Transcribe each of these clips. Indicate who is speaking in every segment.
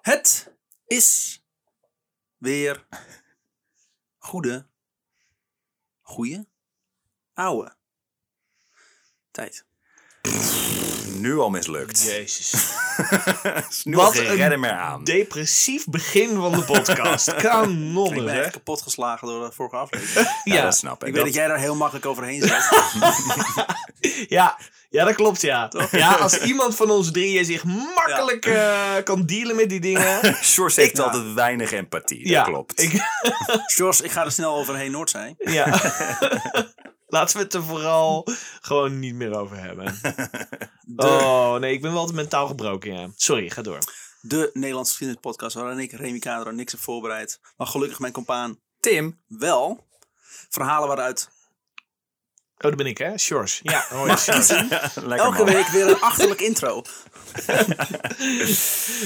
Speaker 1: Het is weer goede, goeie, ouwe tijd.
Speaker 2: Nu al mislukt.
Speaker 3: Jezus.
Speaker 2: Is nu
Speaker 3: Wat
Speaker 2: al geen
Speaker 3: een
Speaker 2: redder meer aan.
Speaker 3: Depressief begin van de podcast. Kanonnen,
Speaker 1: Ik ben
Speaker 3: hè?
Speaker 1: echt kapot geslagen door de vorige aflevering. ik
Speaker 2: Ja, dat snap ik.
Speaker 1: weet dat jij daar heel makkelijk overheen zit.
Speaker 3: Ja, ja, dat klopt, ja. Ja, als iemand van ons drieën zich makkelijk eh, kan dealen met die dingen.
Speaker 2: Sjors heeft
Speaker 1: Ja.
Speaker 2: altijd weinig empathie.
Speaker 3: nou. ja,
Speaker 2: dat klopt.
Speaker 3: Ik,
Speaker 1: Sjors, ik ga er snel overheen Noord zijn.
Speaker 3: ja. Laten we het er vooral gewoon niet meer over hebben. Oh, nee, ik ben wel altijd mentaal gebroken, ja. Sorry, ga door. Oh,
Speaker 1: De Nederlandse geschiedenis podcast waarin ik, Remy Kader, niks heb voorbereid. Maar gelukkig mijn compaan
Speaker 2: Tim.
Speaker 1: wel. Verhalen waaruit
Speaker 3: Oh, dat ben ik, hè? Sjors. Ja, hoor je, Sjors.
Speaker 2: Lekker
Speaker 1: elke
Speaker 2: man.
Speaker 1: week weer een achterlijk intro.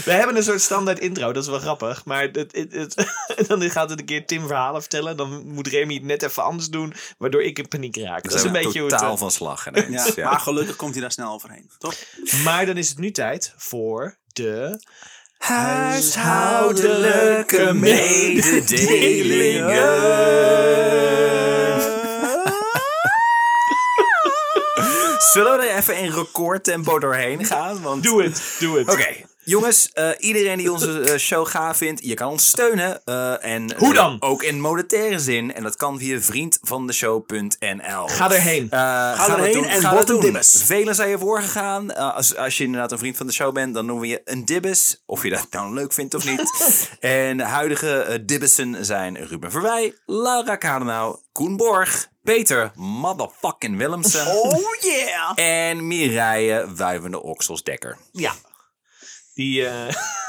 Speaker 3: We hebben een soort standaard intro, dat is wel grappig. Maar het, het, het- dan gaat het een keer Tim verhalen vertellen. Dan moet Remy het net even anders doen, waardoor ik in paniek raak.
Speaker 2: We
Speaker 3: Dat is een
Speaker 2: zijn
Speaker 3: beetje hoe het...
Speaker 2: totaal van slag
Speaker 1: Ja,
Speaker 2: ineens. Ja.
Speaker 1: Maar gelukkig komt hij daar snel overheen. Toch?
Speaker 3: eh, Maar dan is het nu tijd voor de...
Speaker 2: Huishoudelijke Zullen we er even in recordtempo doorheen gaan? Want...
Speaker 3: Doe het, doe het.
Speaker 2: Oké. Jongens, eh, iedereen die onze eh, show gaaf vindt, je kan ons steunen. eh, en,
Speaker 3: Hoe dan?
Speaker 2: eh, ook in monetaire zin. En dat kan via vriendvandeshow.nl.
Speaker 3: Ga erheen.
Speaker 2: Eh, ga
Speaker 1: erheen
Speaker 2: dat doen,
Speaker 1: en
Speaker 2: ga
Speaker 1: word
Speaker 2: dat
Speaker 1: een
Speaker 2: doen.
Speaker 1: dibbes.
Speaker 2: Velen zijn ervoor gegaan. Eh, als, als je inderdaad een vriend van de show bent, dan noemen we je een dibbes. Of je dat nou leuk vindt of niet. en de huidige eh, dibbessen zijn Ruben Verwij, Laura Kadenau, Koen Borg, Peter motherfucking Willemsen.
Speaker 1: Oh yeah!
Speaker 2: En Mireille Wuivende Okselsdekker.
Speaker 3: Ja. Die eh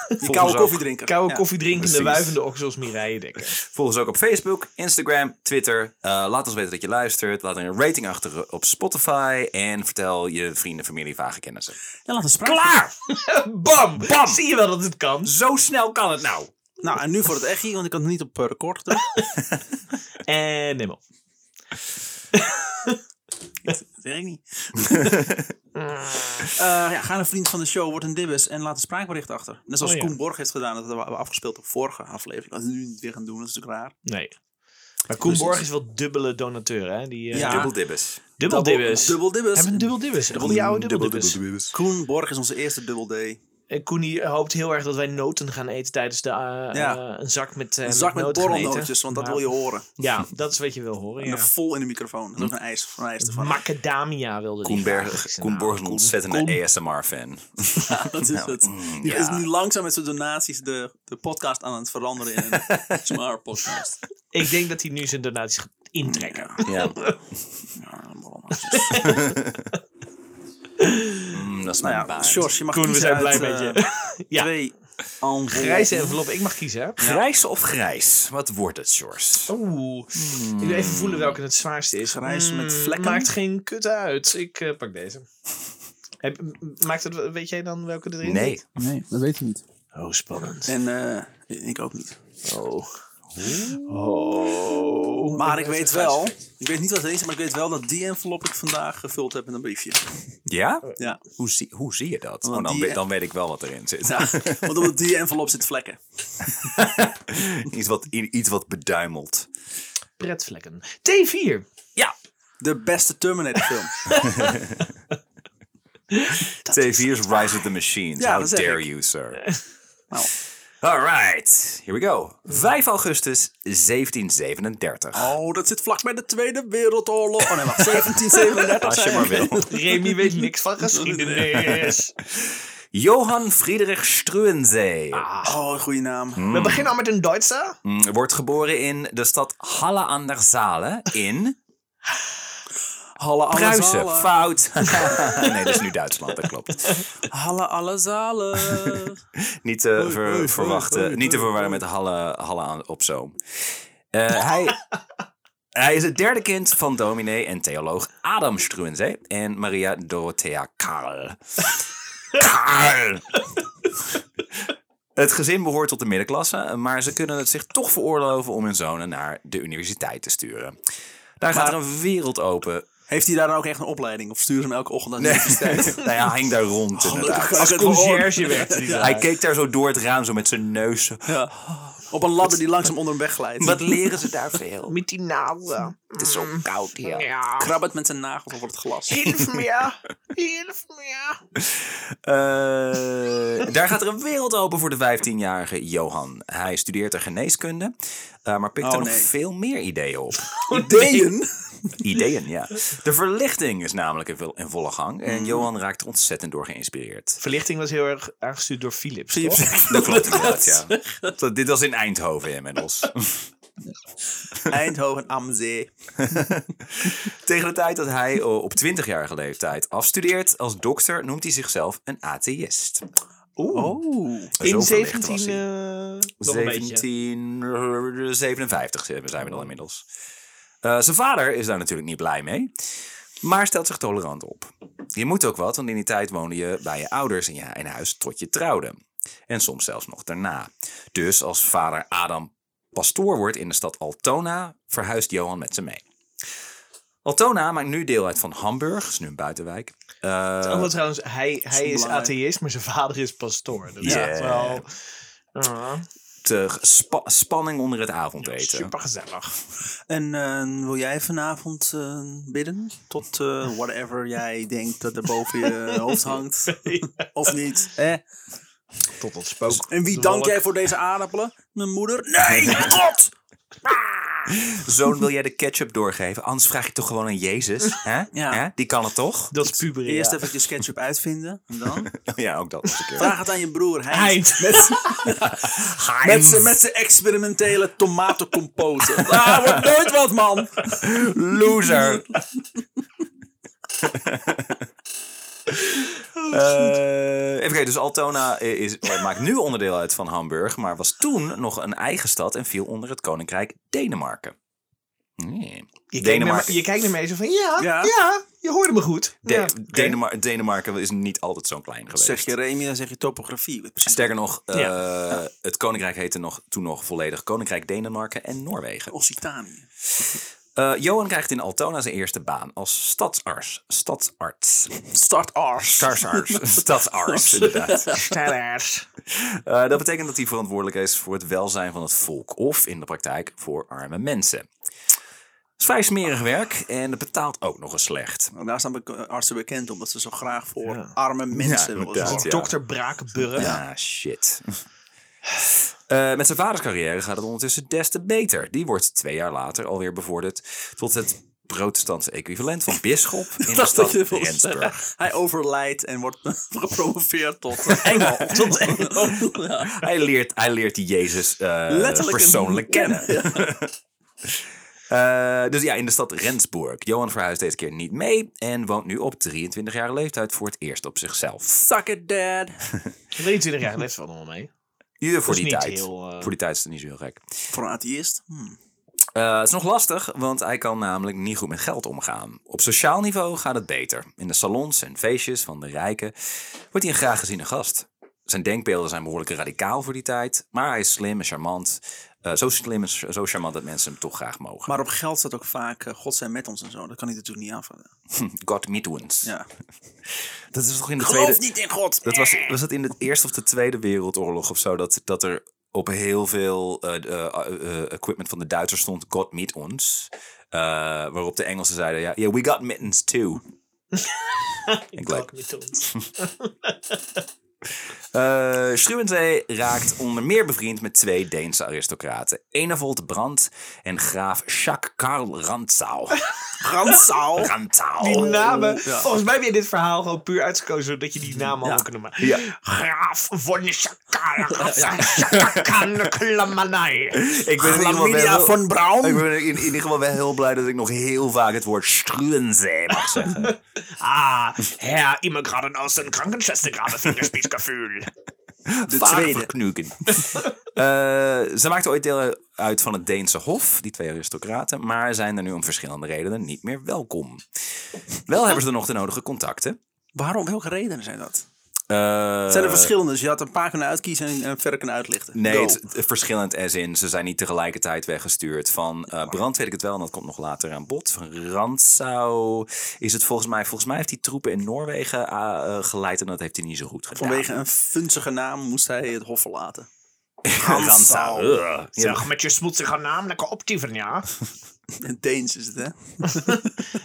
Speaker 1: Die
Speaker 2: ons
Speaker 1: koude
Speaker 2: ook.
Speaker 1: koffiedrinker.
Speaker 3: koude
Speaker 1: Ja.
Speaker 3: koffiedrinkende,
Speaker 2: precies.
Speaker 3: wuivende oksels Mireille Dekker.
Speaker 2: Volg ons ook op Facebook, Instagram, Twitter. Eh, laat ons weten dat je luistert. Laat een rating achter op Spotify. En vertel je vrienden, familie, vage kennissen.
Speaker 1: Ja, laat een spraak.
Speaker 2: Klaar!
Speaker 3: Bam! Bam! Zie je wel dat het kan?
Speaker 2: Zo snel kan het nou.
Speaker 1: Nou, en nu voor het echi, want ik had het niet op eh, record gedrukt.
Speaker 3: En neem op.
Speaker 1: Dat weet ik niet. Eh, ja, ga naar vriend van de show, word een dibbes en laat een spraakbericht achter. Net zoals
Speaker 3: Oh, ja.
Speaker 1: Koen Borg heeft gedaan, dat hebben we afgespeeld op vorige aflevering. Dat we nu niet weer gaan doen, dat is natuurlijk raar.
Speaker 3: Nee. Maar Koen
Speaker 1: Precies.
Speaker 3: Borg is wel dubbele donateur, hè? Die, eh,
Speaker 1: Ja.
Speaker 2: Dubbel dibbes.
Speaker 3: Dubbel
Speaker 1: Dubbel-
Speaker 3: dibbes.
Speaker 1: Dubbel dibbes.
Speaker 3: Hebben we een dubbel dibbes? Een goede
Speaker 1: oh,
Speaker 3: oude dubbel dibbes.
Speaker 1: Koen Borg is onze eerste dubbel D.
Speaker 3: En Koenie Eh, hoopt heel erg dat wij noten gaan eten tijdens de, eh,
Speaker 1: Ja.
Speaker 3: eh, een zak met eh
Speaker 1: Een zak met
Speaker 3: noten gaan eten.
Speaker 1: borrelnootjes, want dat
Speaker 3: Maar-
Speaker 1: wil je horen.
Speaker 3: Ja, dat is wat je wil horen,
Speaker 1: En dan
Speaker 3: ja. Hm.
Speaker 1: vol in de microfoon. Dat is ook een ijs van ijs ervan.
Speaker 3: Macadamia wilde die
Speaker 2: Koen,
Speaker 3: graag. Ik
Speaker 2: Berg,
Speaker 3: zei,
Speaker 2: Koen
Speaker 3: nou,
Speaker 2: Borg is een ontzettende ASMR-fan.
Speaker 1: Dat is het.
Speaker 2: mm,
Speaker 1: Die
Speaker 2: ja.
Speaker 1: is nu langzaam met zijn donaties de, de podcast aan het veranderen in een smart podcast.
Speaker 3: Ik denk dat hij nu zijn donaties gaat intrekken.
Speaker 2: Ja.
Speaker 1: Ja,
Speaker 2: Mm, dat is
Speaker 1: nou ja,
Speaker 2: mijn baard.
Speaker 1: Sjors, je mag
Speaker 3: Koen, we
Speaker 1: kiezen
Speaker 3: zijn
Speaker 1: uit,
Speaker 3: blij met je.
Speaker 1: eh,
Speaker 3: Ja.
Speaker 1: Twee enveloppen.
Speaker 3: Grijze envelop, ik mag kiezen, hè?
Speaker 2: Grijs of grijs? Wat wordt het,
Speaker 1: Oh,
Speaker 2: Sjors?
Speaker 3: Oeh, ik wil even voelen welke het zwaarste is.
Speaker 1: Hmm.
Speaker 3: Hmm,
Speaker 1: Grijs met vlekken?
Speaker 3: Maakt geen kut uit. Ik eh, pak deze. Heb, m- maakt het, weet jij dan welke erin
Speaker 2: Nee.
Speaker 3: zit?
Speaker 1: Nee, dat weet je niet.
Speaker 3: Oh, spannend.
Speaker 1: En eh, ik ook niet.
Speaker 3: Oh. Oh.
Speaker 1: Maar ik weet wel, ik weet niet wat het is, maar ik weet wel dat die envelop ik vandaag gevuld heb met een briefje.
Speaker 2: Ja?
Speaker 1: Ja,
Speaker 2: Hoe zie, hoe zie je dat?
Speaker 1: Oh. Want
Speaker 2: Oh, dan,
Speaker 1: die-
Speaker 2: we- dan weet ik wel wat erin zit.
Speaker 1: ja want op die envelop zit vlekken.
Speaker 2: iets, wat, iets wat beduimelt.
Speaker 3: Pretvlekken. T4.
Speaker 2: Ja,
Speaker 1: De beste Terminator film.
Speaker 2: T4's Rise of the Machines.
Speaker 1: Ja,
Speaker 2: How
Speaker 1: dat zeg
Speaker 2: dare
Speaker 1: ik.
Speaker 2: you, sir.
Speaker 1: Nou,
Speaker 2: All right, here we go. 5 augustus 1737.
Speaker 1: oh, dat zit vlak bij de Tweede Wereldoorlog. Oh nee, wacht, 1737
Speaker 2: Als je
Speaker 1: zijn
Speaker 2: maar
Speaker 1: we.
Speaker 2: wil.
Speaker 3: Remy weet niks van geschiedenis.
Speaker 2: Johan Friedrich Struensee
Speaker 1: Oh, goede naam.
Speaker 3: We beginnen al met een Duitser.
Speaker 2: mm, wordt geboren in de stad Halle aan der Saale in
Speaker 1: Halle alle
Speaker 2: Pruisen.
Speaker 1: zalen.
Speaker 2: Fout. nee, dat is nu Duitsland, dat klopt.
Speaker 1: Halle alle zalen.
Speaker 2: Niet te
Speaker 1: Oei,
Speaker 2: ver-
Speaker 1: oei, oei,
Speaker 2: verwachten,
Speaker 1: oei,
Speaker 2: niet te
Speaker 1: oei,
Speaker 2: verwarren met Halle, Halle aan, op Zoom. Eh, hij, hij is het derde kind van dominee en theoloog Adam Struensee en Maria Dorothea Karl. Karl! Het gezin behoort tot de middenklasse, maar ze kunnen het zich toch veroorloven om hun zonen naar de universiteit te sturen. Daar gaat er een wereld open
Speaker 1: Heeft hij daar dan ook echt een opleiding? Of sturen ze hem elke ochtend aan de
Speaker 2: Nee.
Speaker 1: universiteit?
Speaker 2: nou ja, hing daar rond inderdaad.
Speaker 1: Gelukkig.
Speaker 3: Als
Speaker 1: het wel
Speaker 3: conciërge
Speaker 1: hoor.
Speaker 3: werkte oh, die daar.
Speaker 2: Hij keek daar zo door het raam, zo met zijn neus.
Speaker 1: Ja. Op een ladder die langzaam onder hem wegglijdt.
Speaker 2: Wat leren ze daar veel?
Speaker 3: Met die naalden.
Speaker 2: Het is zo koud hier.
Speaker 3: Ja.
Speaker 1: Krabbelt met zijn nagels over het glas.
Speaker 3: Hilf me. Hilf me.
Speaker 2: Eh, daar gaat er een wereld open voor de 15-jarige Johan. Hij studeert er geneeskunde, eh, maar pikt
Speaker 1: Oh,
Speaker 2: er
Speaker 1: nee.
Speaker 2: nog veel meer ideeën op.
Speaker 1: Ideeën?
Speaker 2: Ideeën, ja. De verlichting is namelijk in, vo- in volle gang
Speaker 1: Mhm.
Speaker 2: en Johan raakt er ontzettend door geïnspireerd.
Speaker 3: Verlichting was heel erg aangestuurd door Philips.
Speaker 1: Zie je
Speaker 3: toch?
Speaker 1: precies
Speaker 2: Dat klopt
Speaker 1: wat ik
Speaker 2: inderdaad,
Speaker 1: laat
Speaker 2: ja. Dat- Dit was in Eindhoven inmiddels.
Speaker 1: zeggen. Eindhoven am Zee.
Speaker 2: Tegen de tijd dat hij eh, op 20-jarige leeftijd afstudeert als dokter, noemt hij zichzelf een atheïst.
Speaker 3: Oeh.
Speaker 1: Oeh.
Speaker 3: In
Speaker 2: Oh. Zo verlicht
Speaker 3: 17.
Speaker 2: was hij.
Speaker 3: eh, nog een beetje. Oh.
Speaker 2: 1757 zijn we- zijn we dan inmiddels. Eh, zijn vader is daar natuurlijk niet blij mee, maar stelt zich tolerant op. Je moet ook wat, want in die tijd woonde je bij je ouders in je in huis tot je trouwde. En soms zelfs nog daarna. Dus als vader Adam pastoor wordt in de stad Altona, verhuist Johan met ze mee. Altona maakt nu deel uit van Hamburg, is nu een buitenwijk. Eh,
Speaker 3: Oh, wat trouwens, hij, hij is
Speaker 1: belangrijk.
Speaker 3: atheïst, maar zijn vader is pastoor. Dat
Speaker 2: Ja.
Speaker 3: is echt wel... Ah,
Speaker 2: te spa- spanning onder het avondeten.
Speaker 3: supergezellig.
Speaker 1: En eh, wil jij vanavond eh, bidden? Tot eh, whatever jij denkt dat er boven je hoofd hangt. Of niet? Hè?
Speaker 3: Tot het spook.
Speaker 1: En wie
Speaker 3: De
Speaker 1: dank
Speaker 3: wolk.
Speaker 1: jij voor deze aardappelen? Mijn moeder? Nee, God!
Speaker 2: Zoon, wil jij de ketchup doorgeven? Anders vraag je toch gewoon aan Jezus? Hè?
Speaker 1: Ja.
Speaker 2: Hè? Die kan het toch?
Speaker 3: Dat is puberen,
Speaker 1: Eerst
Speaker 3: ja.
Speaker 1: even je sketchup uitvinden. En dan?
Speaker 2: Ja, ook dat nog een keer.
Speaker 1: Vraag het aan je broer Heinz.
Speaker 3: Eind.
Speaker 1: Met zijn met zijn experimentele tomatencompote. Ah, wordt nooit wat, man!
Speaker 2: Loser! Eh, even kijken, dus Altona is, eh, maakt nu onderdeel uit van Hamburg, maar was toen nog een eigen stad en viel onder het koninkrijk Denemarken. Nee.
Speaker 3: Je kijkt, naar,
Speaker 2: Denemarken,
Speaker 3: me- je kijkt naar mij zo van, ja,
Speaker 1: Ja.
Speaker 3: ja, je hoorde me goed.
Speaker 2: De-
Speaker 3: ja.
Speaker 2: Denemar- Denemarken is niet altijd zo klein geweest.
Speaker 1: Zeg je Remy, dan zeg je topografie. Precies.
Speaker 2: Sterker nog, eh,
Speaker 3: Ja.
Speaker 2: het koninkrijk heette nog, toen nog volledig Koninkrijk Denemarken en Noorwegen.
Speaker 1: Occitanië.
Speaker 2: Eh, Johan krijgt in Altona zijn eerste baan als stadsarts. Stadsarts.
Speaker 1: Start Ars.
Speaker 2: Stadsarts. stadsarts, inderdaad.
Speaker 3: Stellers.
Speaker 2: Eh, dat betekent dat hij verantwoordelijk is voor het welzijn van het volk. Of in de praktijk voor arme mensen. Het is vrij smerig werk en het betaalt ook nog eens slecht.
Speaker 1: Nou, daar staan bek- artsen bekend om, dat ze zo graag voor
Speaker 3: Ja.
Speaker 1: arme mensen
Speaker 2: Ja,
Speaker 1: willen
Speaker 2: inderdaad,
Speaker 1: zorgen.
Speaker 2: ja.
Speaker 3: Dokter Brakenburg.
Speaker 2: Ah, shit. Eh, met zijn vaders carrière gaat het ondertussen des te beter. Die wordt twee jaar later alweer bevorderd tot het protestantse equivalent van bisschop in de
Speaker 1: dacht dat
Speaker 2: stad
Speaker 1: je wil zeggen.
Speaker 2: Rendsburg.
Speaker 1: Hij overlijdt en wordt gepromoveerd tot eh, engel. tot engel. Ja.
Speaker 2: Hij leert, hij leert die Jezus eh,
Speaker 1: Letterlijk een-
Speaker 2: persoonlijk kennen. Eh, dus ja, in de stad Rendsburg. Johan verhuist deze keer niet mee en woont nu op 23-jarige leeftijd voor het eerst op zichzelf.
Speaker 1: Suck it, dad.
Speaker 3: 23 jaar leeft wel allemaal mee.
Speaker 2: Ieder voor
Speaker 3: is
Speaker 2: die
Speaker 3: niet
Speaker 2: tijd.
Speaker 3: heel, eh,
Speaker 2: Voor die tijd is het niet zo heel gek.
Speaker 1: Voor een atheïst. Hmm.
Speaker 2: Eh, het is nog lastig, want hij kan namelijk niet goed met geld omgaan. Op sociaal niveau gaat het beter. In de salons en feestjes van de rijken wordt hij een graag geziene gast. Zijn denkbeelden zijn behoorlijk radicaal voor die tijd, maar hij is slim en charmant. Eh, zo slim en zo charmant dat mensen hem toch graag mogen.
Speaker 1: Maar op geld staat ook vaak eh, God zijn met ons en zo. Dat kan hij natuurlijk niet aanvallen.
Speaker 2: God meet ons.
Speaker 1: Ja.
Speaker 2: Dat is toch in de tweede.
Speaker 1: Geloof niet in God.
Speaker 2: Dat was,
Speaker 3: Eh.
Speaker 2: was dat in de Eerste of de Tweede Wereldoorlog of zo? Dat, dat er op heel veel eh, eh, eh, equipment van de Duitsers stond: God meet ons. Eh, waarop de Engelsen zeiden: ja, yeah, we got mittens too.
Speaker 3: Ik
Speaker 2: leuk.
Speaker 3: ook niet ons.
Speaker 2: Eh Struwenzee raakt onder meer bevriend met twee Deense aristocraten. Enevold Brandt en graaf Jacques Karl Rantzau.
Speaker 1: Ransaal.
Speaker 2: Rantzau.
Speaker 3: Die namen.
Speaker 1: ja.
Speaker 3: Volgens mij heb je dit verhaal gewoon puur uitgekozen zodat je die namen allemaal kunnen maken.
Speaker 2: Ja.
Speaker 3: Graaf van de Shakara. Shakakan Klamanai.
Speaker 2: Ik ben in ieder geval
Speaker 1: Chlamydia
Speaker 2: wel-
Speaker 1: van
Speaker 2: Ik
Speaker 1: Braun.
Speaker 2: ben in, in ieder geval wel heel blij dat ik nog heel vaak het woord Struwenzee mag zeggen.
Speaker 3: Ah, Herr, immer gerade aus den Krankenschwester gerade Fingerspitzgefühl.
Speaker 1: De
Speaker 2: Vaak
Speaker 1: tweede.
Speaker 2: verknuken. Eh, ze maakten ooit deel uit van het Deense Hof, die twee aristocraten, maar zijn er nu om verschillende redenen niet meer welkom. Wel hebben ze nog de nodige contacten.
Speaker 1: Waarom? Welke redenen zijn dat?
Speaker 2: Eh,
Speaker 1: Het zijn er verschillende, dus je had een paar kunnen uitkiezen en, en verder kunnen uitlichten.
Speaker 2: Nee,
Speaker 1: Go.
Speaker 2: het, het- verschillend as in. Ze zijn niet tegelijkertijd weggestuurd. Van eh, Brand weet ik het wel, en dat komt nog later aan bod. Van Ransau is het volgens mij. Volgens mij heeft hij troepen in Noorwegen ah, eh, geleid en dat heeft hij niet zo goed gedaan.
Speaker 1: Vanwege een funzige naam moest hij het hof verlaten.
Speaker 2: Ransau. ugh. Ja,
Speaker 3: Zeg, met je smoetsige naam lekker optieven, ja.
Speaker 1: In het Deens is het, hè?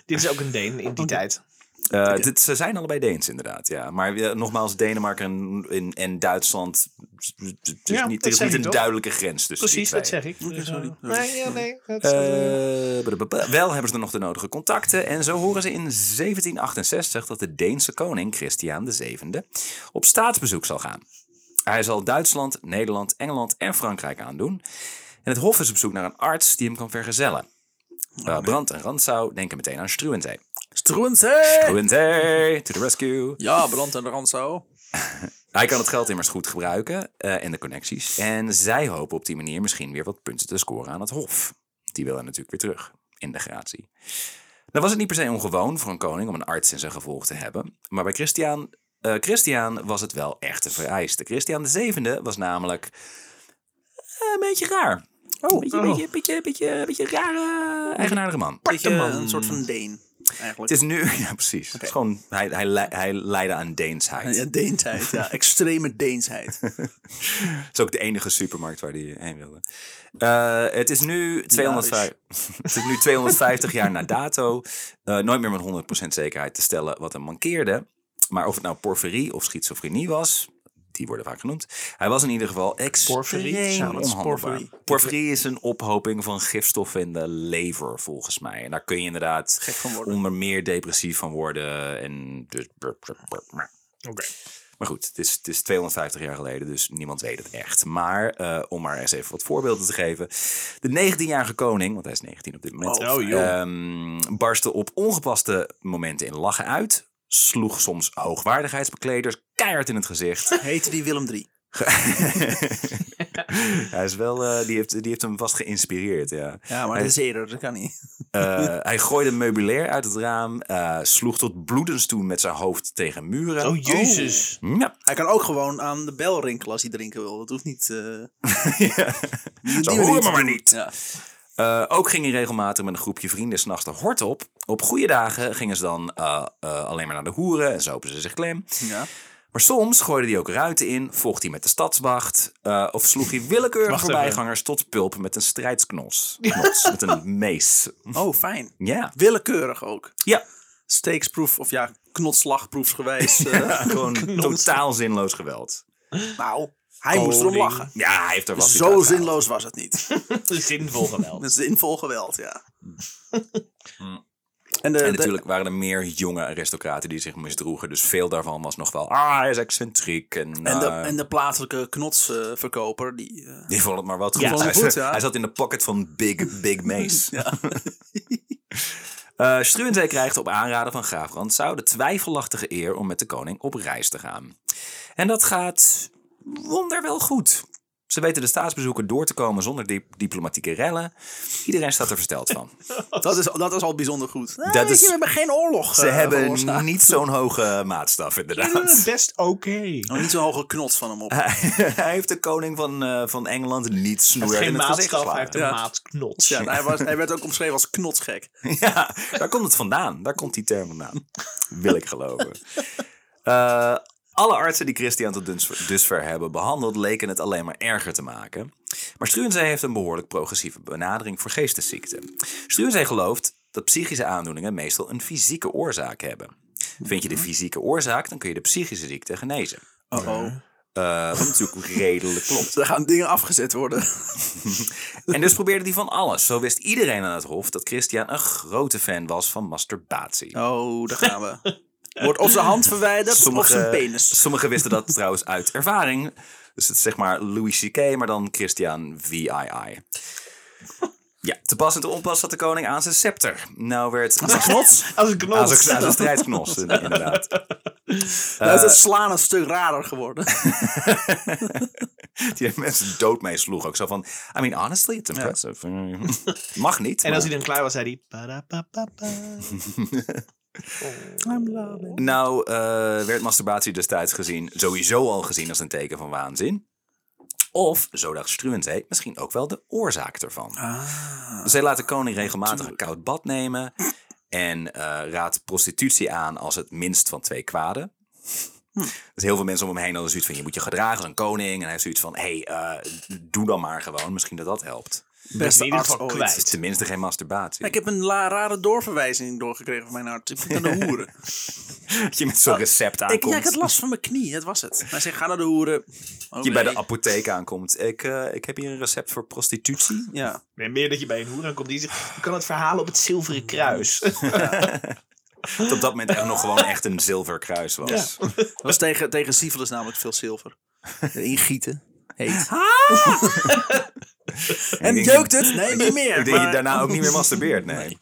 Speaker 3: Dit is ook een Deen in die tijd.
Speaker 2: Eh, dit, ze zijn allebei Deens, inderdaad. Ja. Maar eh, nogmaals, Denemarken en, en, en Duitsland. Het is
Speaker 3: Ja,
Speaker 2: niet, er
Speaker 3: dat
Speaker 2: is
Speaker 3: zeg
Speaker 2: niet
Speaker 3: ik
Speaker 2: een
Speaker 3: toch?
Speaker 2: duidelijke grens tussen
Speaker 3: Precies,
Speaker 2: die
Speaker 3: dat
Speaker 2: twee.
Speaker 3: zeg ik. Dus,
Speaker 1: sorry.
Speaker 3: eh, nee, ja, nee. dat is-
Speaker 2: Eh, blablabla. wel hebben ze er nog de nodige contacten. En zo horen ze in 1768 dat de Deense koning Christiaan VII op staatsbezoek zal gaan. Hij zal Duitsland, Nederland, Engeland en Frankrijk aandoen. En het Hof is op zoek naar een arts die hem kan vergezellen. Eh, Brand en Ransau denken meteen aan Struwenzee.
Speaker 1: Struwenzee!
Speaker 2: Struwenzee, to the rescue.
Speaker 1: Ja, Brand en de Ranzo.
Speaker 2: Hij kan het geld immers goed gebruiken eh, en de connecties. En zij hopen op die manier misschien weer wat punten te scoren aan het Hof. Die wil hij natuurlijk weer terug in de gratie. Dan was het niet per se ongewoon voor een koning om een arts in zijn gevolg te hebben. Maar bij Christian, eh, Christian was het wel echt een vereiste. Christian VII was namelijk eh, een beetje raar. Oh, een beetje,
Speaker 3: oh.
Speaker 2: beetje, beetje, beetje, beetje rare, eigenaardige man.
Speaker 1: Beetje een soort van Deen,
Speaker 2: Het
Speaker 1: eigenlijk.
Speaker 2: is nu, ja precies. Het is gewoon, hij, hij, le- hij leidde aan Deensheid.
Speaker 1: Eh, Ja, Deensheid, ja. Extreme Deensheid.
Speaker 2: Het is ook de enige supermarkt waar hij heen wilde. Eh, het, is nu 250, het is nu 250 jaar na dato. eh, nooit meer met 100% zekerheid te stellen wat hem mankeerde. Maar of het nou porferie of schizofrenie was, die worden vaak genoemd. Hij was in ieder geval extreem
Speaker 3: Porferie?
Speaker 1: Ja, wat is
Speaker 2: onhandelbaar.
Speaker 1: porferie?
Speaker 2: Porferie is een ophoping van gifstoffen in de lever, volgens mij. En daar kun je inderdaad
Speaker 1: Gek van worden.
Speaker 2: onder meer depressief van worden. En dus...
Speaker 3: Oké.
Speaker 2: Maar goed, het is, het is 250 jaar geleden, dus niemand weet het echt. Maar eh, om maar eens even wat voorbeelden te geven. De 19-jarige koning, want hij is 19 op dit moment,
Speaker 1: Oh,
Speaker 3: joh.
Speaker 2: ehm, barstte op ongepaste momenten in lachen uit. Sloeg soms hoogwaardigheidsbekleders keihard in het gezicht.
Speaker 1: Heette die Willem III?
Speaker 2: hij is wel, eh, die, heeft, die heeft hem vast geïnspireerd, ja.
Speaker 1: Ja, maar
Speaker 2: Hij-
Speaker 1: dat is eerder, dat kan niet.
Speaker 2: Eh, hij gooide meubilair uit het raam. eh, sloeg tot bloedens toe met zijn hoofd tegen muren.
Speaker 3: Oh, jezus.
Speaker 2: Ja,
Speaker 1: Hij kan ook gewoon aan de bel rinkelen als hij drinken wil. Dat hoeft niet... eh
Speaker 2: Zo
Speaker 1: manier
Speaker 2: horen we
Speaker 1: te
Speaker 2: maar
Speaker 1: doen.
Speaker 2: niet.
Speaker 1: Ja.
Speaker 2: Eh, ook ging hij regelmatig met een groepje vrienden s'nachts de hort op. Op goede dagen gingen ze dan eh, eh, alleen maar naar de hoeren en zopen ze zich klem.
Speaker 1: ja.
Speaker 2: Maar soms gooide hij ook ruiten in, vocht hij met de stadswacht... eh, of sloeg hij willekeurig
Speaker 3: Wacht
Speaker 2: voorbijgangers tot pulp met een strijdsknos. Knots, met een mees.
Speaker 1: Oh, fijn.
Speaker 2: Ja,
Speaker 1: Willekeurig ook.
Speaker 2: ja.
Speaker 1: Steeksproef, of ja, knotslagproefsgewijs. eh,
Speaker 2: gewoon totaal zinloos geweld.
Speaker 1: nou, hij moest erom
Speaker 3: Koning.
Speaker 1: lachen.
Speaker 2: Ja, hij heeft er wat uit
Speaker 1: Zo
Speaker 2: gehaald.
Speaker 1: zinloos was het niet.
Speaker 3: Oh. Zinvol geweld.
Speaker 1: Met zinvol geweld, ja. En, de,
Speaker 2: Mm. En
Speaker 1: de-
Speaker 2: natuurlijk waren er meer jonge aristocraten die zich misdroegen. Dus veel daarvan was nog wel... Ah, hij is excentriek. En,
Speaker 1: en, de,
Speaker 2: eh,
Speaker 1: en de plaatselijke knotsverkoper, die... eh,
Speaker 2: Die vond het maar wat goed.
Speaker 3: Ja.
Speaker 2: hij,
Speaker 1: Vond het goed, ja.
Speaker 2: hij zat in de pocket van Big, Big Mace.
Speaker 1: Ja.
Speaker 2: Eh, Struwenzee krijgt op aanraden van graaf Ransau de twijfelachtige eer om met de koning op reis te gaan. En dat gaat wonderwel goed. Ze weten de staatsbezoeken door te komen zonder diep- diplomatieke rellen. Iedereen staat er versteld van. Eh,
Speaker 1: dat, is, dat is al bijzonder goed. Nee, weet
Speaker 2: Dat
Speaker 1: je,
Speaker 2: is-
Speaker 1: we hebben geen oorlog.
Speaker 2: Ze
Speaker 1: eh,
Speaker 2: hebben
Speaker 1: veroorzaakt.
Speaker 2: niet zo'n hoge maatstaf,
Speaker 3: Ze doen het
Speaker 2: inderdaad.
Speaker 3: best oké.
Speaker 1: Nog niet zo'n hoge knots van hem op.
Speaker 2: Hij heeft de koning van, eh, van Engeland niet
Speaker 3: Hij heeft
Speaker 2: snoer
Speaker 3: geen
Speaker 2: in het gezicht
Speaker 3: maatstaf, hij
Speaker 2: geslagen.
Speaker 3: heeft een
Speaker 1: Ja.
Speaker 3: maatknot.
Speaker 1: Ja, en hij, was, hij werd ook omschreven als knotsgek.
Speaker 2: Ja, daar komt het vandaan. Daar komt die term vandaan. Wil ik geloven. Eh, alle artsen die Christian tot dus- dusver hebben behandeld, leken het alleen maar erger te maken. Maar Struwenzee heeft een behoorlijk progressieve benadering voor geestesziekten. Struwenzee gelooft dat psychische aandoeningen meestal een fysieke oorzaak hebben. Vind je de fysieke oorzaak, dan kun je de psychische ziekte genezen.
Speaker 1: Oh, oh.
Speaker 2: Eh, wat natuurlijk redelijk klopt.
Speaker 1: Er gaan dingen afgezet worden.
Speaker 2: En dus probeerde hij van alles. Zo wist iedereen aan het hof dat Christian een grote fan was van masturbatie.
Speaker 1: Oh, daar gaan we. Wordt of zijn hand verwijderd of zijn penis.
Speaker 2: Sommigen wisten dat trouwens uit ervaring. Dus het is zeg maar Louis C.K., maar dan Christian VII. Ja, te pas en te onpas zat de koning aan zijn scepter. Nou werd... Aan zijn knots?
Speaker 3: Als een
Speaker 2: Aan
Speaker 3: knot.
Speaker 2: zijn, aan zijn strijdknos, inderdaad. eh,
Speaker 1: Nou is het slaan een stuk rader geworden.
Speaker 2: Die mensen dood mee sloeg ook. Zo van, I mean, honestly, it's impressive. Mag niet.
Speaker 3: En
Speaker 2: maar-
Speaker 3: als hij dan klaar was, zei hij... "Parapapapa." Oh.
Speaker 1: I'm loving.
Speaker 2: Nou eh, werd masturbatie destijds gezien, sowieso al gezien als een teken van waanzin. Of, zo dacht Struwenzee, misschien ook wel de oorzaak ervan.
Speaker 1: Ah.
Speaker 2: Zij laat de koning regelmatig een koud bad nemen. En eh, raadt prostitutie aan als het minst van twee kwaden.
Speaker 1: Hm.
Speaker 2: Dus heel veel mensen om hem heen hadden zoiets van... je moet je gedragen als een koning. En hij heeft zoiets van... hé, hey, eh, doe dan maar gewoon. Misschien dat dat helpt.
Speaker 1: Beste
Speaker 3: in ieder
Speaker 1: arts
Speaker 3: geval
Speaker 1: ooit.
Speaker 3: kwijt.
Speaker 2: Het is tenminste geen masturbatie.
Speaker 1: Ik heb een la- rare doorverwijzing doorgekregen van mijn arts. Ik moet naar de hoeren.
Speaker 2: Dat je met zo'n recept
Speaker 1: Oh, ik,
Speaker 2: aankomt.
Speaker 1: ja, ik had last van mijn knie, dat was het. Hij zei, ga naar de hoeren. Oh,
Speaker 2: Dat je bij de
Speaker 1: nee.
Speaker 2: apotheek aankomt. Ik, eh, ik heb hier een recept voor prostitutie.
Speaker 1: Ja.
Speaker 3: Nee, meer dat je bij een hoer aankomt. Die zegt, je kan het verhalen op het
Speaker 1: Oh,
Speaker 3: zilveren kruis.
Speaker 2: Dat op dat moment echt nog gewoon echt een zilverkruis was.
Speaker 1: Dat was tegen, tegen syfilis namelijk veel zilver. Ingieten. Heet. En
Speaker 2: denk-
Speaker 1: jeukt het? Nee, niet meer.
Speaker 2: Ik denk dat
Speaker 1: maar-
Speaker 2: je daarna ook niet meer masturbeert, nee.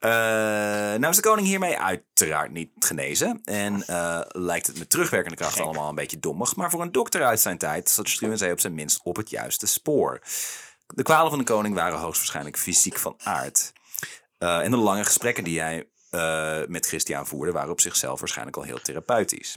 Speaker 2: Eh, nou is de koning hiermee uiteraard niet genezen. En eh, lijkt het met terugwerkende kracht allemaal een beetje dommig. Maar voor een dokter uit zijn tijd zat Struwenzee op zijn minst op het juiste spoor. De kwalen van de koning waren hoogstwaarschijnlijk fysiek van aard. Eh, en de lange gesprekken die hij eh, met Christian voerde... waren op zichzelf waarschijnlijk al heel therapeutisch.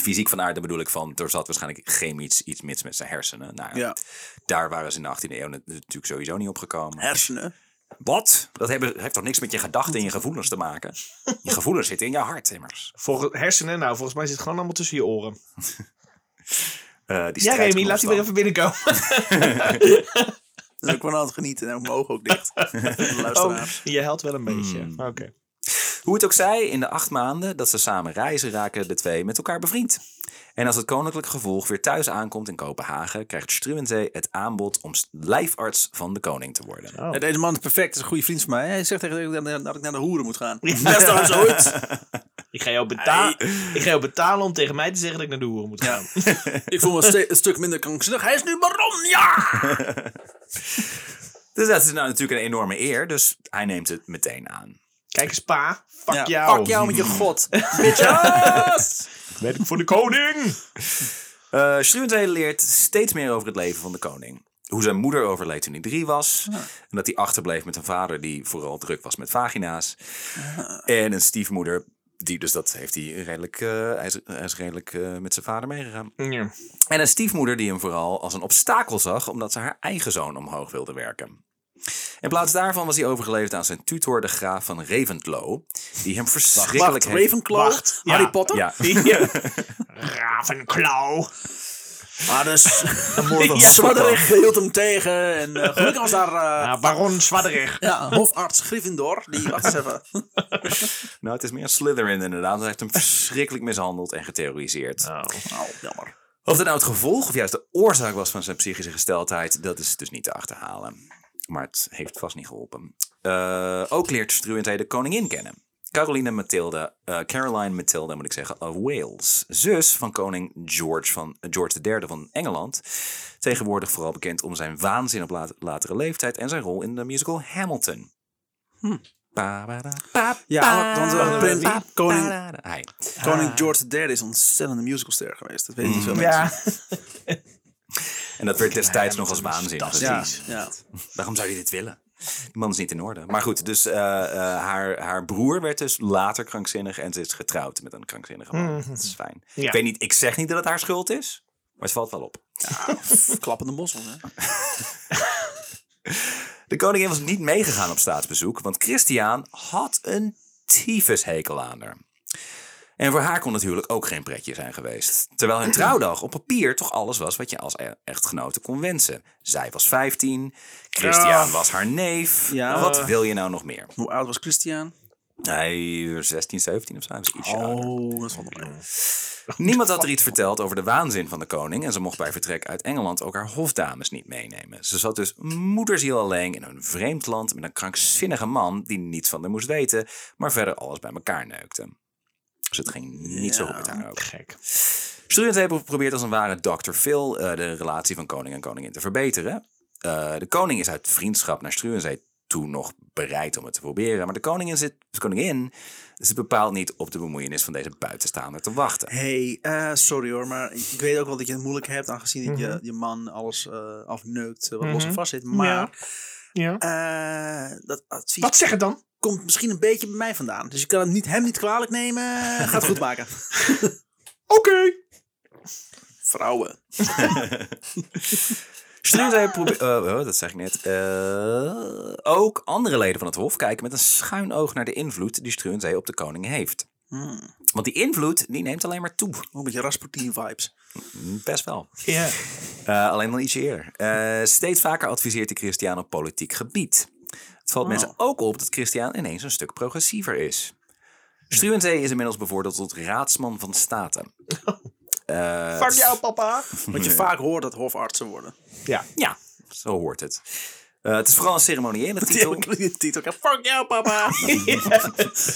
Speaker 2: Fysiek van aard, daar bedoel ik van... er zat waarschijnlijk chemisch iets mis met zijn hersenen. Nou,
Speaker 1: Ja.
Speaker 2: Daar waren ze in de 18e eeuw nat- natuurlijk sowieso niet op gekomen.
Speaker 1: Hersenen.
Speaker 2: Wat? Dat hebben- heeft toch niks met je gedachten en je gevoelens te maken? Je gevoelens zitten in je hart, immers.
Speaker 3: Volgens hersenen, nou, volgens mij zit het gewoon allemaal tussen je oren.
Speaker 2: Eh, die
Speaker 3: Ja, Remy, laat
Speaker 2: strijdknoop
Speaker 3: die weer
Speaker 2: dan.
Speaker 3: even binnenkomen.
Speaker 1: Dus ik kon altijd genieten en ook mijn ogen ook dicht.
Speaker 3: Oh,
Speaker 1: Luisteraars.
Speaker 3: je helpt wel een
Speaker 1: Hmm.
Speaker 3: beetje.
Speaker 2: Mm.
Speaker 3: Oké.
Speaker 2: Hoe het ook zij, in de acht maanden dat ze samen reizen, raken de twee met elkaar bevriend. En als het koninklijk gevolg weer thuis aankomt in Kopenhagen, krijgt Struwenzee het aanbod om s- lijfarts van de koning te worden.
Speaker 3: Oh.
Speaker 1: Deze man is perfect, is een goede vriend van mij. Hij zegt tegen dat ik- dat ik naar de hoeren moet gaan. Best als ooit.
Speaker 3: Ik, ga jou beta- ik ga jou betalen om tegen mij te zeggen dat ik naar de hoer moet gaan.
Speaker 1: Ik voel me een, ste- een stuk minder krankzinnig. Hij is nu baron, ja!
Speaker 2: Dus dat is nou natuurlijk een enorme eer, dus hij neemt het meteen aan.
Speaker 3: Kijk eens, pa. Fuck
Speaker 1: Ja,
Speaker 2: Oh.
Speaker 3: jou.
Speaker 1: Fuck jou met je god. Bitches!
Speaker 3: Werk voor de koning.
Speaker 2: Eh Struwenzee leert steeds meer over het leven van de koning. Hoe zijn moeder overleed toen hij drie was. En dat hij achterbleef met een vader die vooral druk was met vagina's. En een stiefmoeder. Die, dus dat heeft hij redelijk, eh, hij is, hij is redelijk eh, met zijn vader meegegaan.
Speaker 3: Ja.
Speaker 2: En een stiefmoeder die hem vooral als een obstakel zag, omdat ze haar eigen zoon omhoog wilde werken. In plaats daarvan was hij overgeleverd aan zijn tutor, de graaf van Reventlow, die hem
Speaker 1: Wacht,
Speaker 2: verschrikkelijk heeft...
Speaker 1: Ravenclaw?
Speaker 3: Wacht, ja.
Speaker 1: Harry Potter?
Speaker 2: Ja,
Speaker 3: Ja. Ravenklauw.
Speaker 1: Ah, dus...
Speaker 2: moord op
Speaker 1: ja,
Speaker 2: Sokka.
Speaker 1: Zwadderich hield hem tegen. En eh, gelukkig was daar... eh,
Speaker 3: Ah, Baron Zwadderig.
Speaker 1: Ja, hofarts Gryffindor. Die, eh, wacht eens even.
Speaker 2: nou het is meer Slytherin inderdaad. Hij heeft hem verschrikkelijk mishandeld en geterroriseerd.
Speaker 1: Oh, jammer.
Speaker 2: Of dat nou het gevolg of juist de oorzaak was van zijn psychische gesteldheid, dat is dus niet te achterhalen. Maar het heeft vast niet geholpen. Eh, ook leert Struwenzee de koningin kennen. Caroline Mathilde, eh, Caroline Mathilde moet ik zeggen, of Wales. Zus van koning George, van, eh, George III van Engeland. Tegenwoordig vooral bekend om zijn waanzin op laat- latere leeftijd en zijn rol in de musical Hamilton. Pa, ba, da, Hmm. pa,
Speaker 1: Ja, want, want,
Speaker 2: pa,
Speaker 1: eh, prins-
Speaker 2: pa,
Speaker 1: koning-
Speaker 2: pa, da, da. Hij.
Speaker 1: Koning George III is een ontzettende musicalster geweest. Dat weten veel mensen.
Speaker 3: Ja.
Speaker 2: En dat werd destijds nog als waanzin gezien.
Speaker 1: Ja,
Speaker 3: precies.
Speaker 1: ja.
Speaker 2: Waarom zou je dit willen? Die man is niet in orde. Maar goed, dus eh, eh, haar, haar broer werd dus later krankzinnig en ze is getrouwd met een krankzinnige man. Dat is fijn.
Speaker 3: Mhm. Ja.
Speaker 2: Ik, weet niet, ik zeg niet dat het haar schuld is, maar het valt wel op.
Speaker 1: Klappende mossel, hè?
Speaker 2: De koningin was niet meegegaan op staatsbezoek, want Christian had een tyfushekel aan haar. En voor haar kon natuurlijk ook geen pretje zijn geweest. Terwijl hun trouwdag op papier toch alles was wat je als e- echtgenote kon wensen. Zij was 15, Christian
Speaker 3: Ja.
Speaker 2: was haar neef.
Speaker 1: Ja.
Speaker 2: Wat wil je nou nog meer?
Speaker 1: Hoe oud was Christian?
Speaker 2: Nee, 16, 17 of zo. hij was ietsje ouder.
Speaker 1: Oh, dat is wel mooi.
Speaker 2: Niemand had er iets verteld over de waanzin van de koning. En ze mocht bij vertrek uit Engeland ook haar hofdames niet meenemen. Ze zat dus moederziel alleen in een vreemd land met een krankzinnige man die niets van haar moest weten, maar verder alles bij elkaar neukte. Dus het ging niet zo goed met haar ook.
Speaker 3: Gek.
Speaker 2: Student hebben geprobeerd als een ware Dr. Phil eh, de relatie van koning en koningin te verbeteren. Eh, de koning is uit vriendschap naar Struwenzee toe nog bereid om het te proberen. Maar de koningin zit, de koningin zit bepaald niet op de bemoeienis van deze buitenstaander te wachten.
Speaker 1: Hey, eh, sorry hoor, maar ik weet ook wel dat je het moeilijk hebt, aangezien dat je, je man alles eh, Mhm. afneukt eh, wat los en vast zit. Maar
Speaker 3: Ja.
Speaker 1: eh, dat advies.
Speaker 3: Wat zeg het dan?
Speaker 1: komt misschien een beetje bij mij vandaan. Dus je kan het niet, hem niet kwalijk nemen. Gaat het goed maken.
Speaker 3: Oké.
Speaker 1: Vrouwen.
Speaker 2: Strindij probeert, eh, oh, dat zeg ik net, Eh, ook andere leden van het Hof kijken met een schuin oog naar de invloed die Strindij op de koning heeft.
Speaker 1: Hmm.
Speaker 2: Want die invloed, die neemt alleen maar toe.
Speaker 1: Een beetje Rasputin vibes.
Speaker 2: Best wel.
Speaker 3: Ja.
Speaker 2: Eh, alleen al ietsje eerder. Eh, steeds vaker adviseert de Christian op politiek gebied. Het
Speaker 1: Oh.
Speaker 2: valt mensen ook op dat Christian ineens een stuk progressiever is.
Speaker 1: Hm.
Speaker 2: Struwenzee is inmiddels bevorderd tot raadsman van staten. Eh,
Speaker 3: Fuck jou, papa.
Speaker 1: Wat je vaak hoort dat hofartsen worden.
Speaker 3: Ja.
Speaker 2: Ja, zo hoort het. Eh, het is vooral een ceremoniële
Speaker 1: Die
Speaker 2: titel.
Speaker 1: heb ik in de titel. Ja, Fuck jou, papa. Ik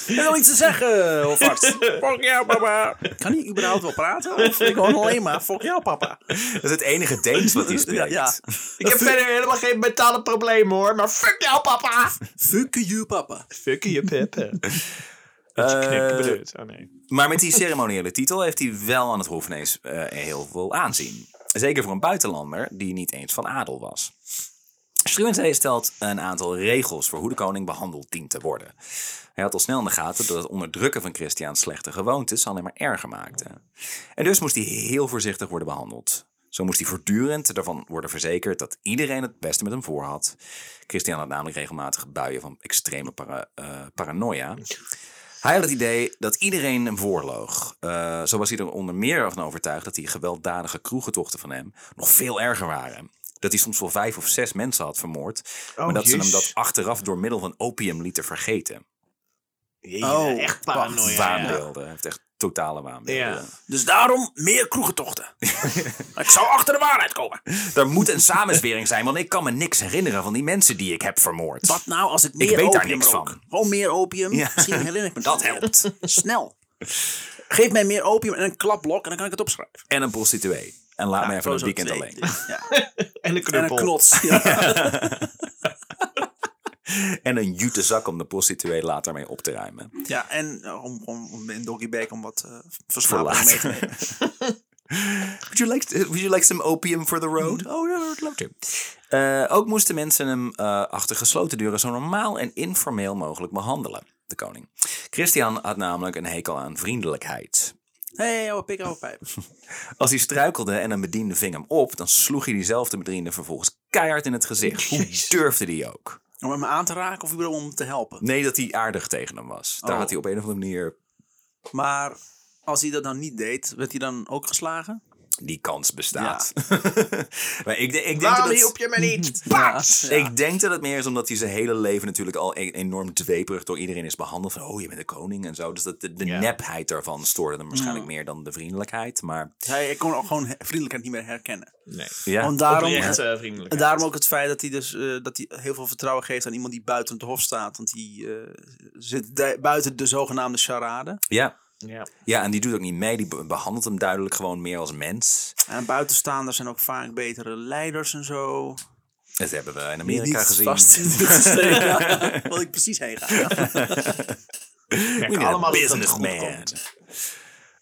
Speaker 1: wil iets te zeggen, eh, hofarts. Fuck jou, papa. Kan hij überhaupt wel praten? Of ik hoor alleen maar fuck jou, papa.
Speaker 2: Dat is het enige Deens wat hij spreekt.
Speaker 1: Ja,
Speaker 3: Ik heb verder helemaal geen mentale problemen hoor, maar fuck jou, papa.
Speaker 1: Fuck you, papa.
Speaker 3: Fuck je, peppen.
Speaker 2: Eh,
Speaker 3: Oh nee.
Speaker 2: maar met die ceremoniële titel heeft hij wel aan het Hof ineens eh, heel veel aanzien. Zeker voor een buitenlander die niet eens van adel was. Struwenzee stelt een aantal regels voor hoe de koning behandeld dient te worden. Hij had al snel in de gaten dat het onderdrukken van Christiaans slechte gewoontes alleen maar erger maakte. En dus moest hij heel voorzichtig worden behandeld. Zo moest hij voortdurend ervan worden verzekerd dat iedereen het beste met hem voor had. Christian had namelijk regelmatig buien van extreme para- eh, paranoia. Hij had het idee dat iedereen hem voorloog. Eh, zo was hij er onder meer van overtuigd dat die gewelddadige kroegentochten van hem nog veel erger waren. Dat hij soms wel vijf of zes mensen had vermoord. maar dat ze hem
Speaker 3: oh, jezus.
Speaker 2: dat achteraf door middel van opium lieten vergeten.
Speaker 1: Oh,
Speaker 3: echt
Speaker 1: wacht,
Speaker 3: paranoia. ja.
Speaker 2: waanbeelden. Hij heeft echt totale waanbeelden.
Speaker 3: Ja.
Speaker 1: Dus daarom meer kroegentochten. ik zou achter de waarheid komen.
Speaker 2: Er moet een samenzwering zijn, want ik kan me niks herinneren van die mensen die ik heb vermoord.
Speaker 1: Wat nou als ik meer
Speaker 2: weet daar
Speaker 1: opium
Speaker 2: niks
Speaker 1: rook?
Speaker 2: van.
Speaker 1: Gewoon meer opium.
Speaker 2: Ja.
Speaker 1: Misschien herinner ik me
Speaker 2: Dat
Speaker 1: nog.
Speaker 2: helpt.
Speaker 1: Snel. Geef mij meer opium en een klapblok en dan kan ik het opschrijven.
Speaker 2: En een prostituee. En laat mij even een
Speaker 1: Sowieso
Speaker 2: weekend
Speaker 1: twee.
Speaker 2: alleen.
Speaker 1: Ja.
Speaker 3: En een
Speaker 1: En een
Speaker 3: knuppel.
Speaker 1: knots. Ja.
Speaker 2: En een jute zak om de prostituee later mee op te ruimen.
Speaker 1: Ja, en eh, om, om, om in Doggy Bag om wat uh,
Speaker 2: Voor
Speaker 1: versnapering mee te
Speaker 2: later.
Speaker 1: nemen.
Speaker 2: would, you like, would you like some opium for the road? Oh, ja, dat loopt er. ook moesten mensen hem eh, achter gesloten deuren zo normaal en informeel mogelijk behandelen. De koning. Christian had namelijk een hekel aan vriendelijkheid.
Speaker 1: Hé, hey, pik oude pijp.
Speaker 2: Als hij struikelde en een bediende ving hem op, dan sloeg hij diezelfde bediende vervolgens keihard in het gezicht. Hoe durfde die ook?
Speaker 1: Om hem aan te raken of überhaupt om hem te helpen.
Speaker 2: Nee, dat hij aardig tegen hem was. Daar
Speaker 1: Oh.
Speaker 2: had hij op een of andere manier
Speaker 1: Maar als hij dat dan niet deed, werd hij dan ook geslagen?
Speaker 2: die kans bestaat. maar ik, de- ik, denk dat
Speaker 3: Waarom
Speaker 2: het,
Speaker 3: hielp je me niet?
Speaker 1: Ja.
Speaker 2: ik denk dat het meer is omdat hij zijn hele leven natuurlijk al e- enorm dweperig door iedereen is behandeld. Van, oh, je bent de koning en zo. Dus dat de, de
Speaker 3: Ja.
Speaker 2: nepheid daarvan stoorde hem waarschijnlijk
Speaker 1: Mm.
Speaker 2: meer dan de vriendelijkheid. Maar
Speaker 1: Hij kon ook gewoon he- vriendelijkheid niet meer herkennen.
Speaker 3: Nee.
Speaker 2: ja,
Speaker 1: Want daarom,
Speaker 3: Oprecht eh, vriendelijk.
Speaker 1: En daarom ook het feit dat hij dus eh, dat hij heel veel vertrouwen geeft aan iemand die buiten het hof staat. Want die eh, zit du- buiten de zogenaamde charade.
Speaker 2: ja.
Speaker 3: Ja.
Speaker 2: ja, en die doet ook niet mee. Die be- behandelt hem duidelijk gewoon meer als mens.
Speaker 1: En buitenstaanders zijn ook vaak betere leiders en zo.
Speaker 2: Dat hebben we in
Speaker 1: Die
Speaker 2: Amerika
Speaker 1: niet
Speaker 2: gezien.
Speaker 1: vast in te steken wat ik precies heen ga.
Speaker 3: Kijk,
Speaker 2: We need a
Speaker 3: allemaal dat het
Speaker 2: businessman.
Speaker 3: goed komt.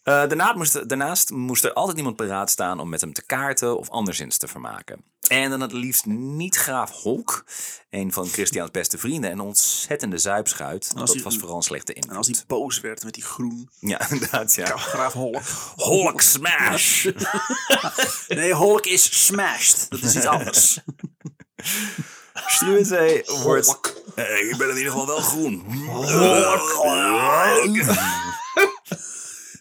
Speaker 2: Eh, daarnaast, moest, daarnaast moest er altijd iemand paraat staan om met hem te kaarten of anderszins te vermaken. En dan het liefst niet graaf Holk, een van Christiaans beste vrienden en een ontzettende zuipschuit. Want
Speaker 1: Als
Speaker 2: dat
Speaker 1: hij-
Speaker 2: was vooral een slechte
Speaker 1: En
Speaker 2: invloed.
Speaker 1: als hij boos werd met die groen.
Speaker 2: Ja, inderdaad. Ja.
Speaker 1: Graaf Holk.
Speaker 2: Holk smash!
Speaker 1: Nee, Holk is smashed. Dat is iets anders.
Speaker 2: Struwenzee wordt... Eh, ik ben in ieder geval wel groen. Holk!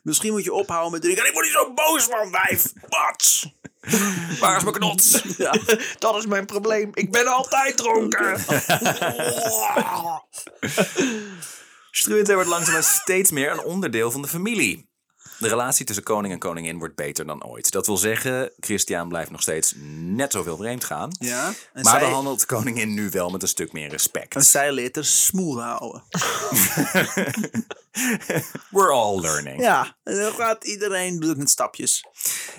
Speaker 1: Misschien moet je ophouden met drinken. Ik word niet zo boos van, wijf. Wat?
Speaker 2: Waar is mijn knots?
Speaker 1: Ja.
Speaker 3: Dat is mijn probleem. Ik ben altijd dronken.
Speaker 2: Struwenzee wordt langzamerhand steeds meer een onderdeel van de familie. De relatie tussen koning en koningin wordt beter dan ooit. Dat wil zeggen, Christian blijft nog steeds net zoveel vreemd gaan.
Speaker 1: Ja, en
Speaker 2: maar
Speaker 1: zij-
Speaker 2: behandelt de koningin nu wel met een stuk meer respect.
Speaker 1: En zij leert er smoel houden.
Speaker 2: We're all learning.
Speaker 1: Ja, en dan gaat iedereen doet met stapjes.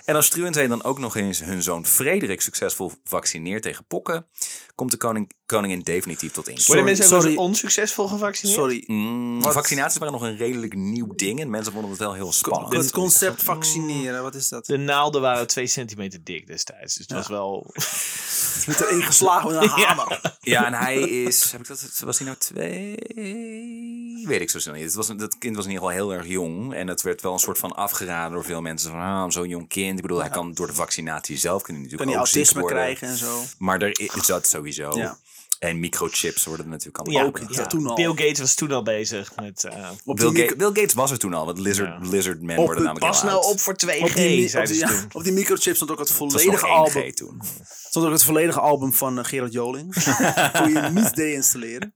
Speaker 2: En als Struwenzee dan ook nog eens hun zoon Frederik succesvol vaccineert tegen pokken, komt de koning, koningin definitief tot inkeer.
Speaker 1: Sorry,
Speaker 3: Worden mensen ook wel eens
Speaker 1: sorry.
Speaker 3: onsuccesvol gevaccineerd?
Speaker 1: Sorry.
Speaker 2: Mm,
Speaker 1: Wat?
Speaker 2: vaccinaties waren nog een redelijk nieuw ding en mensen vonden het wel heel spannend.
Speaker 1: Het concept vaccineren, wat is dat?
Speaker 3: De naalden waren twee centimeter dik destijds. Dus het was wel...
Speaker 1: Je wordt erin geslagen met een hamer.
Speaker 2: Ja, en hij is. Heb ik dat, was hij nou twee? Weet ik zo snel niet. Het was, dat kind was in ieder geval heel erg jong. En het werd wel een soort van afgeraden door veel mensen. Van ah, zo'n jong kind. Ik bedoel, hij kan door de vaccinatie zelf. Kan hij natuurlijk
Speaker 1: Kan die
Speaker 2: ook ziek
Speaker 1: autisme
Speaker 2: worden.
Speaker 1: krijgen en zo.
Speaker 2: Maar er is dat sowieso.
Speaker 1: Ja.
Speaker 2: En microchips worden natuurlijk allemaal.
Speaker 3: Ja,
Speaker 2: ook.
Speaker 1: dat toen al.
Speaker 3: Bill Gates was toen al bezig met... eh,
Speaker 1: Op
Speaker 2: Bill,
Speaker 1: die
Speaker 2: Ga- Bill Gates was er toen al. Want lizard,
Speaker 3: Ja.
Speaker 2: lizard men worden namelijk
Speaker 3: pas
Speaker 2: heel
Speaker 3: nou
Speaker 2: oud.
Speaker 3: op voor 2G,
Speaker 1: Op die, op,
Speaker 3: zeiden
Speaker 1: die,
Speaker 3: ze toen.
Speaker 1: op die microchip stond ook het
Speaker 2: Het was nog
Speaker 1: volledige
Speaker 2: 1G
Speaker 1: album.
Speaker 2: toen.
Speaker 1: Stond ook het volledige album van eh, Gerard Joling. Kon je niet deinstalleren.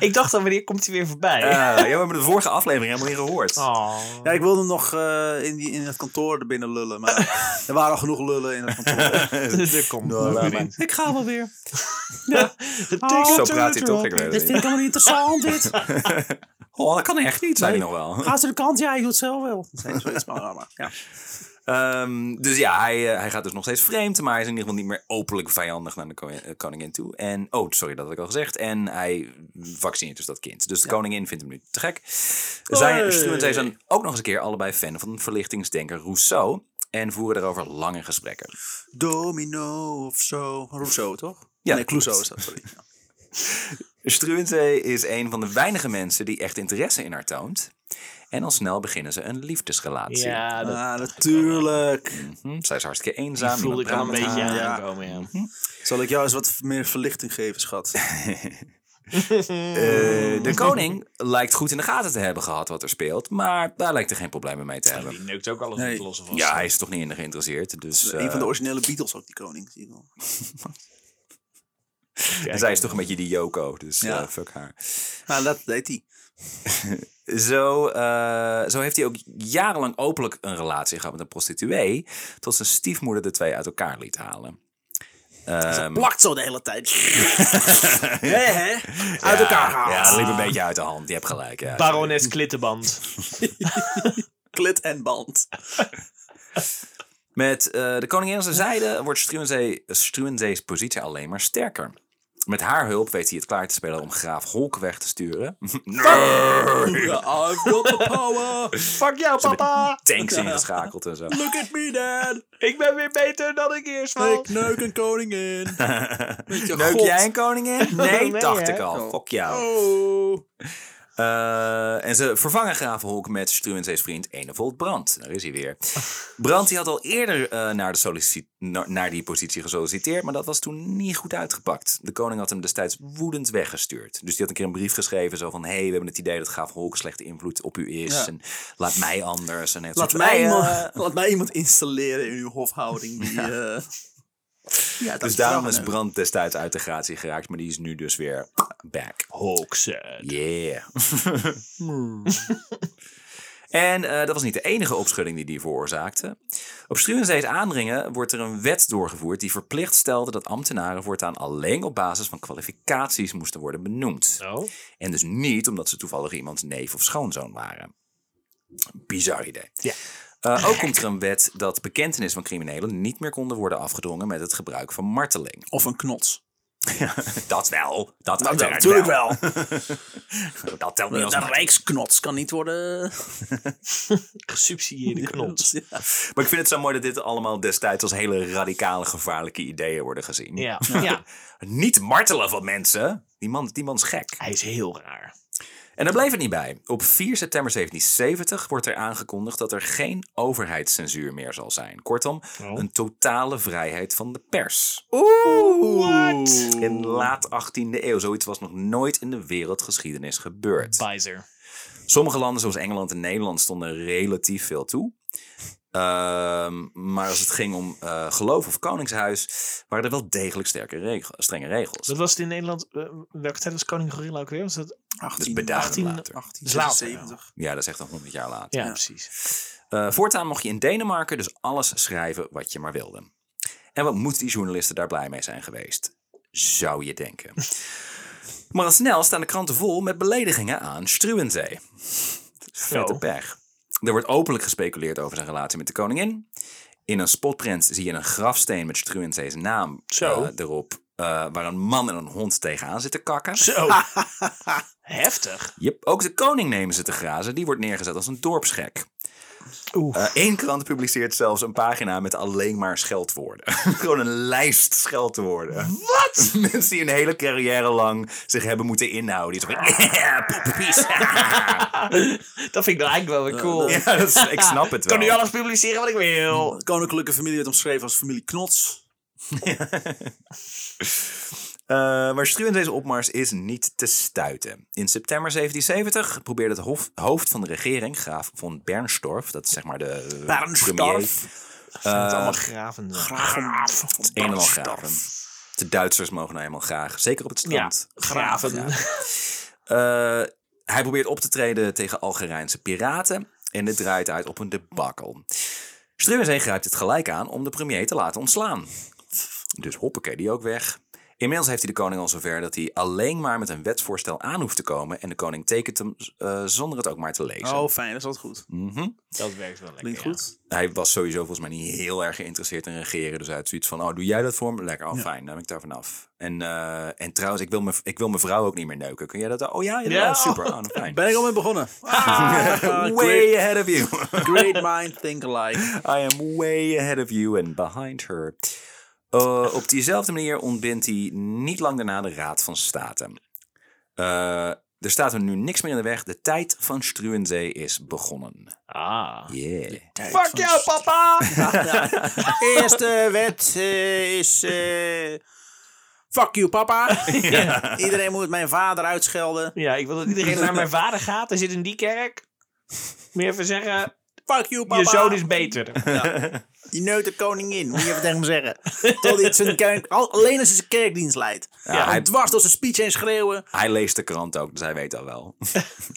Speaker 3: Ik dacht dan, wanneer komt hij weer voorbij?
Speaker 2: Eh, ja, we hebben de vorige aflevering helemaal niet gehoord.
Speaker 3: Oh.
Speaker 1: Ja, ik wilde hem nog eh, in, die, in het kantoor er binnen lullen. Maar er waren al genoeg lullen in het kantoor.
Speaker 3: Dat komt
Speaker 2: Nou, laat maar.
Speaker 1: ik ga wel weer.
Speaker 3: Oh.
Speaker 2: Zo praat hij toch. Ik weet het niet.
Speaker 1: ik helemaal niet interessant. Dit.
Speaker 2: Oh, dat kan echt niet, zei hij nog wel.
Speaker 1: Ga ze de kant? Ja, je doet het zelf wel. Ja.
Speaker 2: Ehm, dus ja, hij, eh, hij gaat dus nog steeds vreemd, maar hij is in ieder geval niet meer openlijk vijandig naar de ko- eh, koningin toe. En, oh, sorry, dat had ik al gezegd. En hij vaccineert dus dat kind. Dus de koningin vindt hem nu te gek. Zijn
Speaker 1: Hoi.
Speaker 2: studenten zijn ook nog eens een keer allebei fan van verlichtingsdenker Rousseau. En voeren daarover lange gesprekken.
Speaker 1: Domino of zo. Rousseau, toch?
Speaker 2: Ja,
Speaker 1: nee,
Speaker 2: klopt.
Speaker 1: Clouseau is dat, sorry.
Speaker 2: Struwente eh, is een van de weinige mensen die echt interesse in haar toont. En al snel beginnen ze een liefdesrelatie.
Speaker 3: Ja, dat
Speaker 1: Ah, natuurlijk.
Speaker 2: Hm, zij is hartstikke eenzaam.
Speaker 3: voelde ik
Speaker 2: niemand
Speaker 3: al een
Speaker 2: praat met
Speaker 3: beetje
Speaker 1: aan, ja.
Speaker 3: aankomen, ja.
Speaker 1: Zal ik jou eens wat meer verlichting geven, schat?
Speaker 2: Eh, de koning lijkt goed in de gaten te hebben gehad wat er speelt, maar daar lijkt er geen problemen mee te hebben.
Speaker 3: Die neukt ook alles
Speaker 1: Nee.
Speaker 3: op losse vast.
Speaker 2: Ja, hij is toch niet in de geïnteresseerd. Dus eh,
Speaker 1: Een van de originele Beatles ook, die koning. Zie je wel.
Speaker 3: Kijk,
Speaker 2: zij is toch een beetje die Yoko, dus
Speaker 1: Ja.
Speaker 2: eh, fuck haar.
Speaker 1: Nou, dat deed hij.
Speaker 2: Zo, eh, zo heeft hij ook jarenlang openlijk een relatie gehad met een prostituee, tot zijn stiefmoeder de twee uit elkaar liet halen. Ehm,
Speaker 1: Plakt zo de hele tijd. Hé, hè? Uit elkaar gehaald.
Speaker 2: Ja, dat liep een beetje uit de hand. Je hebt gelijk. Ja.
Speaker 3: Barones Klittenband.
Speaker 1: Klit en band.
Speaker 2: Met eh, de koningin aan zijn zijde wordt Struwenzee- Struwenzee's positie alleen maar sterker. Met haar hulp weet hij het klaar te spelen om graaf Holk weg te sturen. Nee.
Speaker 1: I've got the power.
Speaker 3: Fuck jou, papa!
Speaker 2: Tanks ingeschakeld en zo.
Speaker 1: Look at me, dad.
Speaker 3: Ik ben weer beter dan ik eerst was.
Speaker 1: Ik neuk een koningin. Weet je,
Speaker 2: Leuk
Speaker 1: God.
Speaker 2: jij een koningin? Nee,
Speaker 3: Nee,
Speaker 2: dacht
Speaker 3: hè?
Speaker 2: ik al. Fuck jou.
Speaker 1: Oh.
Speaker 2: Eh, en ze vervangen Graaf Holk met Struwensees vriend Enevold Brand. Daar is hij weer. Brand die had al eerder eh, naar, de solici- na- naar die positie gesolliciteerd, maar dat was toen niet goed uitgepakt. De koning had hem destijds woedend weggestuurd. Dus die had een keer een brief geschreven zo van... hé, hey, we hebben het idee dat Graaf Holk een slechte invloed op u is...
Speaker 1: Ja.
Speaker 2: en laat mij anders. En heeft
Speaker 1: Laat
Speaker 2: zoiets-
Speaker 1: mij,
Speaker 2: "Hey, eh,
Speaker 1: iemand, laat mij iemand installeren in uw hofhouding. Die, eh, ja. dat
Speaker 2: Dus daarom
Speaker 1: vertrouwen
Speaker 2: is
Speaker 1: hebben.
Speaker 2: Brand destijds uit de gratie geraakt, maar die is nu dus weer back.
Speaker 3: Hoaxen.
Speaker 2: Yeah. Hmm. en eh, dat was niet de enige opschudding die die veroorzaakte. Op Struwenzee's aandringen wordt er een wet doorgevoerd die verplicht stelde dat ambtenaren voortaan alleen op basis van kwalificaties moesten worden benoemd.
Speaker 3: Oh.
Speaker 2: En dus niet omdat ze toevallig iemands neef of schoonzoon waren. Bizar idee.
Speaker 3: Ja.
Speaker 2: Eh, ook komt er een wet dat bekentenis van criminelen niet meer konden worden afgedwongen met het gebruik van marteling.
Speaker 1: Of een knots.
Speaker 2: Dat wel. Dat,
Speaker 1: Dat wel,
Speaker 2: uiteraard
Speaker 1: natuurlijk wel.
Speaker 2: Dat telt niet als
Speaker 1: Een
Speaker 2: marteling.
Speaker 1: rijksknots kan niet worden... eh,
Speaker 3: Gesubsidieerde knots.
Speaker 1: Ja.
Speaker 2: Maar ik vind het zo mooi dat dit allemaal destijds als hele radicale, gevaarlijke ideeën worden gezien.
Speaker 3: Ja. ja.
Speaker 2: Niet martelen van mensen. Die man, die man is gek.
Speaker 3: Hij is heel raar.
Speaker 2: En daar bleef het niet bij. Op 4 september 1770 wordt er aangekondigd dat er geen overheidscensuur meer zal zijn. Kortom,
Speaker 3: Oh.
Speaker 2: een totale vrijheid van de pers.
Speaker 3: What?
Speaker 2: In laat 18e eeuw. Zoiets was nog nooit in de wereldgeschiedenis gebeurd.
Speaker 3: Pfizer.
Speaker 2: Sommige landen zoals Engeland en Nederland stonden relatief veel toe. Ehm, maar als het ging om eh, geloof of koningshuis, waren er wel degelijk sterke regel, strenge regels.
Speaker 3: Dat was het in Nederland. eh, welke tijd was Koning Gorilla ook weer? Was dat...
Speaker 1: 18,
Speaker 2: Dus beduidend
Speaker 3: 18,
Speaker 2: later.
Speaker 1: 1876.
Speaker 2: Ja, dat is echt al 100 jaar later.
Speaker 3: Ja, precies.
Speaker 2: Eh, voortaan mocht je in Denemarken dus alles schrijven wat je maar wilde. En wat moeten die journalisten daar blij mee zijn geweest? Zou je denken. Maar al snel staan de kranten vol met beledigingen aan Struwenzee. Vette
Speaker 3: Oh.
Speaker 2: pech. Er wordt openlijk gespeculeerd over zijn relatie met de koningin. In een spotprint zie je een grafsteen met Struwenzee's naam
Speaker 3: Zo.
Speaker 2: eh, erop. eh, waar een man en een hond tegenaan zitten kakken.
Speaker 3: Zo. Heftig.
Speaker 2: Yep. Ook de koning nemen ze te grazen. Die wordt neergezet als een dorpsgek.
Speaker 3: Oeh.
Speaker 2: Eén krant publiceert zelfs een pagina met alleen maar scheldwoorden. Gewoon een lijst scheldwoorden. Wat? Mensen die een hele carrière lang zich hebben moeten inhouden. Die zeggen, yeah, poepenpies."
Speaker 3: Dat vind ik nou eigenlijk wel weer cool. Ik
Speaker 2: ja, dat is- ik snap het wel.
Speaker 3: kan nu alles publiceren wat ik wil.
Speaker 1: Koninklijke familie werd omschreven als familie Knots.
Speaker 2: Eh, maar Struwensee's opmars is niet te stuiten. In september 1770 probeerde het hof- hoofd van de regering, graaf von Bernstorff, dat is zeg maar de eh, premier,
Speaker 1: Bernstorff.
Speaker 3: Ik vind het allemaal
Speaker 1: Eh,
Speaker 3: graven. Graven.
Speaker 2: eenmaal graven. De Duitsers mogen nou eenmaal graag, zeker op het
Speaker 3: Ja,
Speaker 2: strand.
Speaker 3: graven.
Speaker 2: Eh, hij probeert op te treden tegen Algerijnse piraten en dit draait uit op een debakkel. Struwenzee grijpt het gelijk aan om de premier te laten ontslaan. Dus hoppakee, die ook weg. Inmiddels heeft hij de koning al zover dat hij alleen maar met een wetsvoorstel aan hoeft te komen en de koning tekent hem eh, zonder het ook maar te lezen.
Speaker 1: Oh, fijn, dat is altijd goed.
Speaker 2: Mhm.
Speaker 3: Dat werkt wel lekker.
Speaker 1: Klinkt goed.
Speaker 2: Hij was sowieso volgens mij niet heel erg geïnteresseerd in regeren. Dus hij had zoiets van, oh, doe jij dat voor me? Lekker, oh, fijn, dan ben ik daar vanaf. En, eh, en trouwens, ik wil, mijn, ik wil mijn vrouw ook niet meer neuken. Kun jij dat? Oh ja, ja,
Speaker 3: Ja.
Speaker 2: super. Oh, nou, fijn.
Speaker 1: Ben ik al mee begonnen. Ah, great,
Speaker 2: way ahead of you.
Speaker 1: great mind, think alike.
Speaker 2: I am way ahead of you and behind her. Eh, op diezelfde manier ontbindt hij niet lang daarna de Raad van State. Eh, er staat hem nu niks meer in de weg. De tijd van Struwenzee is begonnen.
Speaker 3: Ah.
Speaker 2: Yeah.
Speaker 3: Fuck jou, papa!
Speaker 1: Eerste wet eh, is... eh, fuck you, papa. Iedereen moet mijn vader uitschelden.
Speaker 3: ja, ik wil dat iedereen naar mijn vader gaat. Hij zit in die kerk. Moet je even zeggen,
Speaker 1: Fuck you, papa.
Speaker 3: je zoon is beter.
Speaker 1: Je neut de koningin, moet je even tegen hem zeggen. Tot hij zijn kerk, al- alleen als hij zijn kerkdienst leidt.
Speaker 2: Ja,
Speaker 1: Hij
Speaker 2: hij,
Speaker 1: dwars door zijn speech heen schreeuwen.
Speaker 2: hij leest de krant ook, dus hij weet al wel.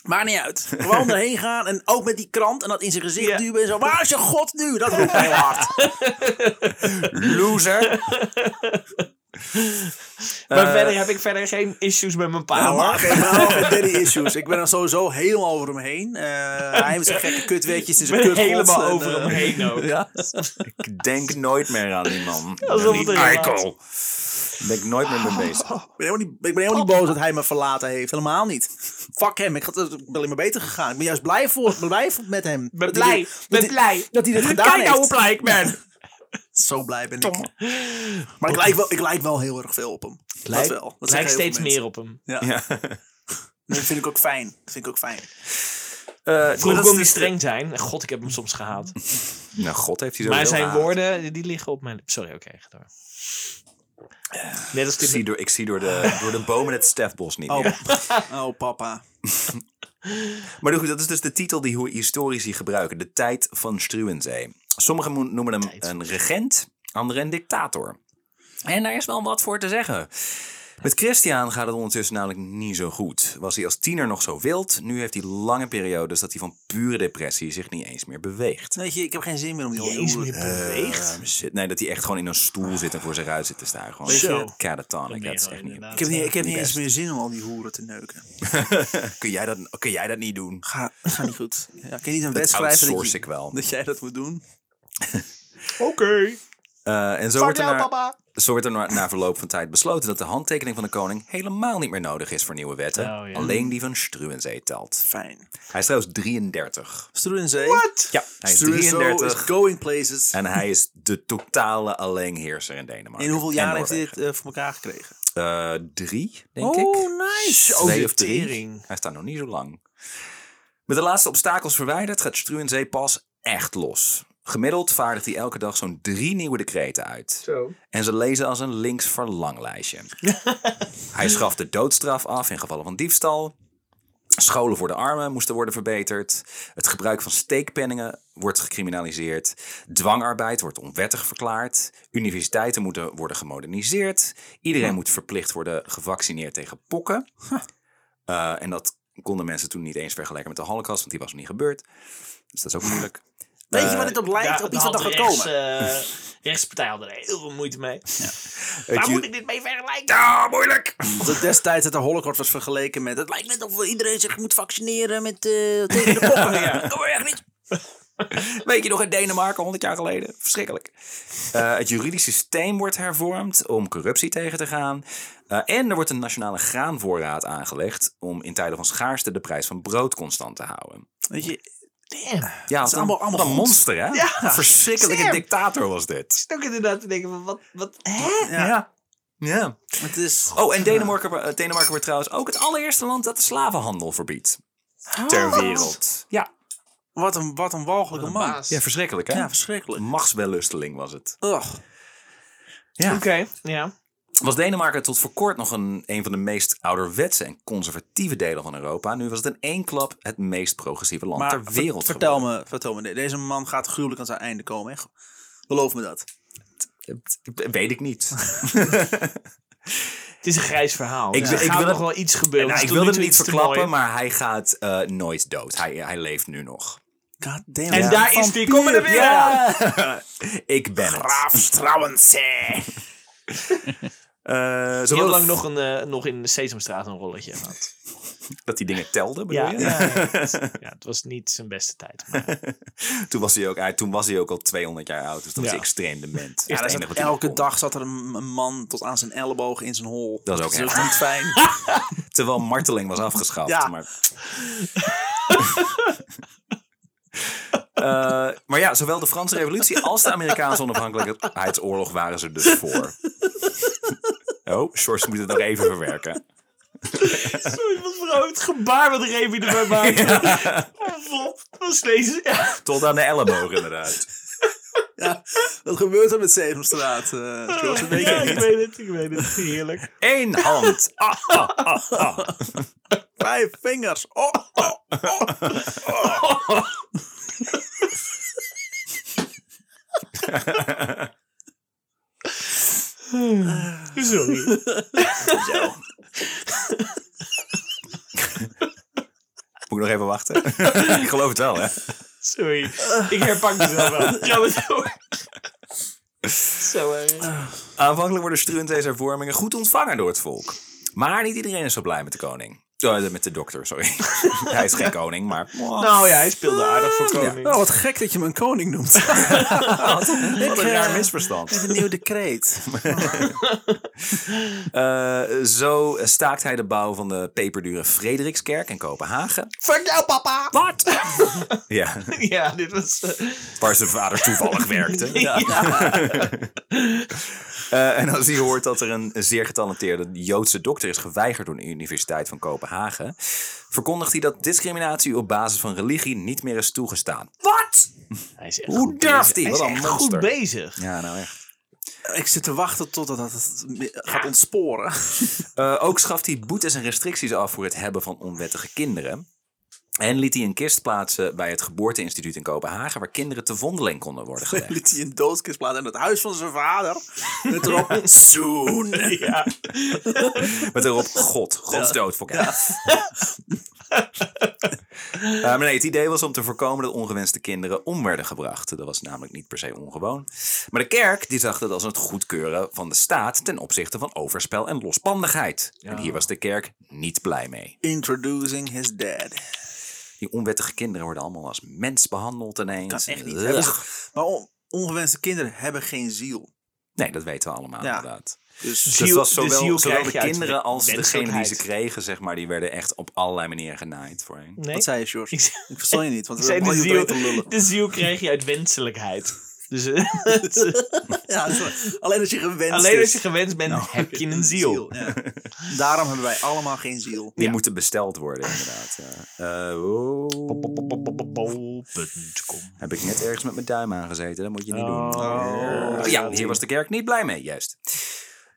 Speaker 1: Maakt niet uit. Gewoon erheen gaan en ook met die krant en dat in zijn gezicht
Speaker 3: Ja.
Speaker 1: duwen en zo. Waar is je god nu? Dat roept hij heel hard.
Speaker 2: Loser.
Speaker 3: Maar verder heb ik verder geen issues met mijn pa. hoor.
Speaker 1: Oké, Eh, maar ook met daddy issues. Ik ben er sowieso helemaal over hem heen. Eh, hij heeft zijn gekke kutweetjes in
Speaker 3: ik
Speaker 1: zijn
Speaker 3: ben
Speaker 1: kut. eh,
Speaker 3: helemaal over hem heen ook.
Speaker 2: Ja. Ik denk nooit meer aan die man.
Speaker 3: Alsof het
Speaker 2: die
Speaker 3: er heel
Speaker 2: eikel. Ben ik nooit meer mee bezig.
Speaker 1: Ik ben, helemaal niet, ik ben helemaal niet boos dat hij me verlaten heeft. Helemaal niet. Fuck hem. Ik, had, ik ben alleen maar beter gegaan. Ik ben juist blij, voor, blij voor- met hem.
Speaker 3: ben
Speaker 1: Dat
Speaker 3: blij.
Speaker 1: hij dit-
Speaker 3: Ik ben
Speaker 1: dat hij-
Speaker 3: blij.
Speaker 1: Dat hij dit gedaan
Speaker 3: Kijk
Speaker 1: heeft.
Speaker 3: nou hoe blij ik ben.
Speaker 1: Zo blij ben ik. Maar ik lijk wel, ik lijk wel heel erg veel op hem.
Speaker 3: Lijkt-
Speaker 1: dat wel. Dat
Speaker 3: lijkt
Speaker 1: zeggen heel
Speaker 3: steeds
Speaker 1: veel mensen.
Speaker 3: meer op hem.
Speaker 2: Ja.
Speaker 1: Dat vind ik ook fijn. Dat vind ik ook fijn.
Speaker 3: Vroeger kon hij streng zijn. God, ik heb hem soms gehaald.
Speaker 2: Nou, God heeft hij zo
Speaker 3: Maar zijn woorden, die liggen op mijn... Sorry, oké, ga door. Net als
Speaker 2: Ik
Speaker 3: dit...
Speaker 2: zie, door, ik zie door, de, door de bomen het stefbos niet meer.
Speaker 1: Oh, papa.
Speaker 2: Maar goed, dat is dus de titel die hoe historici gebruiken. De tijd van Struwenzee. Sommigen mo- noemen hem een regent, anderen een dictator. En daar is wel wat voor te zeggen. Met Christian gaat het ondertussen namelijk niet zo goed. Was hij als tiener nog zo wild, nu heeft hij lange periodes dat hij van pure depressie zich niet eens meer beweegt.
Speaker 1: Weet je, ik heb geen zin meer om die
Speaker 3: Jezus,
Speaker 1: hoeren.
Speaker 3: meer beweegt.
Speaker 2: Eh, shit. Nee, dat hij echt gewoon in een stoel zit en voor zich uit zit te staan. Gewoon
Speaker 1: Weet je-
Speaker 2: zo catatonic.
Speaker 3: ben
Speaker 2: Dat
Speaker 3: je
Speaker 2: is
Speaker 3: wel
Speaker 2: echt niet...
Speaker 1: Ik
Speaker 3: inderdaad.
Speaker 1: heb niet, ik heb
Speaker 2: Niet
Speaker 1: niet eens
Speaker 2: best.
Speaker 1: meer zin om al die hoeren te neuken.
Speaker 2: kun, jij dat, kun jij dat niet doen?
Speaker 1: Ga, ga niet goed. Ja, ik kan je niet een
Speaker 2: Dat
Speaker 1: wet schrijven dat,
Speaker 2: outsource
Speaker 1: je-
Speaker 2: ik wel.
Speaker 1: dat jij dat moet doen.
Speaker 3: Oké.
Speaker 2: Eh, en zo
Speaker 3: Fuck
Speaker 2: wordt, er
Speaker 3: jou,
Speaker 2: na,
Speaker 3: papa.
Speaker 2: zo wordt er na, na verloop van tijd besloten dat de handtekening van de koning helemaal niet meer nodig is voor nieuwe wetten.
Speaker 3: Oh, ja.
Speaker 2: Alleen die van Struwenzee telt.
Speaker 1: Fijn.
Speaker 2: Hij is trouwens 33.
Speaker 1: Struwenzee.
Speaker 3: Wat?
Speaker 2: Ja, hij is
Speaker 1: Struwenzee is
Speaker 2: 33.
Speaker 1: going places.
Speaker 2: En hij is de totale alleenheerser in Denemarken.
Speaker 1: In hoeveel
Speaker 2: En
Speaker 1: jaar heeft hij
Speaker 2: Noorwegen.
Speaker 1: dit eh, voor elkaar gekregen?
Speaker 2: Eh, drie, denk ik.
Speaker 1: Oh, nice.
Speaker 3: Zo.
Speaker 2: Twee
Speaker 3: de
Speaker 2: of drie.
Speaker 3: tering.
Speaker 2: Hij staat nog niet zo lang. Met de laatste obstakels verwijderd gaat Struwenzee pas echt los. Gemiddeld vaardigt hij elke dag zo'n drie nieuwe decreten uit.
Speaker 3: Zo.
Speaker 2: En ze lezen als een links verlanglijstje. hij schaft de doodstraf af in gevallen van diefstal. Scholen voor de armen moesten worden verbeterd. Het gebruik van steekpenningen wordt gecriminaliseerd. Dwangarbeid wordt onwettig verklaard. Universiteiten moeten worden gemoderniseerd. Iedereen moet verplicht worden gevaccineerd tegen pokken. Eh, nou, en dat konden mensen toen niet eens vergelijken met de Holocaust, want die was nog niet gebeurd. Dus dat is ook moeilijk.
Speaker 1: Weet je wat het op lijkt?
Speaker 3: Ja,
Speaker 1: op iets wat
Speaker 3: daar
Speaker 1: nog gaat
Speaker 3: had
Speaker 1: komen.
Speaker 3: rechts, eh, rechtspartij had er heel veel moeite mee. Waar moet
Speaker 2: Het ju-
Speaker 3: ik dit mee vergelijken?
Speaker 2: Ah, moeilijk!
Speaker 1: Dat destijds het de holocaust was vergeleken met... Het lijkt net of iedereen zich moet vaccineren met, eh, tegen de pokken. ja. Kom maar echt niet.
Speaker 2: Weet je nog in Denemarken, 100 jaar geleden? Verschrikkelijk. Eh, het juridisch systeem wordt hervormd om corruptie tegen te gaan. Eh, en er wordt een nationale graanvoorraad aangelegd om in tijden van schaarste de prijs van brood constant te houden.
Speaker 1: Weet je,
Speaker 3: Damn.
Speaker 2: Ja,
Speaker 1: is allemaal- allemaal
Speaker 2: een
Speaker 1: goed.
Speaker 2: monster, hè?
Speaker 3: Ja.
Speaker 2: Een verschrikkelijke
Speaker 3: Sam.
Speaker 2: dictator was dit.
Speaker 3: Ik zit ook inderdaad te denken van, wat, wat, hè?
Speaker 1: Ja.
Speaker 2: Ja. ja.
Speaker 1: het is...
Speaker 2: Oh, en Denemarken, eh, Denemarken wordt trouwens ook het allereerste land dat de slavenhandel verbiedt. Ter wereld. Ja,
Speaker 1: Wat een, wat een walgelijke
Speaker 3: Wat een
Speaker 1: man.
Speaker 3: baas.
Speaker 2: ja verschrikkelijk, hè?
Speaker 1: Ja, verschrikkelijk.
Speaker 2: Machtswellusteling was het.
Speaker 1: Och.
Speaker 2: Ja.
Speaker 3: Oké, ja.
Speaker 2: was Denemarken tot voor kort nog een, een van de meest ouderwetse en conservatieve delen van Europa. Nu was het in één klap het meest progressieve land
Speaker 1: Maar
Speaker 2: ter
Speaker 1: ver-
Speaker 2: wereld.
Speaker 1: vertel,
Speaker 2: geworden.
Speaker 1: me, vertel me, de- deze man gaat gruwelijk aan zijn einde komen. Echt. Beloof me dat.
Speaker 2: Eh, Weet ik niet.
Speaker 3: Het is een grijs verhaal.
Speaker 2: Ik
Speaker 3: Ik,
Speaker 2: wil-
Speaker 3: er
Speaker 2: ik
Speaker 3: gaat
Speaker 2: wil
Speaker 3: nog
Speaker 2: het-
Speaker 3: wel iets gebeuren.
Speaker 2: nou,
Speaker 3: Het is
Speaker 2: ik
Speaker 3: tot nu
Speaker 2: wilde hem
Speaker 3: toe
Speaker 2: niet
Speaker 3: iets te mooi.
Speaker 2: verklappen, maar hij gaat eh, nooit dood. Hij, hij leeft nu nog.
Speaker 1: God damn.
Speaker 3: En
Speaker 1: ja.
Speaker 3: daar is die, kom maar er weer aan.
Speaker 2: ik ben het.
Speaker 1: Strauwense.
Speaker 2: Eh, zowel
Speaker 3: Heel
Speaker 2: dat-
Speaker 3: lang nog, een, eh, nog in de Sesamstraat een rolletje gehad.
Speaker 2: Dat die dingen telde, bedoel
Speaker 3: Ja,
Speaker 2: je?
Speaker 3: ja, ja, het- ja, het was niet zijn beste tijd. Maar
Speaker 2: Toen, was hij ook, hij- toen was hij ook al 200 jaar oud, dus dat
Speaker 3: Ja.
Speaker 2: was hij extreem dement.
Speaker 1: Ja,
Speaker 2: het
Speaker 1: dat
Speaker 2: enige
Speaker 1: is
Speaker 2: wat
Speaker 1: dat
Speaker 2: hij
Speaker 1: elke
Speaker 2: kon.
Speaker 1: dag zat er een, een man tot aan zijn elleboog in zijn hol.
Speaker 2: Dat is ook
Speaker 1: dus
Speaker 2: erg.
Speaker 1: niet fijn.
Speaker 2: Terwijl marteling was afgeschaft.
Speaker 1: Ja.
Speaker 2: Maar... Eh, maar ja, zowel de Franse Revolutie als de Amerikaanse onafhankelijkheidsoorlog waren ze dus voor. Oh, George moet het nog even verwerken.
Speaker 3: Sorry, wat voor het gebaar wat Remy erbij maakt. Wat Oh, was deze? Ja.
Speaker 2: Tot aan de elleboog inderdaad.
Speaker 1: ja. Wat gebeurt er met Sesamstraat? eh, George? Dat weet je
Speaker 3: Ja,
Speaker 1: niet.
Speaker 3: ik weet het, ik weet het. Heerlijk.
Speaker 2: Eén hand. Ah, ah, ah.
Speaker 1: Vijf vingers. Oh, oh, oh.
Speaker 3: Sorry.
Speaker 2: Moet ik nog even wachten? ik geloof het wel, hè?
Speaker 3: Sorry. Ik herpak mezelf wel. Ja, maar door. Zo, eh,
Speaker 2: Aanvankelijk worden Struentees hervormingen goed ontvangen door het volk. Maar niet iedereen is zo blij met de koning. Eh, met de dokter, sorry. hij is geen koning, maar...
Speaker 3: Nou ja, hij speelde aardig voor koning.
Speaker 1: Nou, wat gek dat je me een koning noemt.
Speaker 2: Wat een
Speaker 1: Ik,
Speaker 2: raar
Speaker 1: eh,
Speaker 2: misverstand.
Speaker 1: Een nieuw decreet.
Speaker 2: Eh, zo staakt hij de bouw van de peperdure Frederikskerk in Kopenhagen.
Speaker 3: Fuck jou, papa!
Speaker 2: Wat? ja,
Speaker 3: Ja, dit was... eh,
Speaker 2: waar zijn vader toevallig werkte.
Speaker 3: ja.
Speaker 2: Eh, en als hij hoort dat er een zeer getalenteerde Joodse dokter is geweigerd door de Universiteit van Kopenhagen, verkondigt hij dat discriminatie op basis van religie niet meer is toegestaan. Wat?
Speaker 3: Hij is echt
Speaker 2: Hoe
Speaker 3: goed
Speaker 2: durft
Speaker 3: bezig.
Speaker 2: hij?
Speaker 3: Hij is
Speaker 2: Wat een
Speaker 3: echt
Speaker 2: monster.
Speaker 3: goed bezig.
Speaker 2: Ja, nou echt.
Speaker 1: Ik zit te wachten totdat het gaat ontsporen.
Speaker 2: Eh, ook schaft hij boetes en restricties af voor het hebben van onwettige kinderen. En liet hij een kist plaatsen bij het geboorteinstituut in Kopenhagen, waar kinderen te vondeling konden worden gelegd.
Speaker 1: Liet hij een doodskist plaatsen in het huis van zijn vader. Met erop, soon.
Speaker 3: Ja.
Speaker 2: Met erop God. Gods dood voor ja. Eh, maar nee, het idee was om te voorkomen dat ongewenste kinderen om werden gebracht. Dat was namelijk niet per se ongewoon. Maar de kerk die zag dat als het goedkeuren van de staat ten opzichte van overspel en losbandigheid. En hier was de kerk niet blij mee.
Speaker 1: Introducing his dad.
Speaker 2: Die onwettige kinderen worden allemaal als mens behandeld ineens.
Speaker 1: Dat is echt niet.
Speaker 2: Ugh.
Speaker 1: Hebben
Speaker 3: Dus-
Speaker 1: ze- Maar on- ongewenste kinderen hebben geen ziel.
Speaker 2: Nee, dat weten we allemaal
Speaker 1: Ja.
Speaker 2: inderdaad.
Speaker 1: Dus
Speaker 2: Dus het
Speaker 3: Ziel-
Speaker 2: was
Speaker 3: de
Speaker 2: zowel,
Speaker 3: ziel
Speaker 2: zowel
Speaker 3: krijg
Speaker 2: de
Speaker 3: je uit
Speaker 2: kinderen als degene die ze
Speaker 3: menselijkheid.
Speaker 2: kregen, zeg maar, die werden echt op allerlei manieren genaaid voorheen.
Speaker 3: Nee.
Speaker 1: wat zei je, George?
Speaker 3: Ik zei-
Speaker 1: Ik verstond je niet, want
Speaker 3: Ik
Speaker 1: we
Speaker 3: zei,
Speaker 1: hebben
Speaker 3: de
Speaker 1: al
Speaker 3: ziel,
Speaker 1: te lullen.
Speaker 3: de ziel krijg je uit wenselijkheid. Dus eh, het is-
Speaker 1: Ja, sorry. alleen als je gewenst
Speaker 3: alleen
Speaker 1: is.
Speaker 3: als je gewend bent, heb je een ziel.
Speaker 1: ja. Daarom hebben wij allemaal geen ziel.
Speaker 2: Die moeten besteld worden, inderdaad. ja. Eh, oh.
Speaker 3: Bol.com.
Speaker 2: Heb ik net ergens met mijn duim aangezeten? Dat moet je niet doen.
Speaker 3: Oh.
Speaker 2: Ja, hier was de kerk niet blij mee, juist.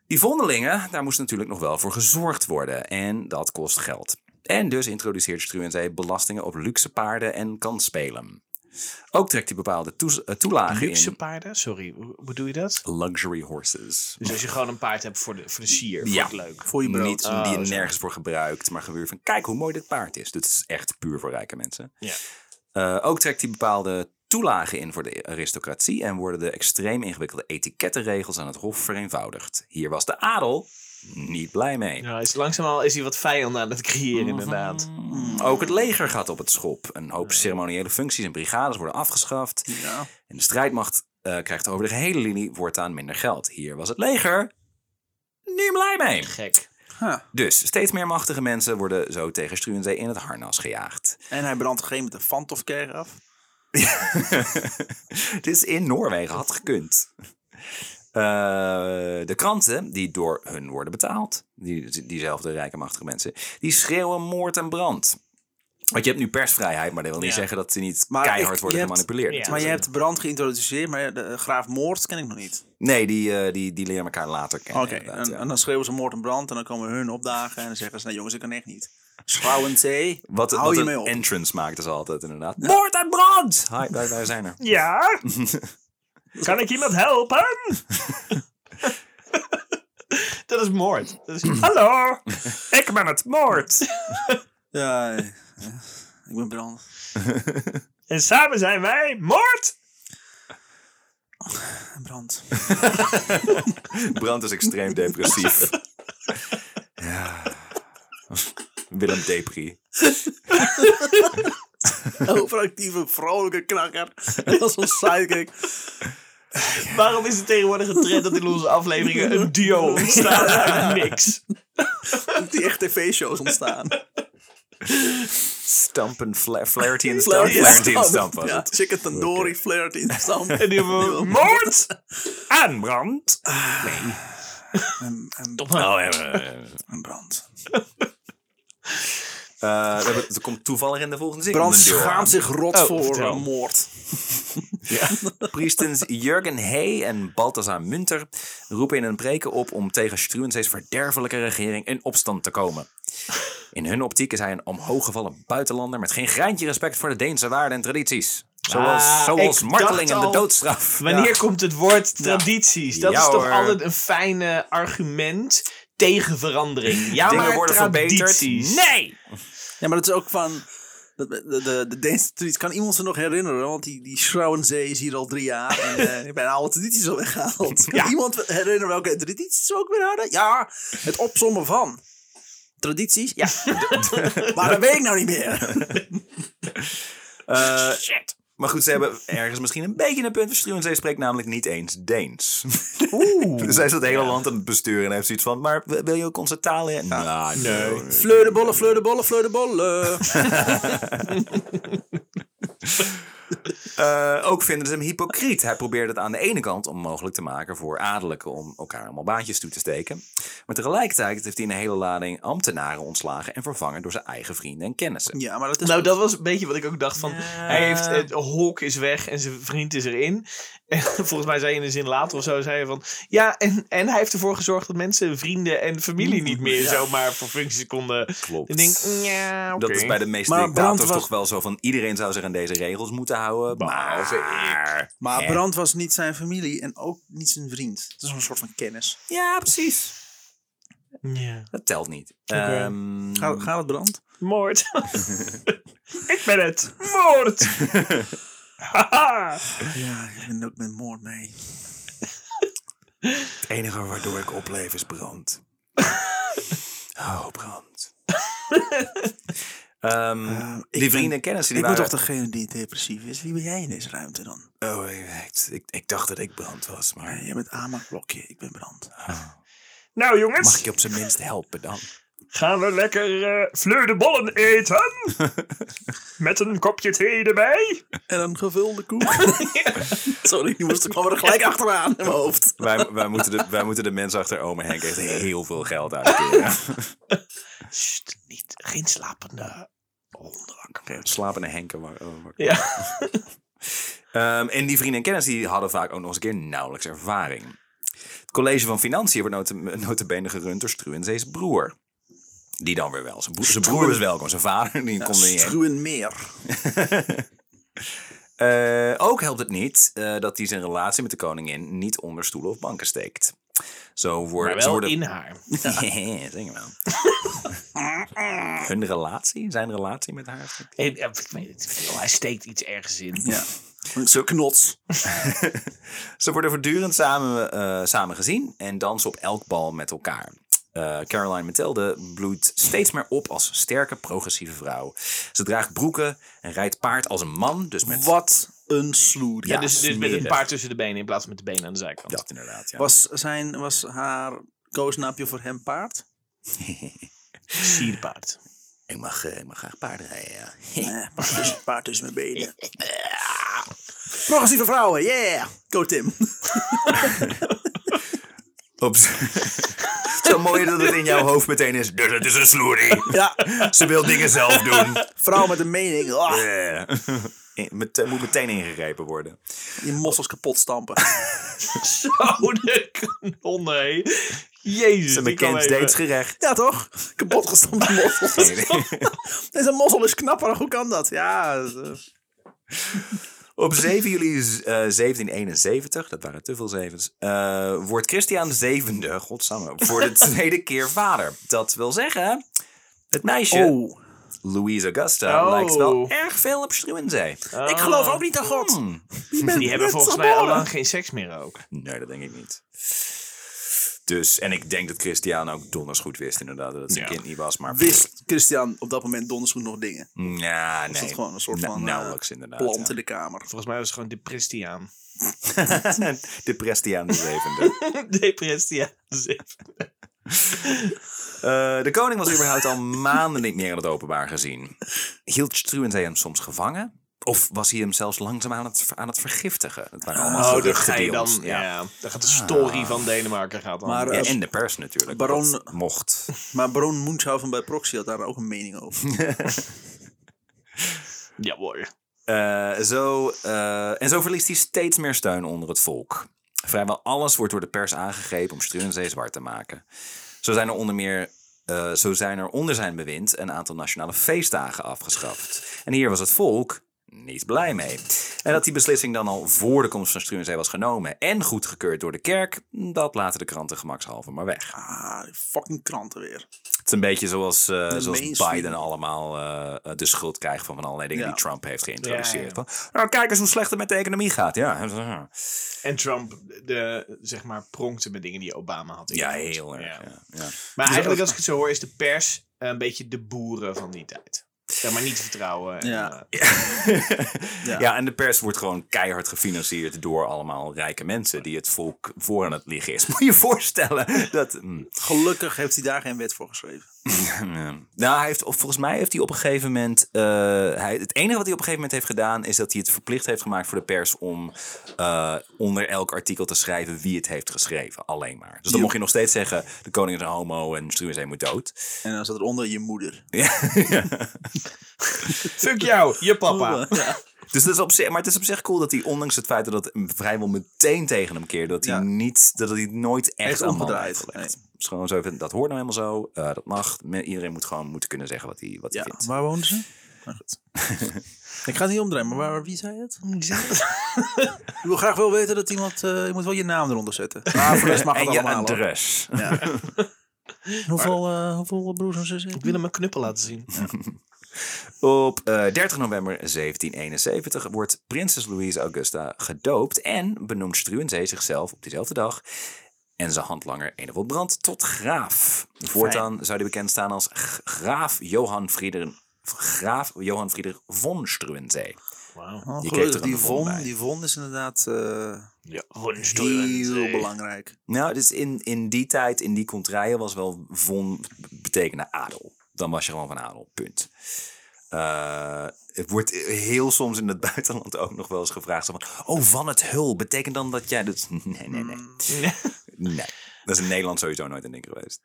Speaker 2: Die vondelingen, daar moest natuurlijk nog wel voor gezorgd worden. En dat kost geld. En dus introduceert Struwenzee belastingen op luxe paarden en kansspelen. Ook trekt hij bepaalde toes- eh, toelagen
Speaker 3: Luxe
Speaker 2: in
Speaker 3: paarden? Sorry, hoe hoe doe je dat?
Speaker 2: luxury horses.
Speaker 3: Dus als je gewoon een paard hebt voor de, voor de sier,
Speaker 2: Ja.
Speaker 3: voor het leuk.
Speaker 1: Voor je brood.
Speaker 2: Niet
Speaker 3: Oh,
Speaker 2: die je
Speaker 3: zo.
Speaker 2: nergens voor gebruikt, maar gewoon van kijk hoe mooi dit paard is. Dit is echt puur voor rijke mensen.
Speaker 3: Ja.
Speaker 2: Eh, ook trekt hij bepaalde toelagen in voor de aristocratie en worden de extreem ingewikkelde etikettenregels aan het hof vereenvoudigd. Hier was de adel niet blij mee.
Speaker 3: Ja, is langzaam al is hij wat vijanden aan het creëren, inderdaad.
Speaker 2: Ook het leger gaat op het schop. Een hoop ceremoniële functies en brigades worden afgeschaft.
Speaker 1: Ja.
Speaker 2: En de strijdmacht eh, krijgt over de gehele linie voortaan minder geld. Hier was het leger niet blij mee.
Speaker 3: Gek.
Speaker 1: Huh.
Speaker 2: Dus steeds meer machtige mensen worden zo tegen Struwenzee in het harnas gejaagd.
Speaker 1: En hij brandt op een gegeven moment de Fantofker af.
Speaker 2: Het is in Noorwegen, had gekund. Eh, de kranten die door hun worden betaald, die, diezelfde rijke machtige mensen, die schreeuwen moord en brand. Want je hebt nu persvrijheid, maar dat wil niet
Speaker 3: Ja.
Speaker 2: zeggen dat ze niet
Speaker 1: Maar
Speaker 2: keihard
Speaker 1: ik-
Speaker 2: worden
Speaker 1: je hebt-
Speaker 2: gemanipuleerd.
Speaker 3: Ja.
Speaker 1: maar je hebt brand geïntroduceerd, maar de, eh, graaf moord ken ik nog niet.
Speaker 2: Nee, die, eh, die, die leren elkaar later kennen.
Speaker 1: Oké,
Speaker 2: inderdaad,
Speaker 1: en,
Speaker 2: ja.
Speaker 1: en dan schreeuwen ze moord en brand en dan komen hun opdagen en dan zeggen ze, nou jongens, ik kan echt niet. Schouwen thee,
Speaker 2: Wat,
Speaker 1: hou
Speaker 2: wat
Speaker 1: je
Speaker 2: een
Speaker 1: mee op.
Speaker 2: entrance maakten ze altijd, inderdaad. Moord en brand! Hi, wij, wij zijn er.
Speaker 3: Ja? kan ik iemand helpen? Dat is moord. Dat is... Hallo, ik ben het moord.
Speaker 1: Ja, eh, eh, ik ben brand.
Speaker 3: En samen zijn wij moord.
Speaker 1: Brand.
Speaker 2: Brand is extreem depressief. ja. Willem Depri.
Speaker 1: Overactieve, vrolijke knakker. Dat is een sidekick.
Speaker 3: Waarom is het tegenwoordig een trend dat in onze afleveringen een duo ontstaat uit niks?
Speaker 1: Die echt tv-shows ontstaan.
Speaker 2: Stampen, fla Flaherty en Stamp. Flaherty en Stamp was
Speaker 1: Ja,
Speaker 2: het.
Speaker 1: chicken tandoori, flaherty in stamp.
Speaker 3: En die hebben we moord.
Speaker 2: En brand.
Speaker 1: En, en,
Speaker 2: Oh, ja, ja, ja.
Speaker 1: en brand.
Speaker 2: Eh, we hebben- er komt toevallig in de volgende zin.
Speaker 1: Brand
Speaker 2: een deur aan.
Speaker 1: schaamt zich rot
Speaker 3: Oh,
Speaker 1: voor
Speaker 3: vertel.
Speaker 1: een moord.
Speaker 2: Priestens Jurgen Hey en Balthasar Munter roepen in hun preken op om tegen Struwensees verderfelijke regering in opstand te komen. In hun optiek is hij een omhooggevallen buitenlander met geen greintje respect voor de Deense waarden en tradities. Zoals,
Speaker 3: Ah,
Speaker 2: zoals
Speaker 3: ik
Speaker 2: marteling
Speaker 3: dacht
Speaker 2: en de
Speaker 3: al-
Speaker 2: doodstraf.
Speaker 3: Wanneer komt het woord tradities? Dat
Speaker 2: Ja,
Speaker 3: is toch
Speaker 2: hoor.
Speaker 3: altijd een fijne argument tegen verandering. Ja,
Speaker 2: Dingen
Speaker 3: maar
Speaker 2: worden verbeterd.
Speaker 3: tradities.
Speaker 2: Nee!
Speaker 1: Ja, maar dat is ook van... dat- De, de, de Deense traditie kan iemand ze nog herinneren, want die, die Schrouwenzee is hier al drie jaar. En eh, ik ben alle tradities al weggehaald. Kan
Speaker 2: Ja.
Speaker 1: iemand herinneren welke tradities we ook weer hadden? Ja, het opzommen van. Tradities? Ja. maar dat weet ik nou niet meer.
Speaker 2: Eh,
Speaker 3: Shit.
Speaker 2: maar goed, ze hebben ergens misschien een beetje een punt. van Struwenzee spreekt namelijk niet eens Deens. dus hij is het hele land aan het besturen en heeft zoiets van... Maar w- wil je ook onze taal leren? Nou, nee.
Speaker 1: Fleur de bolle, fleur de bolle, fleur de bolle.
Speaker 2: Eh, ook vinden ze hem hypocriet. Hij probeert het aan de ene kant onmogelijk te maken voor adellijken om elkaar allemaal baantjes toe te steken. Maar tegelijkertijd heeft hij een hele lading ambtenaren ontslagen en vervangen door zijn eigen vrienden en kennissen.
Speaker 1: Ja, maar dat is...
Speaker 3: Nou, dat was een beetje wat ik ook dacht van... Hij heeft... Het Hulk is weg en zijn vriend is erin. En volgens mij zei hij in een zin later of zo... zei hij van... Ja, en, en hij heeft ervoor gezorgd dat mensen, vrienden en familie niet meer zomaar voor functies konden...
Speaker 2: Klopt.
Speaker 3: Ik denk, ja, oké.
Speaker 2: Dat is bij de meeste
Speaker 1: Maar
Speaker 2: dictators
Speaker 1: Brandt was-
Speaker 2: toch wel zo van iedereen zou zich aan deze regels moeten houden. Behalve ik.
Speaker 1: Maar
Speaker 2: Ja.
Speaker 1: Brand was niet zijn familie en ook niet zijn vriend. Het is een soort van kennis.
Speaker 2: Ja, precies.
Speaker 3: Ja.
Speaker 2: Dat telt niet.
Speaker 3: Oké.
Speaker 2: Ehm,
Speaker 1: Gaat, gaat het brand?
Speaker 3: Moord. ik ben het. Moord. Haha.
Speaker 1: Ja, ik ben ook met moord mee.
Speaker 2: het enige waardoor ik opleef is brand. oh, brand. Ehm, die vrienden en kennissen die
Speaker 1: ik ben
Speaker 2: waren...
Speaker 1: toch degene die depressief is? Wie ben jij in deze ruimte dan?
Speaker 2: Oh, ik, ik, ik dacht dat ik brand was, maar
Speaker 1: Jij bent Amaklokje, ik ben brand.
Speaker 3: Nou jongens,
Speaker 2: mag ik je op zijn minst helpen dan?
Speaker 3: gaan we lekker eh, fleur de bollen eten? Met een kopje thee erbij?
Speaker 1: En een gevulde koek. Sorry, nu moest ik kwam er gelijk achteraan in mijn hoofd.
Speaker 2: Wij, wij, moeten de, wij moeten de mensen achter oma Henk echt heel veel geld uitkeren.
Speaker 3: Sst, niet, geen slapende hondenwakker.
Speaker 2: Slapende Henken. Waar, oh, waar-
Speaker 3: Ja.
Speaker 2: Ehm, en die vrienden en kennis die hadden vaak ook nog eens een keer nauwelijks ervaring. Het college van Financiën wordt note- notabene gerund door Struwensees broer. Die dan weer wel. Zijn, broer- zijn broer is welkom, zijn vader die komt er niet heen.
Speaker 1: Struwen meer.
Speaker 2: Eh, ook helpt het niet eh, dat hij zijn relatie met de koningin niet onder stoelen of banken steekt. Zo worden, ze worden
Speaker 3: haar.
Speaker 2: Ja, zing wel. Hun relatie? Zijn relatie met haar?
Speaker 3: En, eh, ik weet het veel, hij steekt iets ergens in.
Speaker 1: Ja. Zo knots.
Speaker 2: Ze worden voortdurend samen, eh, samen gezien en dansen op elk bal met elkaar. Eh, Caroline Mathilde bloeit steeds meer op als sterke, progressieve vrouw. Ze draagt broeken en rijdt paard als een man. Dus met
Speaker 1: Wat een sloer.
Speaker 2: Ja,
Speaker 3: Ja, dus, dus met
Speaker 2: smerig.
Speaker 3: een paard tussen de benen in plaats van met de benen aan de zijkant.
Speaker 2: dat inderdaad. Ja.
Speaker 1: Was, zijn, was haar koosnaapje voor hem paard?
Speaker 3: Sierpaard.
Speaker 2: Ik, mag, eh, ik mag graag paardrijden. Ja.
Speaker 1: Nee, paard tussen, paard tussen mijn benen. Ja. Progressieve vrouwen, yeah! Go Tim.
Speaker 2: Ops. Zo mooi dat het in jouw hoofd meteen is. Dus het is een sloerie.
Speaker 1: Ja,
Speaker 2: Ze wil dingen zelf doen.
Speaker 1: vrouw met een mening. Ah,
Speaker 2: Eh. Met, moet meteen ingegrepen worden.
Speaker 1: die mossels kapot stampen.
Speaker 3: Zo, de kanonnen, hé. Jezus,
Speaker 2: Ze
Speaker 3: die kwam
Speaker 2: bekend
Speaker 3: even.
Speaker 2: steeds gerecht.
Speaker 1: Ja, toch? Kapot gestampte mossels. Deze mossel is knapper, hoe kan dat? Ja, eh,
Speaker 2: Op 7 juli eh, 1771, dat waren te veel zevens, eh, wordt Christian VII, godsamme, voor de tweede keer vader. Dat wil zeggen, het meisje,
Speaker 1: Oh,
Speaker 2: Louise Augusta,
Speaker 3: Oh.
Speaker 2: lijkt wel erg veel op Struwenzee.
Speaker 1: ik geloof ook niet aan God.
Speaker 2: Hmm.
Speaker 3: Ah. Mm. Die hebben volgens mij al lang geen seks meer ook.
Speaker 2: Nee, dat denk ik niet. Dus, en ik denk dat Christian ook donders goed wist inderdaad dat het zijn
Speaker 3: Ja.
Speaker 2: kind niet was, maar...
Speaker 1: Wist Christian op dat moment donders goed nog dingen?
Speaker 2: Ja, nee.
Speaker 1: Is dat gewoon een soort
Speaker 2: Na-
Speaker 1: van eh,
Speaker 2: nauwelijks inderdaad.
Speaker 1: plant in de kamer?
Speaker 3: Volgens mij was het gewoon deprestiaan.
Speaker 2: ja. de Prestiaan de zevende.
Speaker 3: Deprestiaan.
Speaker 2: Eh, de koning was überhaupt al maanden niet meer in het openbaar gezien. Hield Struwenzee hem soms gevangen? Of was hij hem zelfs langzaam aan het, aan het vergiftigen? Het waren allemaal
Speaker 3: Oh, dat
Speaker 2: geruchten
Speaker 3: ga je
Speaker 2: die
Speaker 3: dan.
Speaker 2: ons-
Speaker 3: Ja. dan gaat de story van Denemarken gaat dan.
Speaker 1: Maar, eh,
Speaker 2: Ja, en de pers natuurlijk.
Speaker 1: Baron-
Speaker 2: dat mocht.
Speaker 1: Maar Baron Munchausen bij Proxy had daar ook een mening over.
Speaker 3: Hm. ja hoor.
Speaker 2: Eh, zo, eh, en zo verliest hij steeds meer steun onder het volk. Vrijwel alles wordt door de pers aangegrepen om Struwenzee zwart te maken. Zo zijn er onder meer, eh, zo zijn er onder zijn bewind een aantal nationale feestdagen afgeschaft. En hier was het volk niet blij mee. En dat die beslissing dan al voor de komst van Struwenzee was genomen en goedgekeurd door de kerk, dat laten de kranten gemakshalve maar weg.
Speaker 1: Ah, die fucking kranten weer.
Speaker 2: Het is een beetje zoals, eh, zoals
Speaker 1: mainstream.
Speaker 2: Biden allemaal eh, de schuld krijgt van, van allerlei dingen
Speaker 1: Ja.
Speaker 2: die Trump heeft geïntroduceerd.
Speaker 3: Ja,
Speaker 2: Van, nou, kijk eens hoe slecht het met de economie gaat. Ja,
Speaker 3: En Trump, de, zeg maar, pronkte met dingen die Obama had.
Speaker 2: ja
Speaker 3: ingevoerd.
Speaker 2: heel erg.
Speaker 3: Ja.
Speaker 2: Ja. Ja.
Speaker 3: Maar eigenlijk, als ik het zo hoor, is de pers eh, een beetje de boeren van die tijd. Zeg maar niet te vertrouwen. En,
Speaker 1: Ja.
Speaker 3: eh,
Speaker 2: Ja. en de pers wordt gewoon keihard gefinancierd door allemaal rijke mensen die het volk voor aan het liggen is. Moet je je voorstellen dat... mm.
Speaker 1: Gelukkig heeft hij daar geen wet voor geschreven.
Speaker 2: Nou, hij heeft, of volgens mij heeft hij op een gegeven moment... eh, hij, het enige wat hij op een gegeven moment heeft gedaan... is dat hij het verplicht heeft gemaakt voor de pers... om eh, onder elk artikel te schrijven wie het heeft geschreven. Alleen maar. Dus dan mocht je nog steeds zeggen... de koning is een homo en Struwenzee moet dood.
Speaker 1: En dan zat eronder je moeder.
Speaker 3: Fuck jou, je papa.
Speaker 1: Ja.
Speaker 2: Dus dat is op zich, maar het is op zich cool dat hij, ondanks het feit dat het vrijwel meteen tegen hem keerde, dat hij,
Speaker 1: Ja.
Speaker 2: niet, dat hij het nooit echt
Speaker 1: Heeft
Speaker 2: aan man
Speaker 1: omgedraaid,
Speaker 2: heeft gelegd. Dus gewoon zo, van, dat hoort nou helemaal zo, eh, dat mag. Me- Iedereen moet gewoon moeten kunnen zeggen wat hij, wat hij
Speaker 1: Ja,
Speaker 2: vindt.
Speaker 1: waar woonden ze? Maar goed. ik ga het niet omdraaien, maar waar, wie zei het? Ik wil graag wel weten dat iemand... eh, je moet wel je naam eronder zetten. Maar voor de rest mag het
Speaker 2: en je
Speaker 1: allemaal. hoor.
Speaker 2: adres.
Speaker 1: Ja. En hoeveel, eh, hoeveel broers en zussen?
Speaker 3: Ik wil hem een knuppel laten zien.
Speaker 2: Op eh, 30 november 1771 wordt prinses Louise Augusta gedoopt en benoemt Struwenzee zichzelf op diezelfde dag en zijn handlanger Enevold Brand tot graaf. Voortaan zou hij bekend staan als G- graaf Johan Frieder, graaf Johan Frieder von Struwenzee.
Speaker 3: Wauw.
Speaker 1: Oh,
Speaker 2: Je
Speaker 1: gelukkig,
Speaker 2: keek er
Speaker 1: die
Speaker 2: een von
Speaker 1: von,
Speaker 2: bij.
Speaker 1: die von is inderdaad eh,
Speaker 3: Ja,
Speaker 1: heel belangrijk.
Speaker 2: Nou, dus in, in die tijd, in die contraien, was wel von betekende adel. Dan was je gewoon van adel, punt. Eh, het wordt heel soms in het buitenland ook nog wel eens gevraagd. zo Van, oh, van het hul, betekent dan dat jij... Dat... Nee, nee,
Speaker 3: Mm.
Speaker 2: nee.
Speaker 1: Mm.
Speaker 2: Nee, dat is in Nederland sowieso nooit een ding geweest.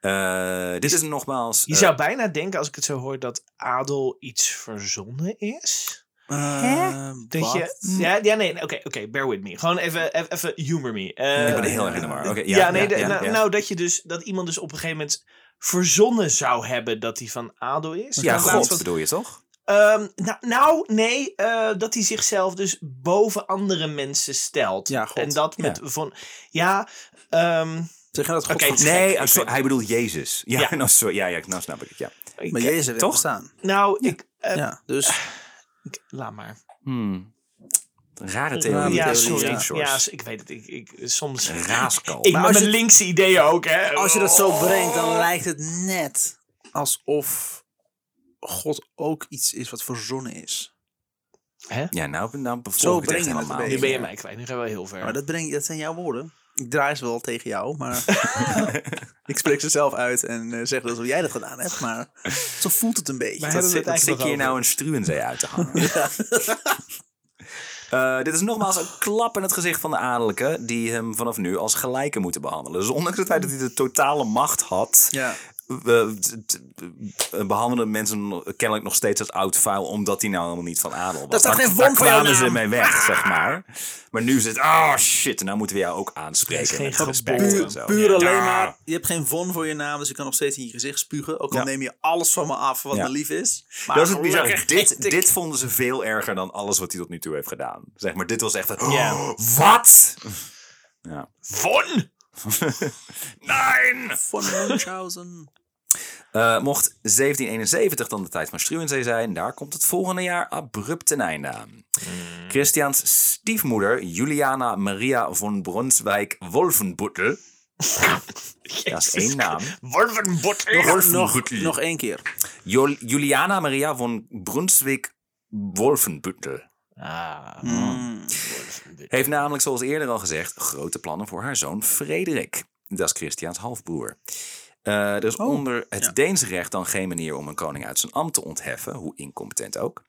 Speaker 2: Eh, dit is nogmaals...
Speaker 3: Je
Speaker 2: eh,
Speaker 3: zou bijna denken, als ik het zo hoor, dat adel iets verzonnen is.
Speaker 1: Eh,
Speaker 3: Dat
Speaker 1: wat?
Speaker 3: je, ja, ja, nee, oké, oké, bear with me. Gewoon even, even, even humor me. Eh,
Speaker 2: ik ben er heel erg in de war. Oké, ja,
Speaker 3: ja, nee, de-
Speaker 2: ja,
Speaker 3: nou,
Speaker 2: ja.
Speaker 3: nou, dat je dus, dat iemand dus op een gegeven moment verzonnen zou hebben dat hij van adel is.
Speaker 2: eh, ja,
Speaker 3: In plaats
Speaker 2: God
Speaker 3: van-
Speaker 2: bedoel je toch?
Speaker 3: Ehm, nou, nou, nee, eh, dat hij zichzelf dus boven andere mensen stelt.
Speaker 1: Ja, God.
Speaker 3: En dat met van, ja, ehm,
Speaker 1: Zeg je dat God
Speaker 3: Oké,
Speaker 1: van-
Speaker 3: gek,
Speaker 2: Nee,
Speaker 3: ik
Speaker 2: ah, sorry,
Speaker 3: ben-
Speaker 2: hij bedoelt Jezus. Ja,
Speaker 3: Ja.
Speaker 2: Nou, sorry, ja, ja, nou snap ik het, ja.
Speaker 3: ik-
Speaker 1: Maar Jezus heeft
Speaker 2: Toch?
Speaker 1: staan.
Speaker 3: nou, ik, eh,
Speaker 1: Ja, dus
Speaker 3: ik- laat maar.
Speaker 2: Hmm. Rare theorie.
Speaker 1: Ja,
Speaker 3: Ja,
Speaker 2: theorie
Speaker 3: sorry.
Speaker 2: is
Speaker 3: Ja,
Speaker 2: soort
Speaker 3: s- ik weet het. Ik, ik, soms...
Speaker 2: Raaskal.
Speaker 3: Ik
Speaker 1: Maar
Speaker 3: met
Speaker 1: als je-
Speaker 3: mijn linkse ideeën ook, hè. Oh.
Speaker 1: Als je dat zo brengt, dan lijkt het net alsof God ook iets is wat verzonnen is.
Speaker 2: Ja, nou, nou
Speaker 1: Zo
Speaker 2: bevolk ik het echt
Speaker 1: brengen we het
Speaker 2: helemaal.
Speaker 1: een
Speaker 3: Nu ben je
Speaker 1: Ja.
Speaker 3: mij kwijt. Nu gaan we heel ver.
Speaker 1: Maar dat, breng, dat zijn jouw woorden. Ik draai ze wel tegen jou, maar ik spreek ze zelf uit en eh, zeg alsof jij dat gedaan hebt. Maar zo voelt het een beetje.
Speaker 3: Maar
Speaker 2: Dat
Speaker 3: hebben we
Speaker 2: zit,
Speaker 3: het
Speaker 2: dat zit
Speaker 3: eigenlijk
Speaker 2: je hier
Speaker 3: nog
Speaker 2: nou een struwenzee uit te hangen. Eh, dit is nogmaals een klap in het gezicht van de adellijke, die hem vanaf nu als gelijke moeten behandelen. Dus ondanks het feit dat hij de totale macht had,
Speaker 1: Ja.
Speaker 2: eh, t- t- eh, behandelden mensen hem kennelijk nog steeds als oud vuil, omdat hij nou helemaal niet van adel was.
Speaker 1: Daar staat
Speaker 2: Daar-
Speaker 1: geen
Speaker 2: daar
Speaker 1: won voor jouw
Speaker 2: kwamen ze
Speaker 1: naam.
Speaker 2: mee weg, zeg maar. Maar nu zit, oh shit, en nou moeten we jou ook
Speaker 3: Er is
Speaker 2: aanspreken.
Speaker 3: geen
Speaker 2: met
Speaker 3: geboorte.
Speaker 2: respect
Speaker 1: Puur,
Speaker 2: en zo.
Speaker 1: puur
Speaker 2: Ja.
Speaker 1: alleen maar. Je hebt geen von voor je naam, dus je kan nog steeds in je gezicht spugen. Ook al
Speaker 2: Ja.
Speaker 1: neem je alles van me af wat
Speaker 2: Ja.
Speaker 1: me lief is. Maar
Speaker 2: Dat is het bizarre.
Speaker 1: gelukkig heeft
Speaker 2: Dit,
Speaker 1: ik-
Speaker 2: dit vonden ze veel erger dan alles wat hij tot nu toe heeft gedaan. Zeg maar, dit was echt een...
Speaker 3: Ja.
Speaker 2: "Oh, wat?
Speaker 3: Von!
Speaker 2: Nein!
Speaker 1: Von Munchausen.
Speaker 2: Eh, mocht 1771 dan de tijd van Struwenzee zijn, daar komt het volgende jaar abrupt ten einde aan. Christians stiefmoeder, Juliana Maria von Brunswijk-Wolfenbuttel. dat is één naam.
Speaker 3: Wolfenbottel!
Speaker 1: Nog, nog één keer.
Speaker 2: Jol- Juliana Maria von Brunswijk-Wolfenbuttel.
Speaker 3: Ah,
Speaker 1: Hmm.
Speaker 2: heeft namelijk, zoals eerder al gezegd, grote plannen voor haar zoon Frederik. Dat is Christiaans halfbroer. Eh, er
Speaker 1: Oh,
Speaker 2: is onder het Deense recht dan geen manier om een koning uit zijn ambt te ontheffen, hoe incompetent ook.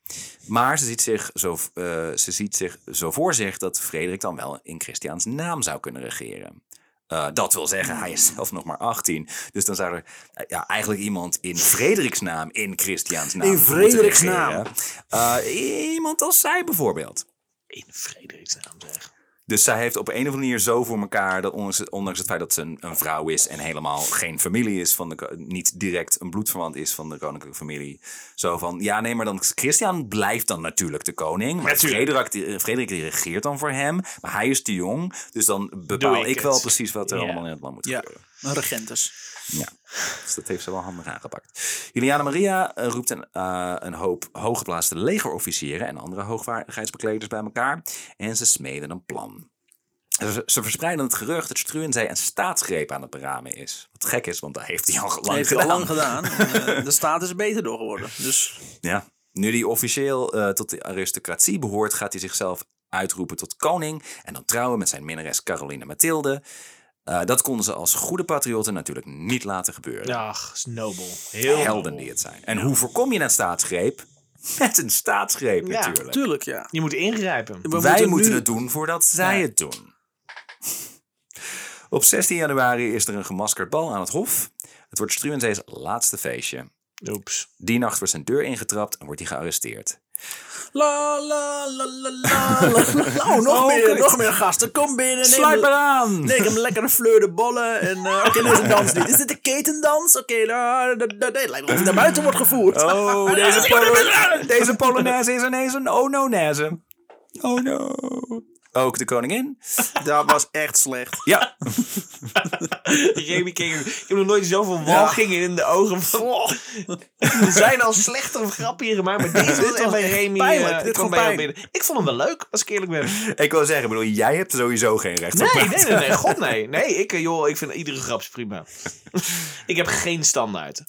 Speaker 2: Maar ze ziet zich zo, eh, ze ziet zich zo voor zich dat Frederik dan wel in Christiaans naam zou kunnen regeren. Eh, dat wil zeggen, hij is zelf nog maar 18. Dus dan zou er eh, ja, eigenlijk iemand in Frederiks naam, in Christiaans naam.
Speaker 1: In
Speaker 2: moeten
Speaker 1: Frederiks naam.
Speaker 2: regeren. Eh, iemand als zij bijvoorbeeld.
Speaker 3: in vredesnaam zeg.
Speaker 2: Dus zij heeft op een of andere manier zo voor elkaar dat ondanks het, ondanks het feit dat ze een, een vrouw is en helemaal geen familie is van de ko- niet direct een bloedverwant is van de koninklijke familie, zo van ja nee maar dan Christian blijft dan natuurlijk de koning, maar
Speaker 3: Natuurlijk.
Speaker 2: Frederik, die- Frederik die regeert dan voor hem, maar hij is te jong, dus dan bepaal
Speaker 3: Doe
Speaker 2: ik,
Speaker 3: ik
Speaker 2: wel
Speaker 3: het.
Speaker 2: precies wat er
Speaker 3: Ja.
Speaker 2: allemaal in het land moet
Speaker 1: Ja,
Speaker 2: gebeuren.
Speaker 1: een regent dus.
Speaker 2: Ja, dus dat heeft ze wel handig aangepakt. Juliana Maria eh, roept een, eh, een hoop hooggeplaatste legerofficieren en andere hoogwaardigheidsbekleders bij elkaar en ze smeden een plan. Ze, ze verspreiden het gerucht dat Struwenzee een staatsgreep aan het beramen is. Wat gek is, want dat heeft hij al lang
Speaker 1: Dat heeft hij
Speaker 2: gedaan.
Speaker 1: al lang gedaan. Eh, de staat is er beter door geworden. Dus
Speaker 2: Ja. Nu hij officieel eh, tot de aristocratie behoort, gaat hij zichzelf uitroepen tot koning en dan trouwen met zijn minnares Caroline Mathilde. Eh, dat konden ze als goede patriotten natuurlijk niet laten gebeuren.
Speaker 3: Ach, is nobel. Heel
Speaker 2: helden die het zijn. En hoe voorkom je een staatsgreep? Met een staatsgreep
Speaker 3: Ja,
Speaker 2: natuurlijk.
Speaker 1: tuurlijk, ja.
Speaker 3: Je moet ingrijpen.
Speaker 1: We
Speaker 2: Wij moeten,
Speaker 1: nu-
Speaker 2: het doen voordat zij het doen. Op 16 januari is er een gemaskerd bal aan het hof. Het wordt Struwensees laatste feestje.
Speaker 3: Oeps.
Speaker 2: Die nacht wordt zijn deur ingetrapt en wordt hij gearresteerd.
Speaker 1: La la la la la la. Oh, nog
Speaker 2: Oh,
Speaker 1: meer,
Speaker 2: kijk.
Speaker 1: nog meer gasten. Kom binnen. Neem,
Speaker 2: Sluit maar aan!
Speaker 1: neem hem lekker een fleur de bollen. En eh, oké, dit is een dans niet. Is dit een ketendans? Oké, la, da, da, da. het lijkt wel of hij naar buiten wordt gevoerd.
Speaker 2: Oh, deze, Polo- deze Polonaise is ineens een oh-no-naise. Oh no. Ook de koningin?
Speaker 1: Dat was echt slecht.
Speaker 2: Ja.
Speaker 3: Jamie King. Ik heb nog nooit zoveel walgingen in de ogen. Van... Er zijn al slechtere grappen hier gemaakt, maar deze was
Speaker 1: Dit
Speaker 3: echt
Speaker 1: was
Speaker 3: bij
Speaker 1: echt
Speaker 3: Remy.
Speaker 1: pijnlijk.
Speaker 3: eh,
Speaker 1: Dit
Speaker 3: kwam
Speaker 1: vond
Speaker 3: bij jou
Speaker 1: pijn.
Speaker 3: binnen. Ik vond hem wel leuk, als ik eerlijk ben.
Speaker 2: Ik wil zeggen, ik bedoel, jij hebt sowieso geen recht op
Speaker 3: Nee,
Speaker 2: praten.
Speaker 3: nee, nee, nee. God, nee. Nee, ik, eh, joh, ik vind iedere grap is prima. Ah, ik heb geen standaard.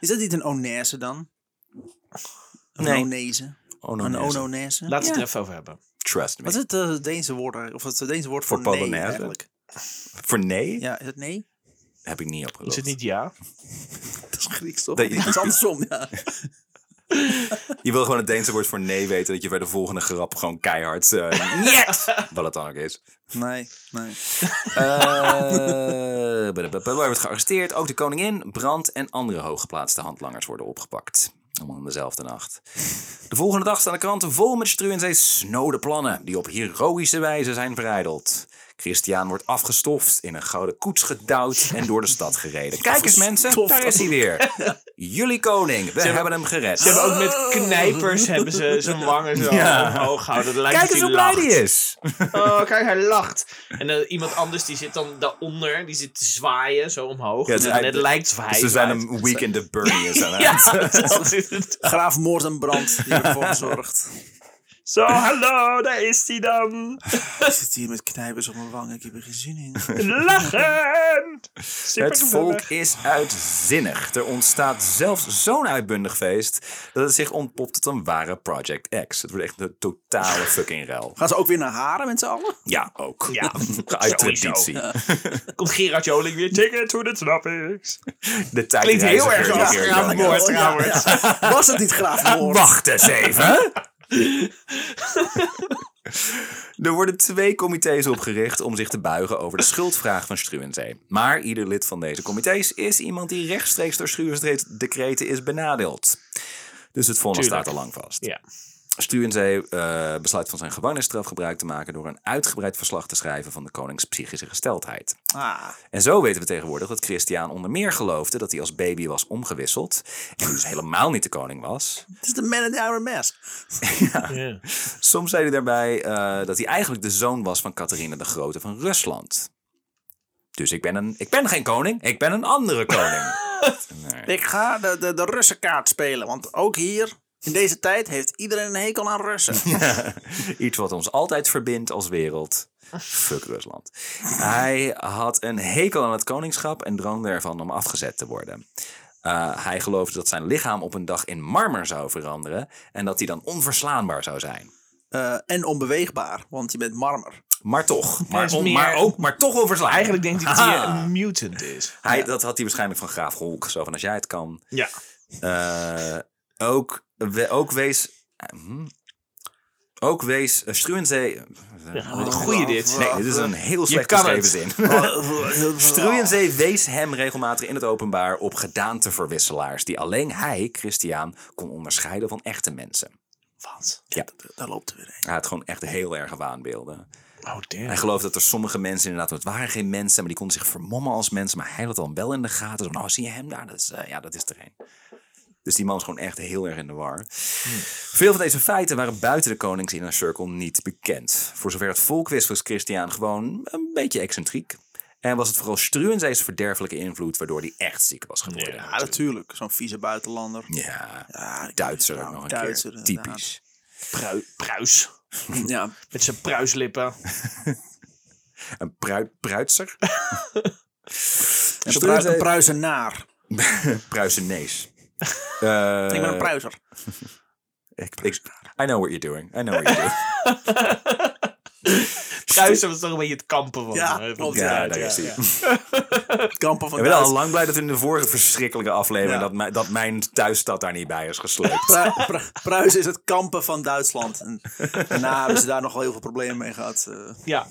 Speaker 1: Is dat niet een onese dan? Een
Speaker 2: Nee.
Speaker 1: onese?
Speaker 2: Oh no,
Speaker 1: Een
Speaker 2: nee, zo.
Speaker 1: ononese?
Speaker 3: Laten we het
Speaker 2: Ja.
Speaker 3: er even over hebben.
Speaker 2: Trust me.
Speaker 1: Wat is het eh, Deense woord eigenlijk? Of het Deense woord voor,
Speaker 2: Voor
Speaker 1: nee
Speaker 2: Polonaise?
Speaker 1: eigenlijk?
Speaker 2: Voor nee
Speaker 1: Ja, is het nee?
Speaker 2: heb ik niet opgelost.
Speaker 3: Is het niet ja?
Speaker 1: Dat is Grieks toch?
Speaker 2: Dat-
Speaker 1: Dat is andersom, ja.
Speaker 2: Je wil gewoon het Deense woord voor nee weten, dat je bij de volgende grap gewoon keihard... eh niet! Wat het dan ook is.
Speaker 1: Nee, nee.
Speaker 2: Eh, Hij wordt gearresteerd. Ook de koningin, brand en andere hooggeplaatste handlangers worden opgepakt. Allemaal in dezelfde nacht. De volgende dag staan de kranten vol met Struwensee's snode plannen... die op heroïsche wijze zijn verijdeld. Christian wordt afgestoft, in een gouden koets gedouwd... en door de stad gereden. Kijk eens mensen,
Speaker 1: Afgestoft.
Speaker 2: daar is hij weer. Jullie koning, we hebben hem
Speaker 3: Ze
Speaker 2: gered.
Speaker 3: hebben ook met knijpers hebben ze zijn wangen zo
Speaker 2: Ja.
Speaker 3: omhoog gehouden. Dat lijkt
Speaker 2: Kijk eens hoe
Speaker 3: alsof
Speaker 2: blij hij
Speaker 3: lacht.
Speaker 2: is.
Speaker 3: Oh, kijk, hij lacht. En dan iemand anders die zit dan daaronder. Die zit te zwaaien, zo omhoog.
Speaker 2: Ja,
Speaker 3: en
Speaker 2: ze-
Speaker 3: het
Speaker 2: hij-
Speaker 3: lijkt of hij
Speaker 2: Ze zijn
Speaker 3: zwaait.
Speaker 2: een weekend de Bernie.
Speaker 3: Ja, dat is het.
Speaker 1: Graaf moord en brand die ervoor zorgt.
Speaker 3: Zo, hallo, daar is hij dan.
Speaker 1: Ik zit hier met knijpers op mijn wangen. Ik heb er geen zin in.
Speaker 3: Lachen!
Speaker 2: Het volk is uitzinnig. Er ontstaat zelfs zo'n uitbundig feest dat het zich ontpopt tot een ware Project X. Het wordt echt een totale fucking ruil.
Speaker 1: Gaan ze ook weer naar haren met z'n allen?
Speaker 2: Ja, ook.
Speaker 3: Ja,
Speaker 2: Uit
Speaker 3: sowieso.
Speaker 2: traditie.
Speaker 3: Komt Gerard Joling weer ticket to the tropics.
Speaker 2: De
Speaker 3: Klinkt heel erg
Speaker 2: tijdreiziger
Speaker 3: als
Speaker 2: hier,
Speaker 3: Graaf
Speaker 2: jongen.
Speaker 3: Moord trouwens.
Speaker 1: Was het niet graag moord?
Speaker 2: Wacht eens even. er worden twee comité's opgericht om zich te buigen over de schuldvraag van Struwenzee. Maar ieder lid van deze comité's is iemand die rechtstreeks door Struwenzee decreten is benadeeld. Dus het vonnis
Speaker 3: Tuurlijk.
Speaker 2: staat al lang vast.
Speaker 3: Ja.
Speaker 2: Struwenzee eh, besluit van zijn gevangenisstraf gebruik te maken door een uitgebreid verslag te schrijven van de konings psychische gesteldheid.
Speaker 1: Ah,
Speaker 2: En zo weten we tegenwoordig dat Christian onder meer geloofde dat hij als baby was omgewisseld en dus helemaal niet de koning was.
Speaker 1: het is de man in the iron mask.
Speaker 3: Ja.
Speaker 2: Soms zei hij daarbij eh, dat hij eigenlijk de zoon was van Catharina de Grote van Rusland. Dus ik ben, een, ik ben geen koning, ik ben een andere koning.
Speaker 1: Ik ga de, de, de Russenkaart spelen. Want ook hier, in deze tijd, heeft iedereen een hekel aan Russen.
Speaker 2: Iets wat ons altijd verbindt als wereld. Fuck Rusland. Hij had een hekel aan het koningschap en droomde ervan om afgezet te worden. Eh, hij geloofde dat zijn lichaam op een dag in marmer zou veranderen en dat hij dan onverslaanbaar zou zijn.
Speaker 1: Eh, en onbeweegbaar, want je bent marmer.
Speaker 2: Maar toch, maar,
Speaker 3: is
Speaker 2: on-
Speaker 3: meer-
Speaker 2: maar ook, maar toch onverslaanbaar.
Speaker 3: Eigenlijk denkt hij dat hij
Speaker 2: Ah.
Speaker 3: een mutant is.
Speaker 2: hij, Dat had hij waarschijnlijk van Graaf Holk, zo van als jij het kan.
Speaker 3: Ja.
Speaker 2: Eh, ook, we- ook wees. eh, hm. ook wees. Uh, Struwenzee.
Speaker 3: Wat een goeie dit.
Speaker 2: eh, nee, dit is een heel slecht
Speaker 3: kan
Speaker 2: geschreven
Speaker 3: het.
Speaker 2: zin. Struwenzee wees hem regelmatig in het openbaar op gedaanteverwisselaars. die alleen hij, Christian, kon onderscheiden van echte mensen.
Speaker 3: Wat?
Speaker 2: Ja,
Speaker 1: Daar loopt er weer een.
Speaker 2: hij had gewoon echt heel erge waanbeelden.
Speaker 3: Oh,
Speaker 2: Hij
Speaker 3: damn.
Speaker 2: geloofde dat er sommige mensen inderdaad, het waren geen mensen, maar die konden zich vermommen als mensen. Maar hij had dan wel in de gaten. Zo, nou, zie je hem daar? Dat is, eh, ja, dat is er een. Dus die man is gewoon echt heel erg in de war.
Speaker 1: Hmm.
Speaker 2: Veel van deze feiten waren buiten de konings in een circle niet bekend. Voor zover het volk wist was Christian gewoon een beetje excentriek. En was het vooral Struwenzee's verderfelijke invloed waardoor hij echt ziek was geworden.
Speaker 1: Ja, natuurlijk. Zo'n vieze buitenlander.
Speaker 2: Ja,
Speaker 1: Ja, ik-
Speaker 2: Duitser ook
Speaker 1: nou,
Speaker 2: nog een
Speaker 1: Duitser,
Speaker 2: keer.
Speaker 1: inderdaad.
Speaker 2: Typisch.
Speaker 3: Pru- pruis.
Speaker 1: Ja,
Speaker 3: Met zijn pruislippen.
Speaker 2: Een pruit, pruitser?
Speaker 1: een, prui, een
Speaker 2: Struwenzee-
Speaker 1: pruisenaar.
Speaker 2: Pruisenees.
Speaker 1: ik ben een pruiser.
Speaker 2: Eh, Ik, ik- I know what you're doing. I know what you're doing.
Speaker 3: Pruisen was toch een beetje het kampen van.
Speaker 1: Ja,
Speaker 3: eh, van
Speaker 1: klopt,
Speaker 3: de
Speaker 1: ja,
Speaker 2: ja,
Speaker 3: tijd,
Speaker 2: daar is hij.
Speaker 1: Kampen van
Speaker 2: Ik ben al
Speaker 1: Duits.
Speaker 2: lang blij dat we in de vorige verschrikkelijke aflevering...
Speaker 1: Ja.
Speaker 2: Dat, mijn, dat mijn thuisstad daar niet bij is gesleept.
Speaker 1: Pru- Pru- Pruisen is het kampen van Duitsland. En daarna hebben ze daar nog wel heel veel problemen mee gehad. eh.
Speaker 3: Ja.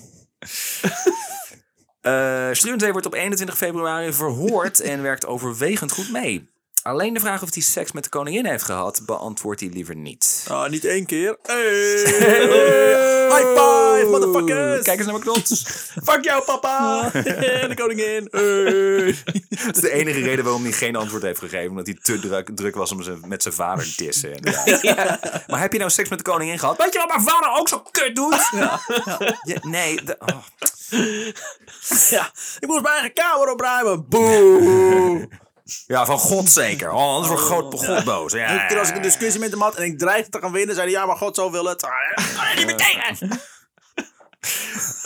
Speaker 2: Eh Struwenzee wordt op 21 februari verhoord en werkt overwegend goed mee. Alleen de vraag of hij seks met de koningin heeft gehad... beantwoordt hij liever niet.
Speaker 1: Ah, niet één keer. Hey. High five, motherfuckers!
Speaker 2: Kijk eens naar McDonald's.
Speaker 3: Fuck jou, papa!
Speaker 1: de koningin. Hey.
Speaker 2: Dat is de enige reden waarom hij geen antwoord heeft gegeven. Omdat hij te druk, druk was om zijn, met zijn vader te dissen. inderdaad. Maar heb je nou seks met de koningin gehad? Weet je wat mijn vader ook zo kut doet? Ja, nee. de- oh.
Speaker 1: Ja, ik moest mijn eigen kamer opruimen. Boe!
Speaker 2: Ja, van God zeker. Oh, anders wordt groot God boos. Ja.
Speaker 1: Toen was ik een discussie met hem had en ik dreigde te gaan winnen, zei hij, ja, maar God, zo wil het. Ah,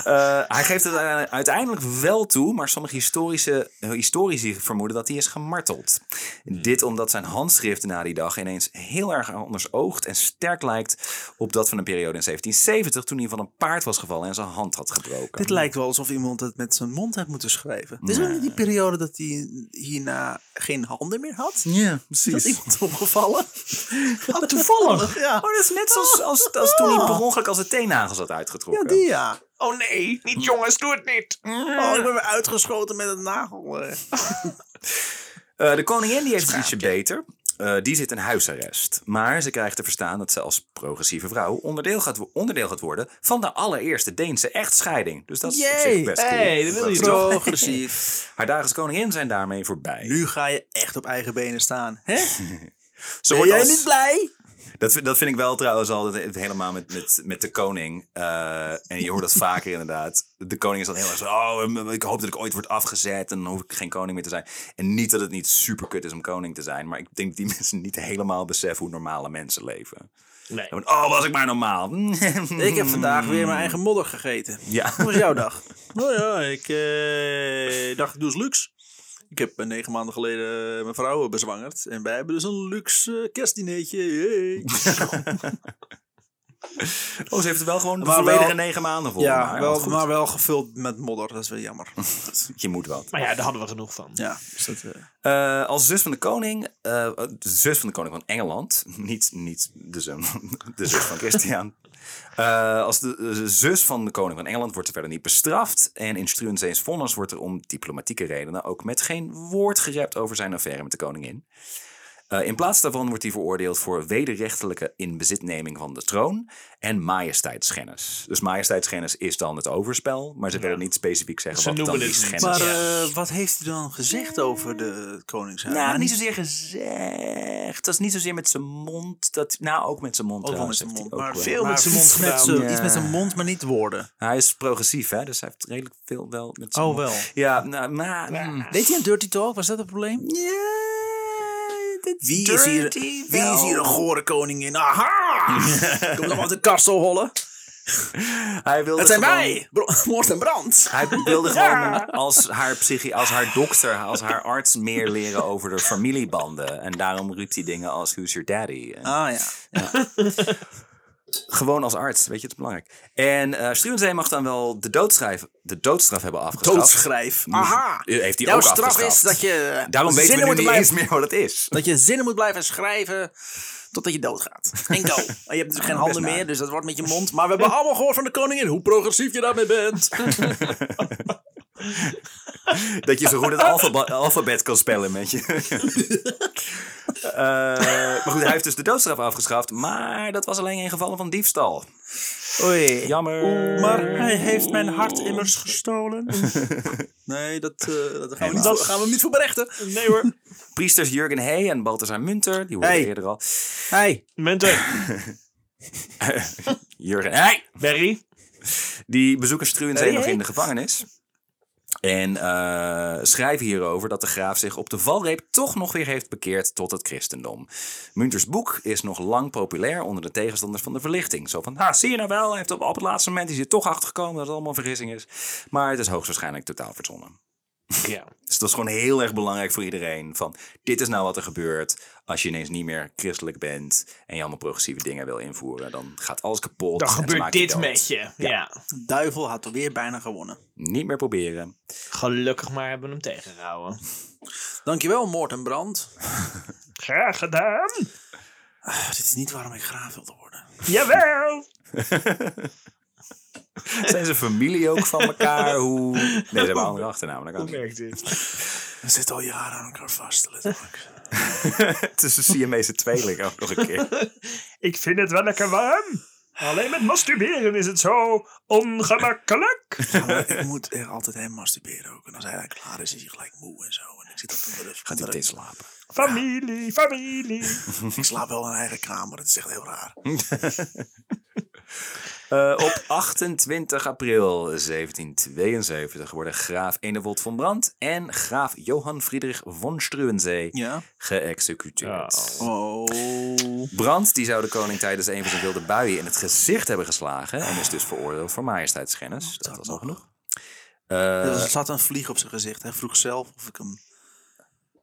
Speaker 2: Eh, hij geeft het eh, uiteindelijk wel toe, maar sommige historische, eh, historici vermoeden dat hij is gemarteld. Dit omdat zijn handschrift na die dag ineens heel erg anders oogt en sterk lijkt op dat van een periode in 1770 toen hij van een paard was gevallen en zijn hand had gebroken.
Speaker 1: Dit lijkt wel alsof iemand het met zijn mond heeft moeten schrijven. Dit is wel die periode dat hij hierna geen handen meer had.
Speaker 2: Ja,
Speaker 1: Is dat
Speaker 2: precies.
Speaker 1: iemand opgevallen?
Speaker 3: toevallig.
Speaker 1: Ja,
Speaker 2: Oh, dat is net zoals als, als toen hij per ongeluk als zijn teennagels had
Speaker 1: Ah, ja
Speaker 2: uitgetrokken.
Speaker 1: die ja.
Speaker 3: Oh nee, niet jongens, doe het niet.
Speaker 1: Oh, ik ben weer uitgeschoten met een nagel. eh.
Speaker 2: Eh, de koningin die heeft het ietsje beter. Eh, die zit in huisarrest. Maar ze krijgt te verstaan dat ze als progressieve vrouw onderdeel gaat, wo- onderdeel gaat worden van de allereerste Deense echtscheiding. Dus dat is op
Speaker 1: Yay.
Speaker 2: zich best
Speaker 3: Hey,
Speaker 2: cool.
Speaker 3: dat wil je toch?
Speaker 1: Progressief.
Speaker 2: Haar dagen als koningin zijn daarmee voorbij.
Speaker 1: Nu ga je echt op eigen benen staan. Hè?
Speaker 2: ze
Speaker 1: Ben
Speaker 2: wordt
Speaker 1: jij
Speaker 2: als,
Speaker 1: niet blij?
Speaker 2: Dat, vind- dat vind ik wel trouwens al, dat, helemaal met, met, met de koning. eh, en je hoort dat vaker inderdaad. De koning is dan heel erg zo, oh, m- ik hoop dat ik ooit word afgezet en dan hoef ik geen koning meer te zijn. En niet dat het niet super kut is om koning te zijn, maar ik denk dat die mensen niet helemaal beseffen hoe normale mensen leven.
Speaker 3: Nee.
Speaker 2: Want, oh, was ik maar normaal.
Speaker 1: Ik heb vandaag weer mijn eigen modder gegeten.
Speaker 2: Ja.
Speaker 1: Hoe was jouw dag? Nou ja, ik eh, dacht, ik doe eens luxe. Ik heb eh, negen maanden geleden eh, mijn vrouw bezwangerd. En wij hebben dus een luxe eh, kerstdineetje. Yay.
Speaker 2: Oh, ze heeft het wel gewoon de
Speaker 1: Maar wel-
Speaker 2: volledige negen maanden voor.
Speaker 1: Ja,
Speaker 2: wel
Speaker 1: wel, maar wel gevuld met modder. Dat is wel jammer.
Speaker 2: Je moet wat.
Speaker 3: Maar ja, daar hadden we genoeg van.
Speaker 1: Ja, dus dat, eh,
Speaker 2: Eh, als zus van de koning, eh, de zus van de koning van Engeland, niet, niet de, zoon, de zus van Christian. Eh, als de, eh, zus van de koning van Engeland wordt ze verder niet bestraft. En in Struensees vonnis wordt er om diplomatieke redenen ook met geen woord gerept over zijn affaire met de koningin. Eh, in plaats daarvan wordt hij veroordeeld voor wederrechtelijke inbezitneming van de troon en majesteitsschennis. Dus majesteitsschennis is dan het overspel, maar ze willen niet specifiek zeggen
Speaker 3: Ze
Speaker 2: wat dan
Speaker 3: noemen
Speaker 2: die
Speaker 3: het niet.
Speaker 2: schennis
Speaker 1: Maar
Speaker 2: is.
Speaker 1: eh, wat heeft u dan gezegd over de koningshuis?
Speaker 2: Nou, niet zozeer gezegd. Dat is niet zozeer met zijn mond. Dat, nou, ook met zijn mond.
Speaker 1: Ook wel met
Speaker 2: trouwens,
Speaker 1: zijn mond.
Speaker 2: heeft hij
Speaker 1: Maar
Speaker 2: ook
Speaker 1: veel
Speaker 3: Maar
Speaker 1: met zijn mond
Speaker 3: iets met
Speaker 1: gedaan.
Speaker 2: zijn-
Speaker 1: Iets met zijn mond, maar niet woorden.
Speaker 2: wel. Hij is progressief, hè? Dus hij heeft redelijk veel wel met zijn mond.
Speaker 1: Oh, wel.
Speaker 2: Ja, nou, maar... mm.
Speaker 1: Deed hij een dirty talk? Was dat het probleem?
Speaker 2: Ja, dat
Speaker 1: Wie is, hier,
Speaker 2: dirty
Speaker 1: wie
Speaker 2: wel.
Speaker 1: is hier een gore koningin? Aha! Kom dan uit de kastel hollen.
Speaker 2: Hij wilde
Speaker 1: Dat zijn
Speaker 2: gewoon-
Speaker 1: wij! Bro- Moord en brand.
Speaker 2: Hij wilde gewoon als, haar psychi als haar dokter, als haar arts meer leren over de familiebanden. En daarom riep hij dingen als who's your daddy? En-
Speaker 1: Ah ja.
Speaker 2: gewoon als arts, weet je, het is belangrijk. En eh Struwenzee mag dan wel de doodstraf, de doodstraf hebben afgeschaft.
Speaker 1: Doodschrijf. Aha!
Speaker 2: Heeft hij
Speaker 1: Jouw
Speaker 2: ook
Speaker 1: straf
Speaker 2: afgeschaft.
Speaker 1: is dat je
Speaker 2: Daarom weten we
Speaker 1: zinnen
Speaker 2: nu
Speaker 1: moet
Speaker 2: niet
Speaker 1: blijven-
Speaker 2: eens meer wat het is.
Speaker 1: Dat je zinnen moet blijven schrijven totdat je doodgaat. En go. En je hebt natuurlijk geen handen
Speaker 2: naar.
Speaker 1: meer, dus dat wordt met je mond. Maar we hebben allemaal gehoord van de koningin hoe progressief je daarmee bent.
Speaker 2: Dat je zo goed het alfaba- alfabet kan spellen met je. Eh, maar goed, hij heeft dus de doodstraf afgeschaft. Maar dat was alleen in gevallen van diefstal.
Speaker 1: Oei.
Speaker 2: Jammer.
Speaker 1: Maar hij heeft mijn hart immers gestolen. Nee, dat, eh, dat gaan, we niet
Speaker 2: dat-
Speaker 3: Oh,
Speaker 1: voor, gaan we hem niet voor berechten.
Speaker 3: Nee hoor.
Speaker 2: Priesters Jurgen Hey en Balthasar Munter. Die hoorde
Speaker 1: Hey.
Speaker 2: ik eerder al.
Speaker 1: Hey.
Speaker 3: Menter,
Speaker 2: Jurgen Hey!
Speaker 3: Barry.
Speaker 2: Die bezoeken Struwenzee
Speaker 3: Oh,
Speaker 1: Hey,
Speaker 2: nog
Speaker 1: hey.
Speaker 2: in de gevangenis. En eh schrijven hierover dat de graaf zich op de valreep toch nog weer heeft bekeerd tot het christendom. Munters boek is nog lang populair onder de tegenstanders van de verlichting. Zo van, ha, zie je nou wel, hij heeft op, op het laatste moment is hij er toch achtergekomen dat het allemaal vergissing is. Maar het is hoogstwaarschijnlijk totaal verzonnen.
Speaker 3: Ja.
Speaker 2: Dus dat is gewoon heel erg belangrijk voor iedereen. Van, dit is nou wat er gebeurt als je ineens niet meer christelijk bent en je allemaal progressieve dingen wil invoeren. Dan gaat alles kapot.
Speaker 3: Dan
Speaker 2: en ze
Speaker 3: gebeurt
Speaker 2: maken je
Speaker 3: dit
Speaker 2: dood.
Speaker 3: met je. Ja.
Speaker 1: Duivel had er weer bijna gewonnen.
Speaker 2: Niet meer proberen.
Speaker 3: Gelukkig maar hebben we hem tegengehouden.
Speaker 1: Dankjewel, Moord en Brand.
Speaker 3: Graag gedaan.
Speaker 1: Ah, dit is niet waarom ik graaf wilde worden.
Speaker 3: Jawel.
Speaker 2: Zijn ze familie ook van elkaar? Hoe... Nee, ze hebben een andere achternaam. Dat kan
Speaker 3: Hoe
Speaker 2: niet.
Speaker 3: werkt dit?
Speaker 1: We zitten al jaren aan elkaar vast, letterlijk.
Speaker 2: Het is een Siamese tweeling ook nog een keer.
Speaker 3: Ik vind het wel lekker warm. Alleen met masturberen is het zo ongemakkelijk.
Speaker 1: Ja, maar ik moet echt altijd hem masturberen ook. En als hij dan klaar is, is hij gelijk moe en zo. En ik zit op de rug.
Speaker 2: Gaat hij meteen slapen?
Speaker 3: Familie, familie.
Speaker 1: Ik slaap wel in een eigen kamer. Dat is echt heel raar.
Speaker 2: Eh, op 28 april 1772 worden graaf Enewold van Brand en graaf Johan Friedrich von Struwenzee
Speaker 1: Ja.
Speaker 2: geëxecuteerd.
Speaker 1: Oh.
Speaker 2: Brand die zou de koning tijdens een van zijn wilde buien in het gezicht hebben geslagen en is dus veroordeeld voor majesteitsschennis. Dat was al genoeg. Eh,
Speaker 1: Er zat een vlieg op zijn gezicht. Hij vroeg zelf of ik hem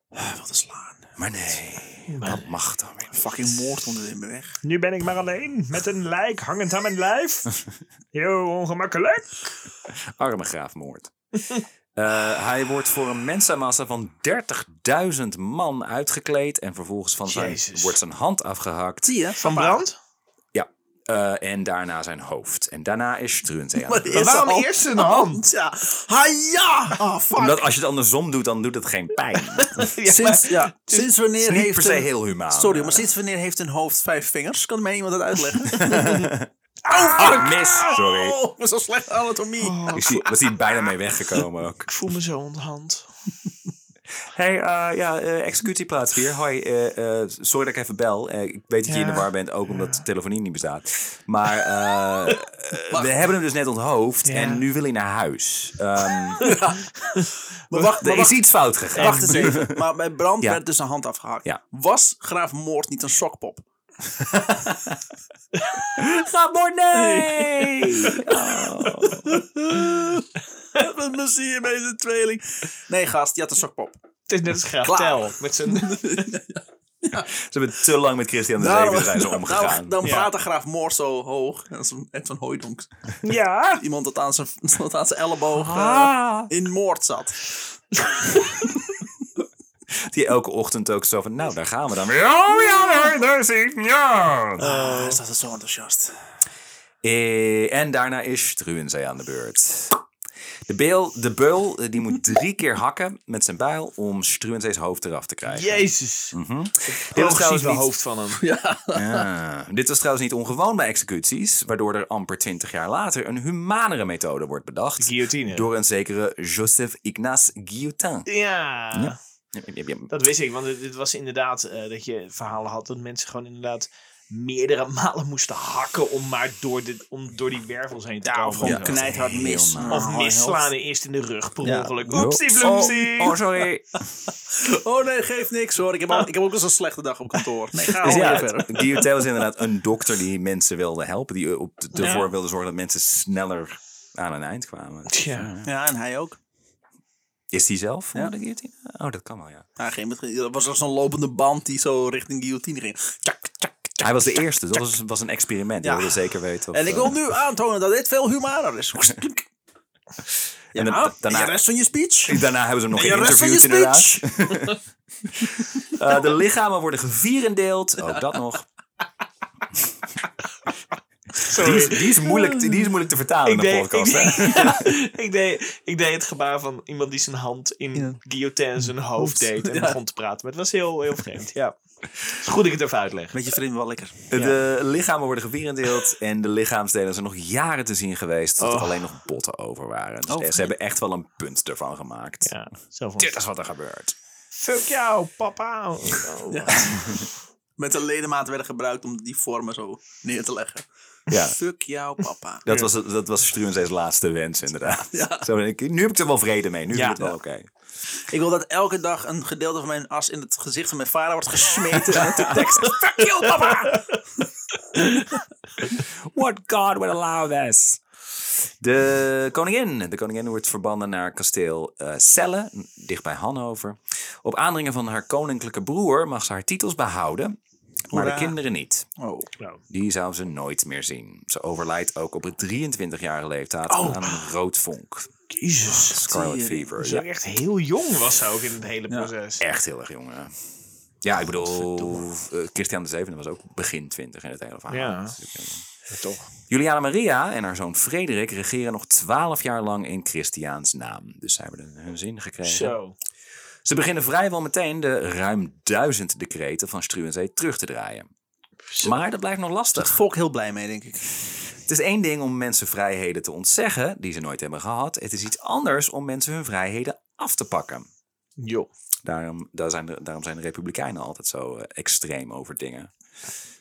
Speaker 1: eh, wilde slaan.
Speaker 2: maar nee, dat mag dan weer.
Speaker 1: Fucking moord onder in mijn weg.
Speaker 3: Nu ben ik maar alleen met een lijk hangend aan mijn lijf. Heel ongemakkelijk.
Speaker 2: Arme graafmoord. Eh, hij wordt voor een mensenmassa van 30.000 man uitgekleed. En vervolgens van zijn,
Speaker 3: Jezus.
Speaker 2: wordt zijn hand afgehakt.
Speaker 1: Zie je?
Speaker 3: Van brand?
Speaker 2: Ja. Eh, en daarna zijn hoofd. En daarna is Struwenzee aan de beurt.
Speaker 1: Eerst
Speaker 3: waarom
Speaker 1: al-
Speaker 3: eerst een hand?
Speaker 1: Ja. Ha ja! Ah, fuck.
Speaker 2: Omdat als je het andersom doet, dan doet het geen pijn. Het
Speaker 1: sinds, ja, sinds wanneer
Speaker 2: is niet
Speaker 1: heeft
Speaker 2: per se
Speaker 1: een-
Speaker 2: heel eh. humaan.
Speaker 1: Sorry, maar sinds wanneer heeft een hoofd vijf vingers? Kan mij iemand dat uitleggen?
Speaker 2: Ah, mis! Sorry.
Speaker 1: Oh, zo'n
Speaker 2: Oh,
Speaker 1: slechte anatomie.
Speaker 2: Ik zie, was hier bijna mee weggekomen ook.
Speaker 3: Ik voel me zo onthand.
Speaker 2: hey, eh, ja, eh, executieplaats hier. Hoi, eh, eh, sorry dat ik even bel. Eh, ik weet dat je in de
Speaker 3: Ja.
Speaker 2: war bent, ook omdat telefonie niet bestaat. Maar eh, eh, we hebben hem dus net onthoofd
Speaker 3: Ja.
Speaker 2: en nu wil hij naar huis. Ehm,
Speaker 1: Maar wacht,
Speaker 2: er
Speaker 1: maar
Speaker 2: is
Speaker 1: wacht,
Speaker 2: iets fout gegaan.
Speaker 1: wacht eens even. Maar bij brand
Speaker 2: Ja.
Speaker 1: werd dus een hand afgehakt.
Speaker 2: Ja.
Speaker 1: Was Graaf Moord niet een sokpop?
Speaker 2: Gaat door, nee!
Speaker 1: Wat zie je bij zijn tweeling? Nee, gast, die had een sokpop.
Speaker 3: Het is net als Graaf
Speaker 1: Klaar.
Speaker 3: Tel. Met zijn...
Speaker 2: Ze hebben te lang met Christian
Speaker 1: Nou,
Speaker 2: de Zeven zijn ze omgegaan.
Speaker 1: dan, dan
Speaker 3: Ja.
Speaker 1: praat de Graaf Moord zo hoog. En dat is een- echt zo'n hooidonk.
Speaker 3: ja.
Speaker 1: Iemand dat aan zijn, dat aan zijn elleboog
Speaker 2: Ah.
Speaker 1: eh, in Moord zat.
Speaker 2: Die elke ochtend ook zo van, nou, daar gaan we dan weer. Oh ja, daar is hij. Ja.
Speaker 1: Ah, is dat zo enthousiast?
Speaker 2: Eh, en daarna is Truwenzee aan de beurt. De, beel, de beul eh, die moet drie keer hakken met zijn bijl om Struwensees hoofd eraf te krijgen.
Speaker 3: Jezus.
Speaker 1: Mhm.
Speaker 2: Dit, was
Speaker 3: Dit is
Speaker 2: trouwens
Speaker 3: wel
Speaker 2: niet,
Speaker 3: hoofd van hem.
Speaker 2: Ah, dit was trouwens niet ongewoon bij executies, waardoor er amper twintig jaar later een humanere methode wordt bedacht
Speaker 3: Guillotine.
Speaker 2: door een zekere Joseph Ignace Guillotin.
Speaker 3: Ja.
Speaker 2: Ja.
Speaker 3: Dat wist ik, want het, het was inderdaad eh, dat je verhalen had dat mensen gewoon inderdaad meerdere malen moesten hakken om maar door, de, om door die wervels heen te
Speaker 1: Ja,
Speaker 3: komen.
Speaker 1: of gewoon
Speaker 2: Ja.
Speaker 1: knijthard mis.
Speaker 2: Heel naar.
Speaker 3: Of
Speaker 1: Oh,
Speaker 3: misslaan en eerst in de rug per
Speaker 1: Ja.
Speaker 3: ongeluk.
Speaker 2: Oh,
Speaker 3: Oepsie bloemsie.
Speaker 2: Oh, oh, sorry.
Speaker 1: helft. Oh nee, geeft niks hoor. Ik heb, al, ik heb ook eens een slechte dag op kantoor. Nee, ga
Speaker 2: Dus
Speaker 1: al
Speaker 2: ja,
Speaker 1: verder.
Speaker 2: Guillotin was inderdaad een dokter die mensen wilde helpen. Die eh, op- ervoor wilde zorgen dat mensen sneller aan een eind kwamen.
Speaker 3: Tja.
Speaker 1: Ja, en hij ook.
Speaker 2: Is die zelf onder de guillotine? Oh, dat kan wel, ja.
Speaker 1: Ja, geen moment- dat was als zo'n lopende band die zo richting guillotine ging. Tjak, tjak, tjak.
Speaker 2: Hij was de eerste. Dat was, was een experiment. Je
Speaker 1: Ja.
Speaker 2: wilde zeker weten of...
Speaker 1: En ik
Speaker 2: eh,
Speaker 1: wil nu aantonen dat dit veel humaner is. Ja,
Speaker 2: en dan-
Speaker 1: en
Speaker 2: daarna,
Speaker 1: je rest van je speech?
Speaker 2: daarna hebben ze hem nog
Speaker 1: En je rest van je
Speaker 2: geïnterviewd inderdaad.
Speaker 1: speech?
Speaker 2: Eh, de lichamen worden gevierendeeld. Ook dat nog. Die is,
Speaker 3: Sorry.
Speaker 2: die, is moeilijk, te- die is moeilijk te vertalen
Speaker 3: Ik
Speaker 2: in de
Speaker 3: deed, ik,
Speaker 2: podcast. hè?
Speaker 3: deed, ik, deed, ik deed het gebaar van iemand die zijn hand in guillotine zijn hoofd deed en begon te praten. Maar het was heel, heel vreemd. Ja. Het is goed dat ik het even uitleg.
Speaker 1: Met je vriend wel lekker.
Speaker 2: De lichamen worden gevierendeeld en de lichaamsdelen zijn nog jaren te zien geweest. Dat er
Speaker 3: Oh.
Speaker 2: alleen nog botten over waren. Dus
Speaker 1: Oh,
Speaker 2: eh, ze
Speaker 1: fijn.
Speaker 2: hebben echt wel een punt ervan gemaakt.
Speaker 3: Ja, zo van,
Speaker 2: Dit is wat er gebeurt.
Speaker 3: Fuck jou, papa. Oh,
Speaker 1: Met de ledematen werden gebruikt om die vormen zo neer te leggen.
Speaker 2: Ja.
Speaker 1: Fuck jou, papa.
Speaker 2: Dat was, dat was Struwensees laatste wens, inderdaad. Zo, ik- nu heb ik er wel vrede mee. Nu
Speaker 3: Ja.
Speaker 2: is het wel oké.
Speaker 1: Ik wil dat elke dag een gedeelte van mijn as in het gezicht van mijn vader wordt gesmeten. En dat de tekst Fuck you, papa!
Speaker 2: What God would allow us. De koningin. De koningin wordt verbannen naar kasteel eh Celle, dichtbij Hannover. Op aandringen van haar koninklijke broer mag ze haar titels behouden, maar
Speaker 1: Hoera.
Speaker 2: de kinderen niet.
Speaker 1: Oh.
Speaker 2: Die zou ze nooit meer zien. Ze overlijdt ook op een 23-jarige leeftijd aan een roodvonk.
Speaker 3: Jezus.
Speaker 2: Scarlet
Speaker 1: Oh. Tering.
Speaker 2: Fever.
Speaker 3: Ze
Speaker 2: Ja,
Speaker 3: ook echt heel jong was ze ook in het hele proces.
Speaker 2: echt heel erg jong. hè. Ja, ik bedoel, eh, Christian de Zevende was ook begin 20 in het hele verhaal.
Speaker 3: Ja.
Speaker 2: Dus ik, eh,
Speaker 3: toch.
Speaker 2: Juliana Maria en haar zoon Frederik regeren nog twaalf jaar lang in Christiaans naam. Dus zij hebben hun zin gekregen.
Speaker 3: Zo.
Speaker 2: Ze beginnen vrijwel meteen de ruim duizend decreten van Struwenzee terug te draaien. Maar dat blijft nog
Speaker 1: Dat
Speaker 2: lastig.
Speaker 1: volk heel blij mee, denk ik.
Speaker 2: Het is één ding om mensen vrijheden te ontzeggen die ze nooit hebben gehad. Het is iets anders om mensen hun vrijheden af te pakken.
Speaker 3: Jo.
Speaker 2: Daarom, daar zijn de, daarom zijn de Republikeinen altijd zo eh, extreem over dingen.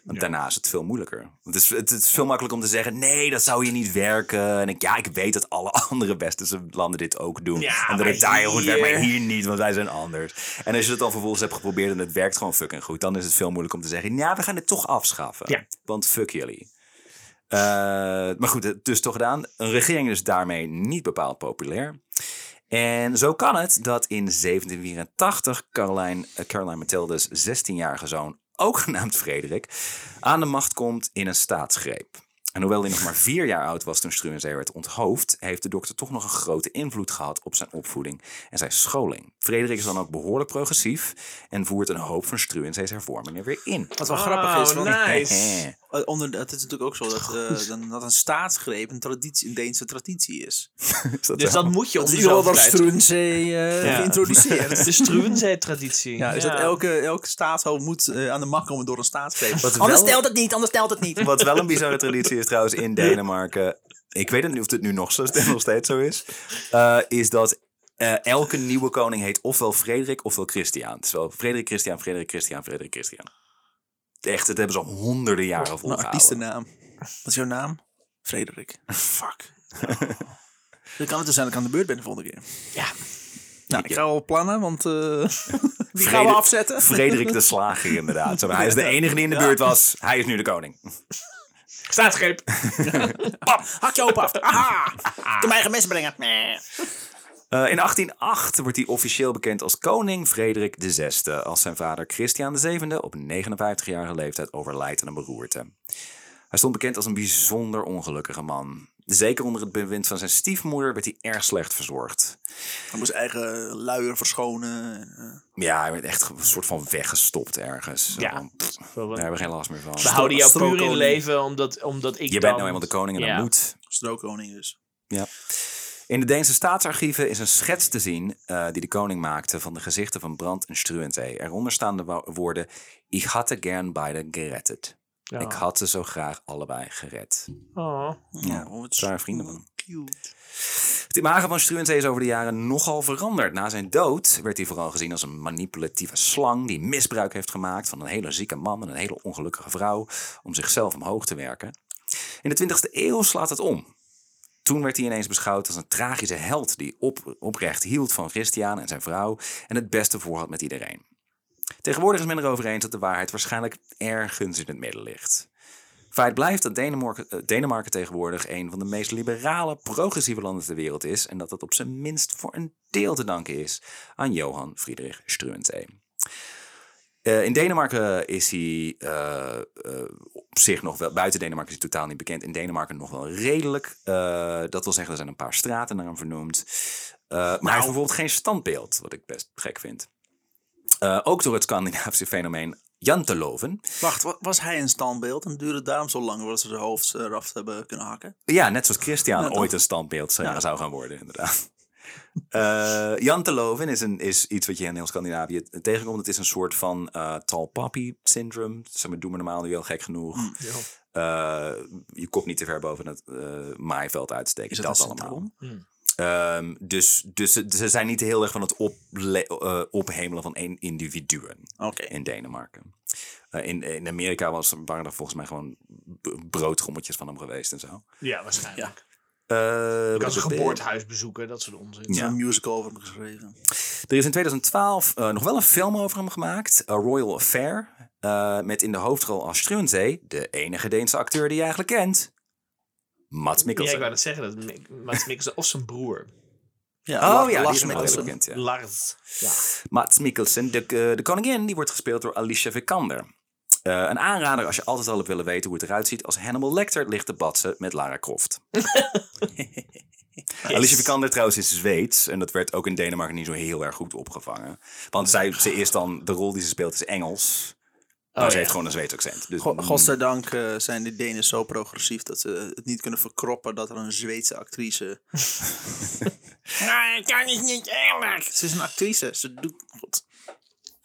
Speaker 2: Want daarna is het veel moeilijker. Het is, het, is veel makkelijker om te zeggen: nee, dat zou hier niet werken. En ik, ja, ik weet dat alle andere westerse landen dit ook doen.
Speaker 3: Ja,
Speaker 2: en dat
Speaker 3: maar
Speaker 2: het daar heel goed werkt, maar
Speaker 3: hier-
Speaker 2: hier niet, want wij zijn anders. En als je het dan vervolgens hebt geprobeerd en het werkt gewoon fucking goed, dan is het veel moeilijker om te zeggen: nou, we gaan het toch afschaffen.
Speaker 3: Ja.
Speaker 2: Want fuck jullie. Eh, maar goed, het dus toch gedaan. Een regering is daarmee niet bepaald populair. En zo kan het dat in 1784 Caroline, eh, Caroline Mathilde's 16-jarige zoon, ook genaamd Frederik, aan de macht komt in een staatsgreep. En hoewel hij nog maar vier jaar oud was toen Struwenzee werd onthoofd, heeft de dokter toch nog een grote invloed gehad op zijn opvoeding en zijn scholing. Frederik is dan ook behoorlijk progressief en voert een hoop van Struwenzee's hervormingen weer in.
Speaker 1: Wat wel grappig is. want-
Speaker 3: Oh, nice.
Speaker 1: Eh, Onder, het is natuurlijk ook zo dat, eh, dan- dat een staatsgreep een, traditie, een Deense traditie is.
Speaker 2: Is dat
Speaker 3: Dus
Speaker 2: zo?
Speaker 3: dat moet je om de
Speaker 1: Iedereen
Speaker 3: zoveel tijd-
Speaker 1: Struensee
Speaker 3: Ja.
Speaker 1: geïntroduceerd.
Speaker 3: De Struwenzee-traditie.
Speaker 1: Ja, is dat elke, elke staatshoofd moet eh, aan de macht komen door een staatsgreep.
Speaker 2: Wat
Speaker 1: Anders
Speaker 2: wel-
Speaker 1: stelt het niet, anders stelt het niet.
Speaker 2: Wat wel een bizarre traditie is trouwens in Denemarken. Ik weet niet of dit nu nog, zo, nog steeds zo is. eh, is dat eh, elke nieuwe koning heet ofwel Frederik ofwel Christian. Het is wel Frederik Christian, Frederik Christian, Frederik Christian. Echt, dat hebben ze al honderden jaren
Speaker 1: Een
Speaker 2: volgehouden.
Speaker 1: artiestennaam. Wat is jouw naam? Frederik. Fuck. Dan kan het dus zijn dat ik aan de beurt ben de volgende keer.
Speaker 3: Ja.
Speaker 1: Nou, ik ga wel plannen, want eh die gaan we
Speaker 2: Frederik-
Speaker 1: afzetten.
Speaker 2: Frederik de Slager inderdaad. Zo, Hij is de enige die in de buurt was. Hij is nu de koning.
Speaker 3: Staatsgreep.
Speaker 1: Pam, hak je hoop af. Aha! Ik kan mijn eigen mes brengen. Nee.
Speaker 2: Eh, in 1808 wordt hij officieel bekend als koning Frederik VI, als zijn vader Christian VII op 59-jarige leeftijd overlijdt aan een beroerte. Hij stond bekend als een bijzonder ongelukkige man. Zeker onder het bewind van zijn stiefmoeder werd hij erg slecht verzorgd.
Speaker 1: Hij moest eigen luier verschonen. en, eh,
Speaker 2: Ja, hij werd echt een soort van weggestopt ergens.
Speaker 3: Ja.
Speaker 2: Want Daar hebben we geen last meer van.
Speaker 3: We houden jou
Speaker 1: Strokoning.
Speaker 3: puur in leven omdat, omdat ik
Speaker 2: Je
Speaker 3: dan...
Speaker 2: bent nou eenmaal de koning en
Speaker 3: Ja.
Speaker 2: dat moet.
Speaker 1: Strookkoning dus.
Speaker 2: In de Deense staatsarchieven is een schets te zien eh, die de koning maakte van de gezichten van Brand en Struwente. Eronder staan de wo- woorden: Ik had er gern beide gerettet.
Speaker 3: Ja.
Speaker 2: Ik had ze zo graag allebei gered.
Speaker 3: Oh.
Speaker 2: Ja,
Speaker 1: Oh, wat
Speaker 2: zware vrienden, man.
Speaker 1: Cute.
Speaker 2: Het imago van Struwente is over de jaren nogal veranderd. Na zijn dood werd hij vooral gezien als een manipulatieve slang die misbruik heeft gemaakt van een hele zieke man en een hele ongelukkige vrouw om zichzelf omhoog te werken. In de 20e eeuw slaat het om. Toen werd hij ineens beschouwd als een tragische held die op, oprecht hield van Christian en zijn vrouw en het beste voor had met iedereen. Tegenwoordig is men erover eens dat de waarheid waarschijnlijk ergens in het midden ligt. Feit blijft dat Denemarken, eh, Denemarken tegenwoordig een van de meest liberale, progressieve landen ter wereld is. En dat dat op zijn minst voor een deel te danken is aan Johan Friedrich Struwente. Eh, in Denemarken is hij eh, eh, op zich nog wel, buiten Denemarken is hij totaal niet bekend. In Denemarken nog wel redelijk. Eh, dat wil zeggen, er zijn een paar straten naar hem vernoemd. Eh, maar hij heeft bijvoorbeeld geen standbeeld, wat ik best gek vind. Eh, ook door het Scandinavische fenomeen janteloven.
Speaker 1: Wacht, wa- was hij een standbeeld en duurde het daarom zo lang voordat ze zijn hoofd eh, eraf hebben kunnen hakken?
Speaker 2: Ja, net zoals Christian
Speaker 1: Ja, toch?
Speaker 2: ooit een standbeeld zou, zou gaan worden, inderdaad. Eh Jan te Loven is, een, is iets wat je in heel Scandinavië tegenkomt. Het is een soort van eh tall poppy syndroom. Zeg maar, doe me normaal nu al gek genoeg.
Speaker 1: Mm,
Speaker 2: Eh, je kop niet te ver boven het eh, maaiveld uitsteken.
Speaker 1: Is
Speaker 2: dat
Speaker 1: dat een Mm.
Speaker 2: allemaal. Mm.
Speaker 1: syndroom?
Speaker 2: Ehm, dus dus ze, ze zijn niet heel erg van het ople- eh, ophemelen van één individuen
Speaker 1: Oké.
Speaker 2: in Denemarken. Eh, in, in Amerika was, waren er volgens mij gewoon b- broodrommetjes van hem geweest en zo.
Speaker 3: Ja, waarschijnlijk.
Speaker 2: Eh,
Speaker 3: Je kan zijn
Speaker 2: wat- Eh,
Speaker 3: geboortehuis bezoeken, dat soort onzin.
Speaker 1: Er
Speaker 2: Ja.
Speaker 1: is een musical over hem geschreven.
Speaker 2: Er is in 2012 eh, nog wel een film over hem gemaakt, A Royal Affair. eh, met in de hoofdrol als Struwenzee, de enige Deense acteur die je eigenlijk kent. Mats
Speaker 3: Ja, ik
Speaker 2: Mikkelsen.
Speaker 3: wou net zeggen dat Mik- Mads Mikkelsen of zijn broer.
Speaker 1: Ja,
Speaker 2: oh ja, die is
Speaker 1: Lars
Speaker 2: nog wel
Speaker 1: Mikkelsen.
Speaker 2: bekend. Ja.
Speaker 3: Lars. Ja.
Speaker 2: Mats Mikkelsen, de, eh, de koningin, die wordt gespeeld door Alicia Vikander. Eh, een aanrader als je altijd al hebt willen weten hoe het eruit ziet als Hannibal Lecter ligt te batsen met Lara Croft. Alicia Vikander trouwens is Zweeds en dat werd ook in Denemarken niet zo heel erg goed opgevangen. Want zij, ze is dan, de rol die ze speelt is Engels, maar
Speaker 3: Oh,
Speaker 2: ze
Speaker 3: ja.
Speaker 2: heeft gewoon een Zweeds accent. Dus,
Speaker 1: Go- Godzijdank eh, zijn de Denen zo progressief dat ze het niet kunnen verkroppen dat er een Zweedse actrice. nee, kan ik niet eerlijk. Ze is een actrice, ze doet goed.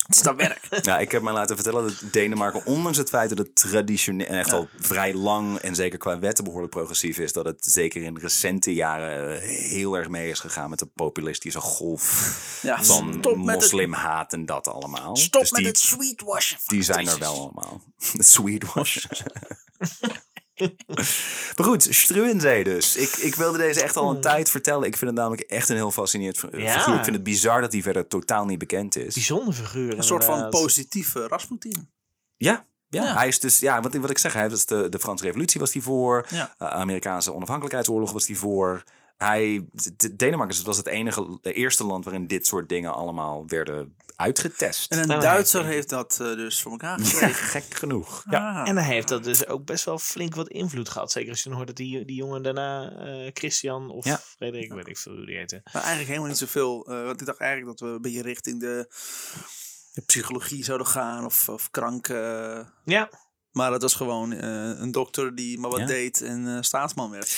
Speaker 1: Het is haar werk.
Speaker 2: Ja, Nou, ik heb mij laten vertellen dat Denemarken, ondanks het feit dat het traditioneel en echt al vrij lang en zeker qua wetten behoorlijk progressief is, dat het zeker in recente jaren eh, heel erg mee is gegaan met de populistische golf
Speaker 1: Ja,
Speaker 2: van
Speaker 1: stop met het,
Speaker 2: moslimhaat en dat allemaal.
Speaker 1: stop
Speaker 2: Dus
Speaker 1: met
Speaker 2: die,
Speaker 1: het sweetwashen. van
Speaker 2: die zijn er
Speaker 1: actrices.
Speaker 2: wel allemaal. Sweetwash. maar goed, Struwenzee dus. Ik, ik wilde deze echt al een tijd vertellen. Ik vind het namelijk echt een heel fascinerend fi-
Speaker 3: Ja.
Speaker 2: figuur. Ik vind het bizar dat hij verder totaal niet bekend is.
Speaker 3: Bijzonder figuur.
Speaker 1: Een soort van
Speaker 3: inderdaad.
Speaker 1: positieve Rasputin.
Speaker 2: Ja, ja. hij is dus, ja, wat, wat ik zeg, hij was de, de Franse Revolutie was hij voor,
Speaker 1: Ja.
Speaker 2: eh, Amerikaanse Onafhankelijkheidsoorlog was hij voor. Hij, de- Denemarken was het enige, de eerste land waarin dit soort dingen allemaal werden uitgetest.
Speaker 1: En een
Speaker 3: Nou,
Speaker 1: Duitser heeft dat eh, dus voor elkaar gekregen.
Speaker 2: gek genoeg. Ja.
Speaker 1: Ja.
Speaker 3: En hij heeft dat dus ook best wel flink wat invloed gehad. Zeker als je dan hoort dat die, die jongen daarna eh, Christian of
Speaker 2: Ja.
Speaker 3: Frederik, weet ik veel hoe die heette.
Speaker 1: Maar eigenlijk helemaal niet zoveel. eh, want ik dacht eigenlijk dat we een beetje richting de, de psychologie zouden gaan of, of kranken.
Speaker 3: Ja,
Speaker 1: Maar dat was gewoon eh, een dokter die maar wat
Speaker 2: Ja.
Speaker 1: deed en eh, staatsman werd.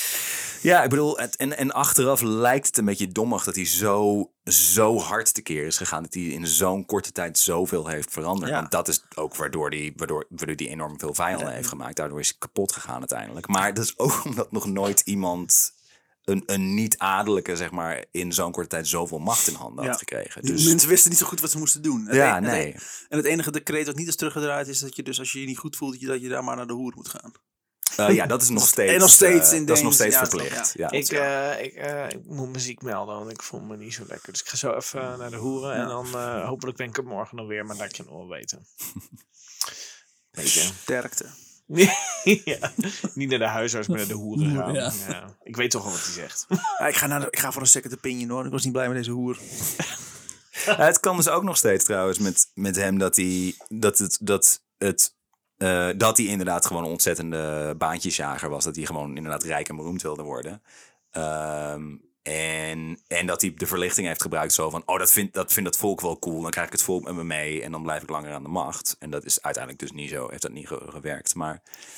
Speaker 2: ja, ik bedoel, het, en, en achteraf lijkt het een beetje dommig dat hij zo, zo hard tekeer is gegaan. Dat hij in zo'n korte tijd zoveel heeft veranderd.
Speaker 1: Ja.
Speaker 2: Want dat is ook waardoor hij waardoor, waardoor die enorm veel vijanden heeft gemaakt. Daardoor is hij kapot gegaan uiteindelijk. Maar dat is ook omdat nog nooit iemand een, een niet-adellijke, zeg maar, in zo'n korte tijd zoveel macht in handen
Speaker 1: Ja.
Speaker 2: had gekregen.
Speaker 1: Die
Speaker 2: Dus
Speaker 1: mensen wisten niet zo goed wat ze moesten doen. Het
Speaker 2: ja,
Speaker 1: en- het
Speaker 2: nee.
Speaker 1: en het enige decreet dat niet is teruggedraaid is dat je dus als je je niet goed voelt, dat je, dat je daar maar naar de hoer moet gaan.
Speaker 2: Eh, ja, dat is nog steeds,
Speaker 1: nog steeds
Speaker 2: eh,
Speaker 1: in
Speaker 2: dat is nog
Speaker 1: deze-
Speaker 2: steeds
Speaker 1: ja,
Speaker 2: verplicht. Ja,
Speaker 1: ja.
Speaker 3: Ik, eh, ik, eh, ik moet muziek melden, want ik voel me niet zo lekker. Dus ik ga zo even eh, naar de hoeren. En
Speaker 1: Ja.
Speaker 3: dan eh, hopelijk ben ik er morgen nog weer, maar laat ik je nog wel weten. Weet je.
Speaker 1: Sterkte.
Speaker 3: ja. Niet naar de huisarts, maar naar de hoeren gaan.
Speaker 1: Ja.
Speaker 3: Ja. Ik weet toch al wat hij zegt.
Speaker 1: Ja, Ah, ik, ga naar de- ik ga voor een second opinion hoor. Ik was niet blij met deze hoer.
Speaker 2: Ja, het kan dus ook nog steeds trouwens met, met hem dat hij dat het, dat het eh, dat hij inderdaad gewoon een ontzettende baantjesjager was. Dat hij gewoon inderdaad rijk en beroemd wilde worden. Ehm, en, en dat hij de verlichting heeft gebruikt zo van... oh, dat vindt dat, vindt dat volk wel cool, dan krijg ik het volk met me mee... en dan blijf ik langer aan de macht. En dat is uiteindelijk dus niet zo, heeft dat niet ge- gewerkt. Maar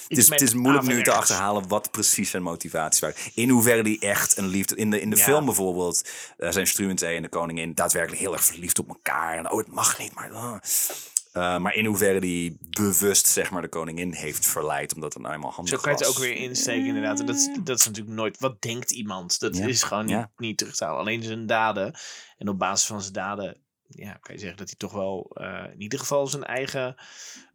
Speaker 2: het is,
Speaker 3: met
Speaker 2: het is moeilijk nu te
Speaker 3: averechts.
Speaker 2: achterhalen wat precies zijn motivaties waren. In hoeverre die echt een liefde... In de, in de
Speaker 3: Ja.
Speaker 2: film bijvoorbeeld eh, zijn Struwenzee en de koningin... daadwerkelijk heel erg verliefd op elkaar. En oh, het mag niet, maar... ah. Eh, maar in hoeverre die bewust zeg maar, de koningin heeft verleid... omdat het nou eenmaal handig
Speaker 3: Zo kan je het
Speaker 2: was.
Speaker 3: ook weer insteken, inderdaad. En dat, is- dat is natuurlijk nooit. Wat denkt iemand? Dat
Speaker 2: Ja.
Speaker 3: is gewoon niet,
Speaker 2: Ja.
Speaker 3: niet terug te halen. Alleen zijn daden. En op basis van zijn daden. Ja, kan je zeggen dat hij toch wel. eh, in ieder geval zijn eigen.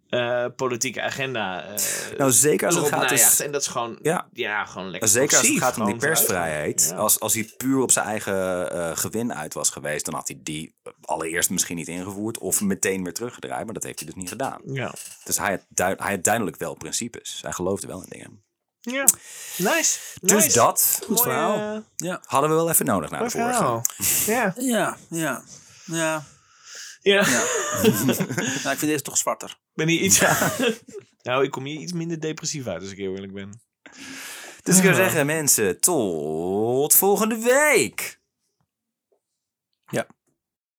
Speaker 3: eh, politieke agenda. eh,
Speaker 2: Nou, zeker als het
Speaker 3: erop
Speaker 2: gaat... dus-
Speaker 3: najaagt. En dat is gewoon.
Speaker 2: Ja.
Speaker 3: Ja, gewoon lekker.
Speaker 2: Zeker als het
Speaker 3: progressief,
Speaker 2: gaat om die
Speaker 3: gewoon vooruit.
Speaker 2: persvrijheid.
Speaker 3: Ja.
Speaker 2: Als, als hij puur op zijn eigen eh, gewin uit was geweest, dan had hij die allereerst misschien niet ingevoerd of meteen weer teruggedraaid. Maar dat heeft hij dus niet gedaan.
Speaker 3: Ja.
Speaker 2: Dus hij had, duid- hij had duidelijk wel principes. Hij geloofde wel in dingen.
Speaker 3: ja. Nice.
Speaker 2: Dus dat
Speaker 1: Goed
Speaker 3: Mooie,
Speaker 1: verhaal.
Speaker 3: eh,
Speaker 2: hadden we wel even nodig na
Speaker 3: mooi
Speaker 2: de vorige.
Speaker 3: verhaal. Ja.
Speaker 1: Ja, ja. Ja.
Speaker 3: Ja.
Speaker 1: Nou, ik vind deze toch zwarter.
Speaker 3: Ben je iets. nou, ik kom hier iets minder depressief uit als ik heel eerlijk ben.
Speaker 2: Dus ik zou zeggen, mensen, tot volgende week.
Speaker 1: Ja.